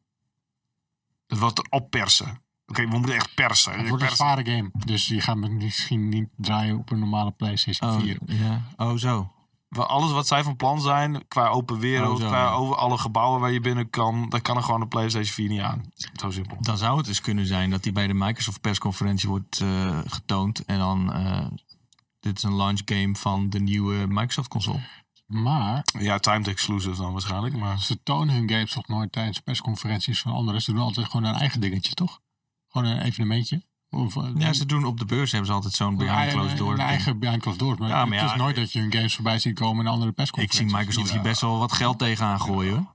Speaker 2: Het wordt oppersen. Oké, we moeten echt persen.
Speaker 3: Het wordt een
Speaker 2: Persen.
Speaker 3: zware game. Dus die gaat misschien niet draaien op een normale PlayStation
Speaker 1: Oh,
Speaker 3: 4.
Speaker 1: ja. oh zo.
Speaker 2: Wa- Alles wat zij van plan zijn, qua open wereld,
Speaker 1: Oh, zo,
Speaker 2: qua
Speaker 1: ja.
Speaker 2: over alle gebouwen waar je binnen kan, daar kan er gewoon een PlayStation 4 niet aan. Zo simpel.
Speaker 1: Dan zou het dus kunnen zijn dat die bij de Microsoft persconferentie wordt eh, getoond. En dan, eh, dit is een launch game van de nieuwe Microsoft console.
Speaker 3: Maar
Speaker 2: Ja, timed exclusive dan waarschijnlijk, maar...
Speaker 3: ze tonen hun games toch nooit tijdens persconferenties van anderen. Ze doen altijd gewoon hun eigen dingetje, toch? Gewoon een evenementje. Of, eh,
Speaker 1: Ja, ze doen op de beurs hebben ze altijd zo'n
Speaker 3: een-
Speaker 1: behind
Speaker 3: een-
Speaker 1: closed door.
Speaker 3: Een
Speaker 1: ding.
Speaker 3: eigen behind closed doors. Maar,
Speaker 1: Ja, maar
Speaker 3: het
Speaker 1: ja,
Speaker 3: is nooit dat je hun games voorbij ziet komen in een andere
Speaker 1: Ik
Speaker 3: persconferenties.
Speaker 1: zie Microsoft hier
Speaker 3: Ja.
Speaker 1: best wel wat geld tegenaan gooien.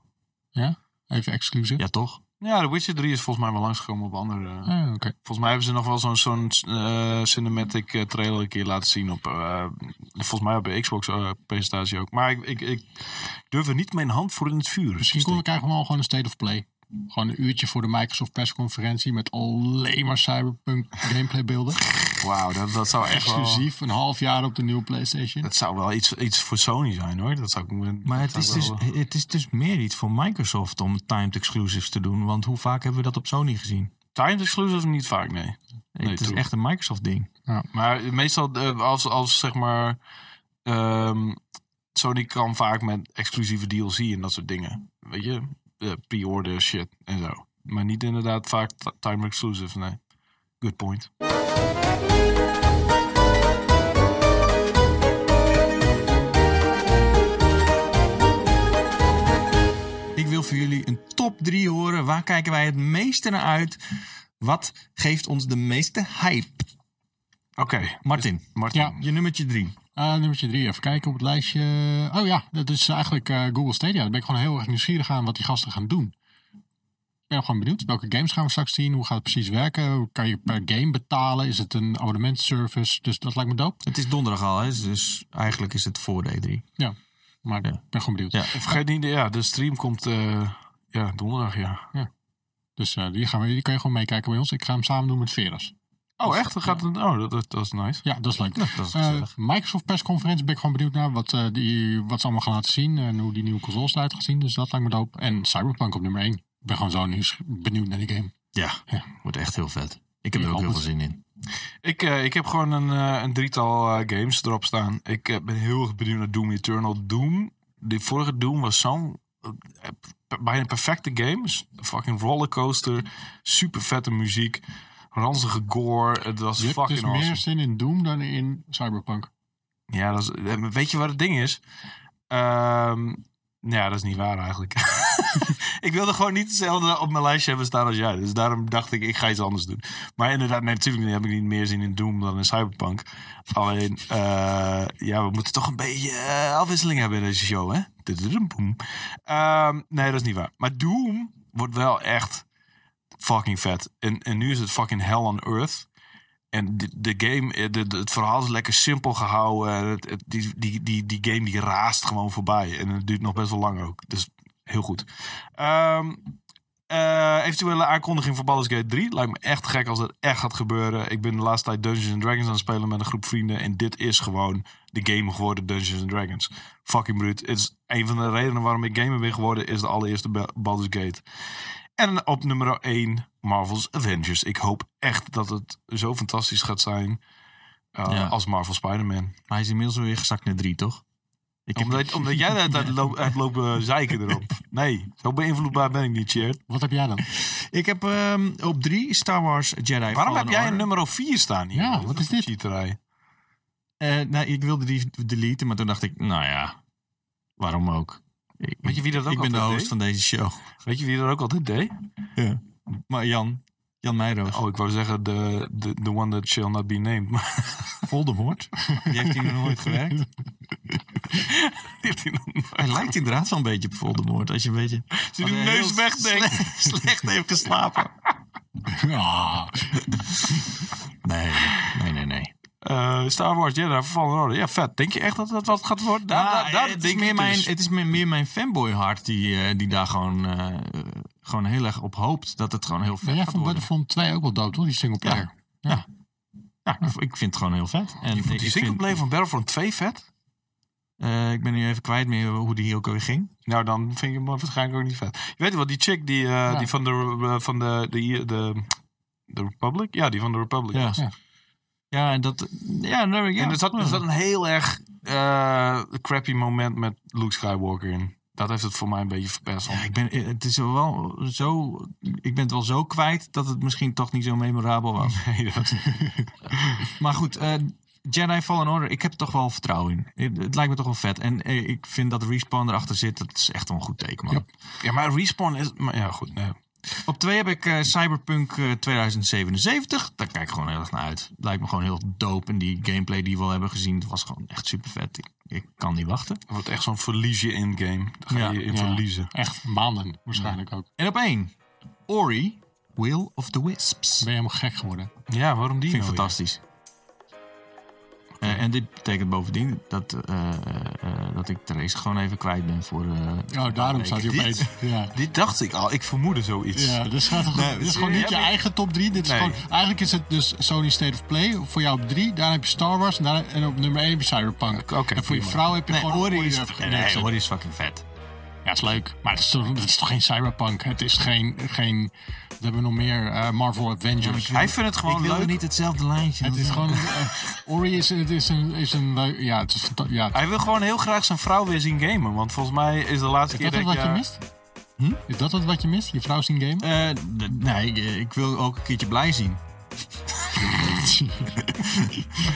Speaker 1: hoor.
Speaker 3: Even exclusief.
Speaker 1: Ja, toch?
Speaker 2: Ja, The Witcher 3 is volgens mij wel langsgekomen op andere... eh,
Speaker 3: Ah, Oké.
Speaker 2: Volgens mij hebben ze nog wel zo'n zo'n eh, cinematic eh, trailer een keer laten zien op... eh, volgens mij op de Xbox-presentatie ook. Maar ik, ik, ik durf er niet mijn hand voor in het vuur.
Speaker 3: Misschien
Speaker 2: te
Speaker 3: kon- krijgen we al gewoon een state of play. Gewoon een uurtje voor de Microsoft persconferentie met alleen maar cyberpunk gameplay beelden.
Speaker 2: steken. Wauw, dat, dat zou echt wel...
Speaker 3: Exclusief een half jaar op de nieuwe PlayStation.
Speaker 2: Dat zou wel iets, iets voor Sony zijn, hoor. Dat zou, ik-
Speaker 1: Maar
Speaker 2: dat
Speaker 1: het is,
Speaker 2: zou
Speaker 1: dus,
Speaker 2: wel- eh,
Speaker 1: het is dus meer iets voor Microsoft om timed exclusives te doen. Want hoe vaak hebben we dat op Sony gezien?
Speaker 2: Timed exclusive niet vaak, nee. Nee,
Speaker 1: het is
Speaker 2: true.
Speaker 1: echt een Microsoft ding.
Speaker 2: Maar meestal eh, als, als zeg maar... ehm, Sony kan vaak met exclusieve DLC en dat soort dingen. Weet je? eh, Pre-order shit en zo. Maar niet inderdaad vaak ti- time exclusive, nee. Good point.
Speaker 1: Ik wil voor jullie een top 3 horen. Waar kijken wij het meeste naar uit? Wat geeft ons de meeste hype?
Speaker 2: Oké,
Speaker 1: Martin,
Speaker 2: Martin.
Speaker 3: Ja.
Speaker 1: je nummertje 3.
Speaker 3: Eh nummertje drie, even kijken op het lijstje. Oh ja, dat is eigenlijk eh, Google Stadia. Daar ben ik gewoon heel erg nieuwsgierig aan wat die gasten gaan doen. Ik ben gewoon benieuwd. Welke games gaan we straks zien? Hoe gaat het precies werken? Hoe kan je per game betalen? Is het een abonnementservice? Dus dat lijkt me dope.
Speaker 1: Het is donderdag al, hè? dus eigenlijk is het voor de E3.
Speaker 3: Ja, maar
Speaker 1: Ja.
Speaker 3: ik ben gewoon benieuwd.
Speaker 1: Ja.
Speaker 2: En Vergeet niet, ja, de stream komt eh, ja, donderdag, ja.
Speaker 3: Dus eh, die, gaan we, die kan je gewoon meekijken bij ons. Ik ga hem samen doen met Veras.
Speaker 2: Oh, echt? Dat gaat, oh, dat, dat, dat is nice.
Speaker 3: Ja, dat is leuk.
Speaker 2: Nou,
Speaker 1: dat is
Speaker 3: Eh,
Speaker 1: gezellig.
Speaker 3: Microsoft persconferentie ben ik gewoon benieuwd naar wat, eh, die, wat ze allemaal gaan laten zien. En hoe die nieuwe consoles eruit gaan zien. Dus dat lijkt me dope. En Cyberpunk op nummer 1. Ik ben gewoon zo nieuws, benieuwd naar die game.
Speaker 1: Ja,
Speaker 3: Ja.
Speaker 1: wordt echt heel vet. Ik heb
Speaker 3: Ja,
Speaker 1: er ook heel veel
Speaker 3: anders.
Speaker 1: zin in.
Speaker 2: Ik, eh, ik heb gewoon een, eh, een drietal eh, games erop staan. Ik eh, ben heel erg benieuwd naar Doom Eternal. Doom, de vorige Doom was zo'n eh, p- bijna perfecte game. S- Fucking rollercoaster, super vette muziek, ranzige gore. Het was
Speaker 3: Je hebt
Speaker 2: fucking
Speaker 3: dus
Speaker 2: awesome.
Speaker 3: meer zin in Doom dan in Cyberpunk.
Speaker 2: Ja, dat is, eh, maar weet je wat het ding is? Ehm, nou ja, dat is niet waar eigenlijk. ik wilde gewoon niet hetzelfde op mijn lijstje hebben staan als jij. Dus daarom dacht ik, ik ga iets anders doen. Maar inderdaad, nee, natuurlijk heb ik niet meer zin in Doom dan in Cyberpunk. Alleen, eh, ja, we moeten toch een beetje eh, afwisseling hebben in deze show, hè? Tududum, boem. Ehm, nee, dat is niet waar. Maar Doom wordt wel echt fucking vet. En, en nu is het fucking hell on earth. En de, de game, eh, de, de- het verhaal is lekker simpel gehouden. Eh, Het, het- die, die, die, die game die raast gewoon voorbij. En het duurt nog best wel lang ook. Dus heel goed. Ehm, eh, eventuele aankondiging voor Baldur's Gate 3. Lijkt me echt gek als dat echt gaat gebeuren. Ik ben de laatste tijd Dungeons and Dragons aan het spelen met een groep vrienden. En dit is gewoon de game geworden Dungeons and Dragons. Fucking bruut. Het is een van de redenen waarom ik gamer ben geworden. Is de allereerste Ba- Baldur's Gate. En op nummer 1, Marvel's Avengers. Ik hoop echt dat het zo fantastisch gaat zijn uh,
Speaker 1: Ja.
Speaker 2: als Marvel Spider-Man.
Speaker 1: Maar hij is inmiddels weer gezakt naar 3, toch? Ik heb...
Speaker 2: Omdat, omdat jij daar tijd loopt- hebt lopen zeiken erop. Nee, zo beïnvloedbaar ben ik niet, Chair.
Speaker 3: Wat heb jij dan?
Speaker 1: Ik heb ehm, op 3 Star Wars Jedi
Speaker 2: Waarom
Speaker 1: Fallen
Speaker 2: heb jij
Speaker 1: Order.
Speaker 2: een nummer 4 staan hier?
Speaker 3: Ja,
Speaker 2: Dat
Speaker 3: wat is
Speaker 2: een
Speaker 3: dit?
Speaker 2: Cheaterij.
Speaker 1: Eh, nou, ik wilde die deleten, maar toen dacht ik, nou ja, waarom ook? Ik,
Speaker 2: Weet je wie dat ook
Speaker 1: ik ben de
Speaker 2: altijd
Speaker 1: host
Speaker 2: deed?
Speaker 1: van deze show.
Speaker 2: Weet je wie dat ook altijd deed?
Speaker 1: Maar Jan, Jan Meijroos.
Speaker 2: Oh, ik wou zeggen de, de, the one that shall not be named. Maar
Speaker 1: Voldemort. Die heeft hier nog nooit gewerkt.
Speaker 2: die heeft hij nog nooit.
Speaker 1: Hij lijkt inderdaad wel een beetje op Voldemort. Als je een beetje...
Speaker 2: Als hij
Speaker 1: als
Speaker 2: de
Speaker 1: hij
Speaker 2: neus
Speaker 1: heel
Speaker 2: wegdenkt.
Speaker 1: Slecht, slecht heeft geslapen.
Speaker 3: Ah,
Speaker 1: Nee, nee, nee, nee.
Speaker 2: Eh, Star Wars Jedi Fallen Order. Ja, vet. Denk je echt dat dat wat gaat worden? Daar,
Speaker 1: Ja,
Speaker 2: daar, daar
Speaker 1: het,
Speaker 2: denk
Speaker 1: is
Speaker 2: ik
Speaker 1: meer mijn,
Speaker 2: dus.
Speaker 1: het is meer, meer mijn fanboy hart die, eh, die daar gewoon, eh, eh, gewoon heel erg op hoopt dat het gewoon heel vet
Speaker 3: maar jij
Speaker 1: gaat
Speaker 3: vond
Speaker 1: worden.
Speaker 3: Battlefront 2 ook wel dope, toch? Die singleplayer.
Speaker 1: Ja. Ja, ik- ik vind het gewoon heel vet. En ik,
Speaker 2: Die
Speaker 1: ik vind,
Speaker 2: singleplay van Battlefront 2 vet?
Speaker 1: eh, ik ben nu even kwijt meer hoe die hier ook weer ging.
Speaker 2: Nou, dan vind ik hem waarschijnlijk ook niet vet. Je weet wel, die chick die, eh, die van, de, eh, van de, de, de, de Republic? Ja, die van de Republic.
Speaker 1: Ja,
Speaker 3: Ja.
Speaker 1: ja en dat... Ja, daar ben ik- ja.
Speaker 2: En er zat, er zat een heel erg eh, crappy moment met Luke Skywalker in. Dat heeft het voor mij een beetje verpest.
Speaker 1: Ja, ik ben, eh, het is wel zo, ik ben het wel zo kwijt dat het misschien toch niet zo memorabel was.
Speaker 2: Nee, dat-
Speaker 1: Maar goed, eh, Jedi Fallen Order, ik heb er toch wel vertrouwen in. Het, het lijkt me toch wel vet. En eh, ik vind dat Respawn erachter zit, dat is echt wel een goed teken, man.
Speaker 3: Ja.
Speaker 2: ja, maar Respawn is... Maar ja, goed. Nee.
Speaker 1: Op twee heb ik eh, Cyberpunk eh, 2077. Daar kijk ik gewoon heel erg naar uit. Lijkt me gewoon heel dope. En die gameplay die we al hebben gezien, dat was gewoon echt super vet. Ik, ik kan niet wachten.
Speaker 2: Dat wordt echt zo'n verliesje in-game. Daar ga
Speaker 1: Ja,
Speaker 2: je in
Speaker 3: ja.
Speaker 2: verliezen.
Speaker 3: Echt maanden waarschijnlijk ook.
Speaker 1: En op één, Ori, Will of the Wisps.
Speaker 3: Ben je helemaal gek geworden?
Speaker 2: Ja, waarom die
Speaker 1: Vind ik
Speaker 2: nou weer?
Speaker 1: fantastisch. Eh, en dit betekent bovendien dat, eh, eh, dat ik Therese gewoon even kwijt ben voor... eh,
Speaker 3: Oh, daarom
Speaker 1: week.
Speaker 3: staat hij op
Speaker 2: Dit?
Speaker 3: 1. Ja.
Speaker 2: Dit dacht ik al. Ik vermoedde zoiets.
Speaker 3: Ja, dit, gaat toch- dit is gewoon niet je
Speaker 2: ja, maar-
Speaker 3: eigen top 3. Dit is
Speaker 2: Nee.
Speaker 3: gewoon, eigenlijk is het dus Sony State of Play. Voor jou op 3, daarna heb je Star Wars. En, daarna, en op nummer 1 heb je Cyberpunk.
Speaker 2: Oké, oké,
Speaker 3: en voor je
Speaker 2: prima.
Speaker 3: vrouw heb je
Speaker 1: Nee,
Speaker 3: gewoon
Speaker 1: Ori is,
Speaker 3: erop
Speaker 1: nee,
Speaker 3: neergezet.
Speaker 1: nee, Ori is fucking vet.
Speaker 3: Ja, is leuk. Maar het is toch, het is toch geen Cyberpunk? Het is geen. geen we hebben we nog meer eh, Marvel Avengers.
Speaker 2: Hij vindt het gewoon
Speaker 1: ik wilde
Speaker 2: leuk.
Speaker 1: niet hetzelfde lijntje.
Speaker 3: het is gewoon. eh, Ori is, het is een. Is een leuk- ja, het is fanta- ja,
Speaker 2: Hij wil gewoon heel graag zijn vrouw weer zien gamen. Want volgens mij is de laatste
Speaker 3: is
Speaker 2: keer
Speaker 3: dat
Speaker 2: dat
Speaker 3: het
Speaker 2: ik...
Speaker 3: wat je
Speaker 2: eh,
Speaker 3: mist? Is dat het wat je mist? Je vrouw zien gamen?
Speaker 1: Eh, d- nee, ik, ik wil ook een keertje blij zien.
Speaker 3: zien.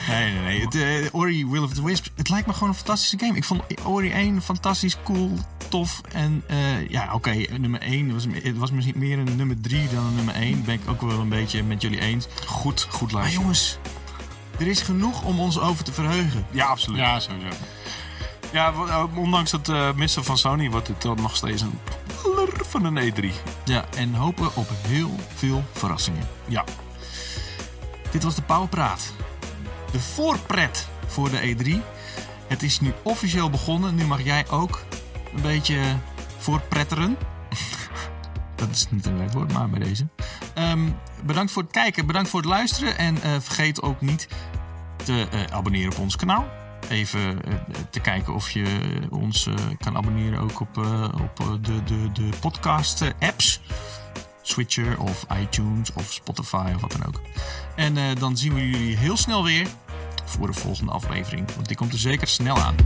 Speaker 1: Nee, nee, nee. Het, eh, Ori Will of the Wisps, het lijkt me gewoon een fantastische game. Ik vond Ori 1 fantastisch, cool, tof. En eh, ja, oké, nummer 1 was, het was misschien meer een nummer 3 dan een nummer 1. Ben ik ook wel een beetje met jullie eens.
Speaker 2: Goed, goed
Speaker 1: Maar
Speaker 2: lijstje.
Speaker 1: jongens, er is genoeg om ons over te verheugen.
Speaker 2: Ja, absoluut. Ja,
Speaker 3: ja, sowieso.
Speaker 2: wa- eh, ondanks het eh, missen van Sony wordt het dan nog steeds een plur van een E E3.
Speaker 1: Ja, en hopen op heel veel verrassingen.
Speaker 2: Ja.
Speaker 1: Dit was de Pauwpraat. De voorpret voor de E3. Het is nu officieel begonnen. Nu mag jij ook een beetje voorpretteren. Dat is niet een leuk woord, maar bij deze. Ehm, bedankt voor het kijken, bedankt voor het luisteren. En eh, vergeet ook niet te eh, abonneren op ons kanaal. Even eh, te kijken of je ons eh, kan abonneren ook op, eh, op eh, de, de, de podcast-apps. Switcher of iTunes of Spotify of wat dan ook. En eh, dan zien we jullie heel snel weer voor de volgende aflevering. Want die komt er zeker snel aan.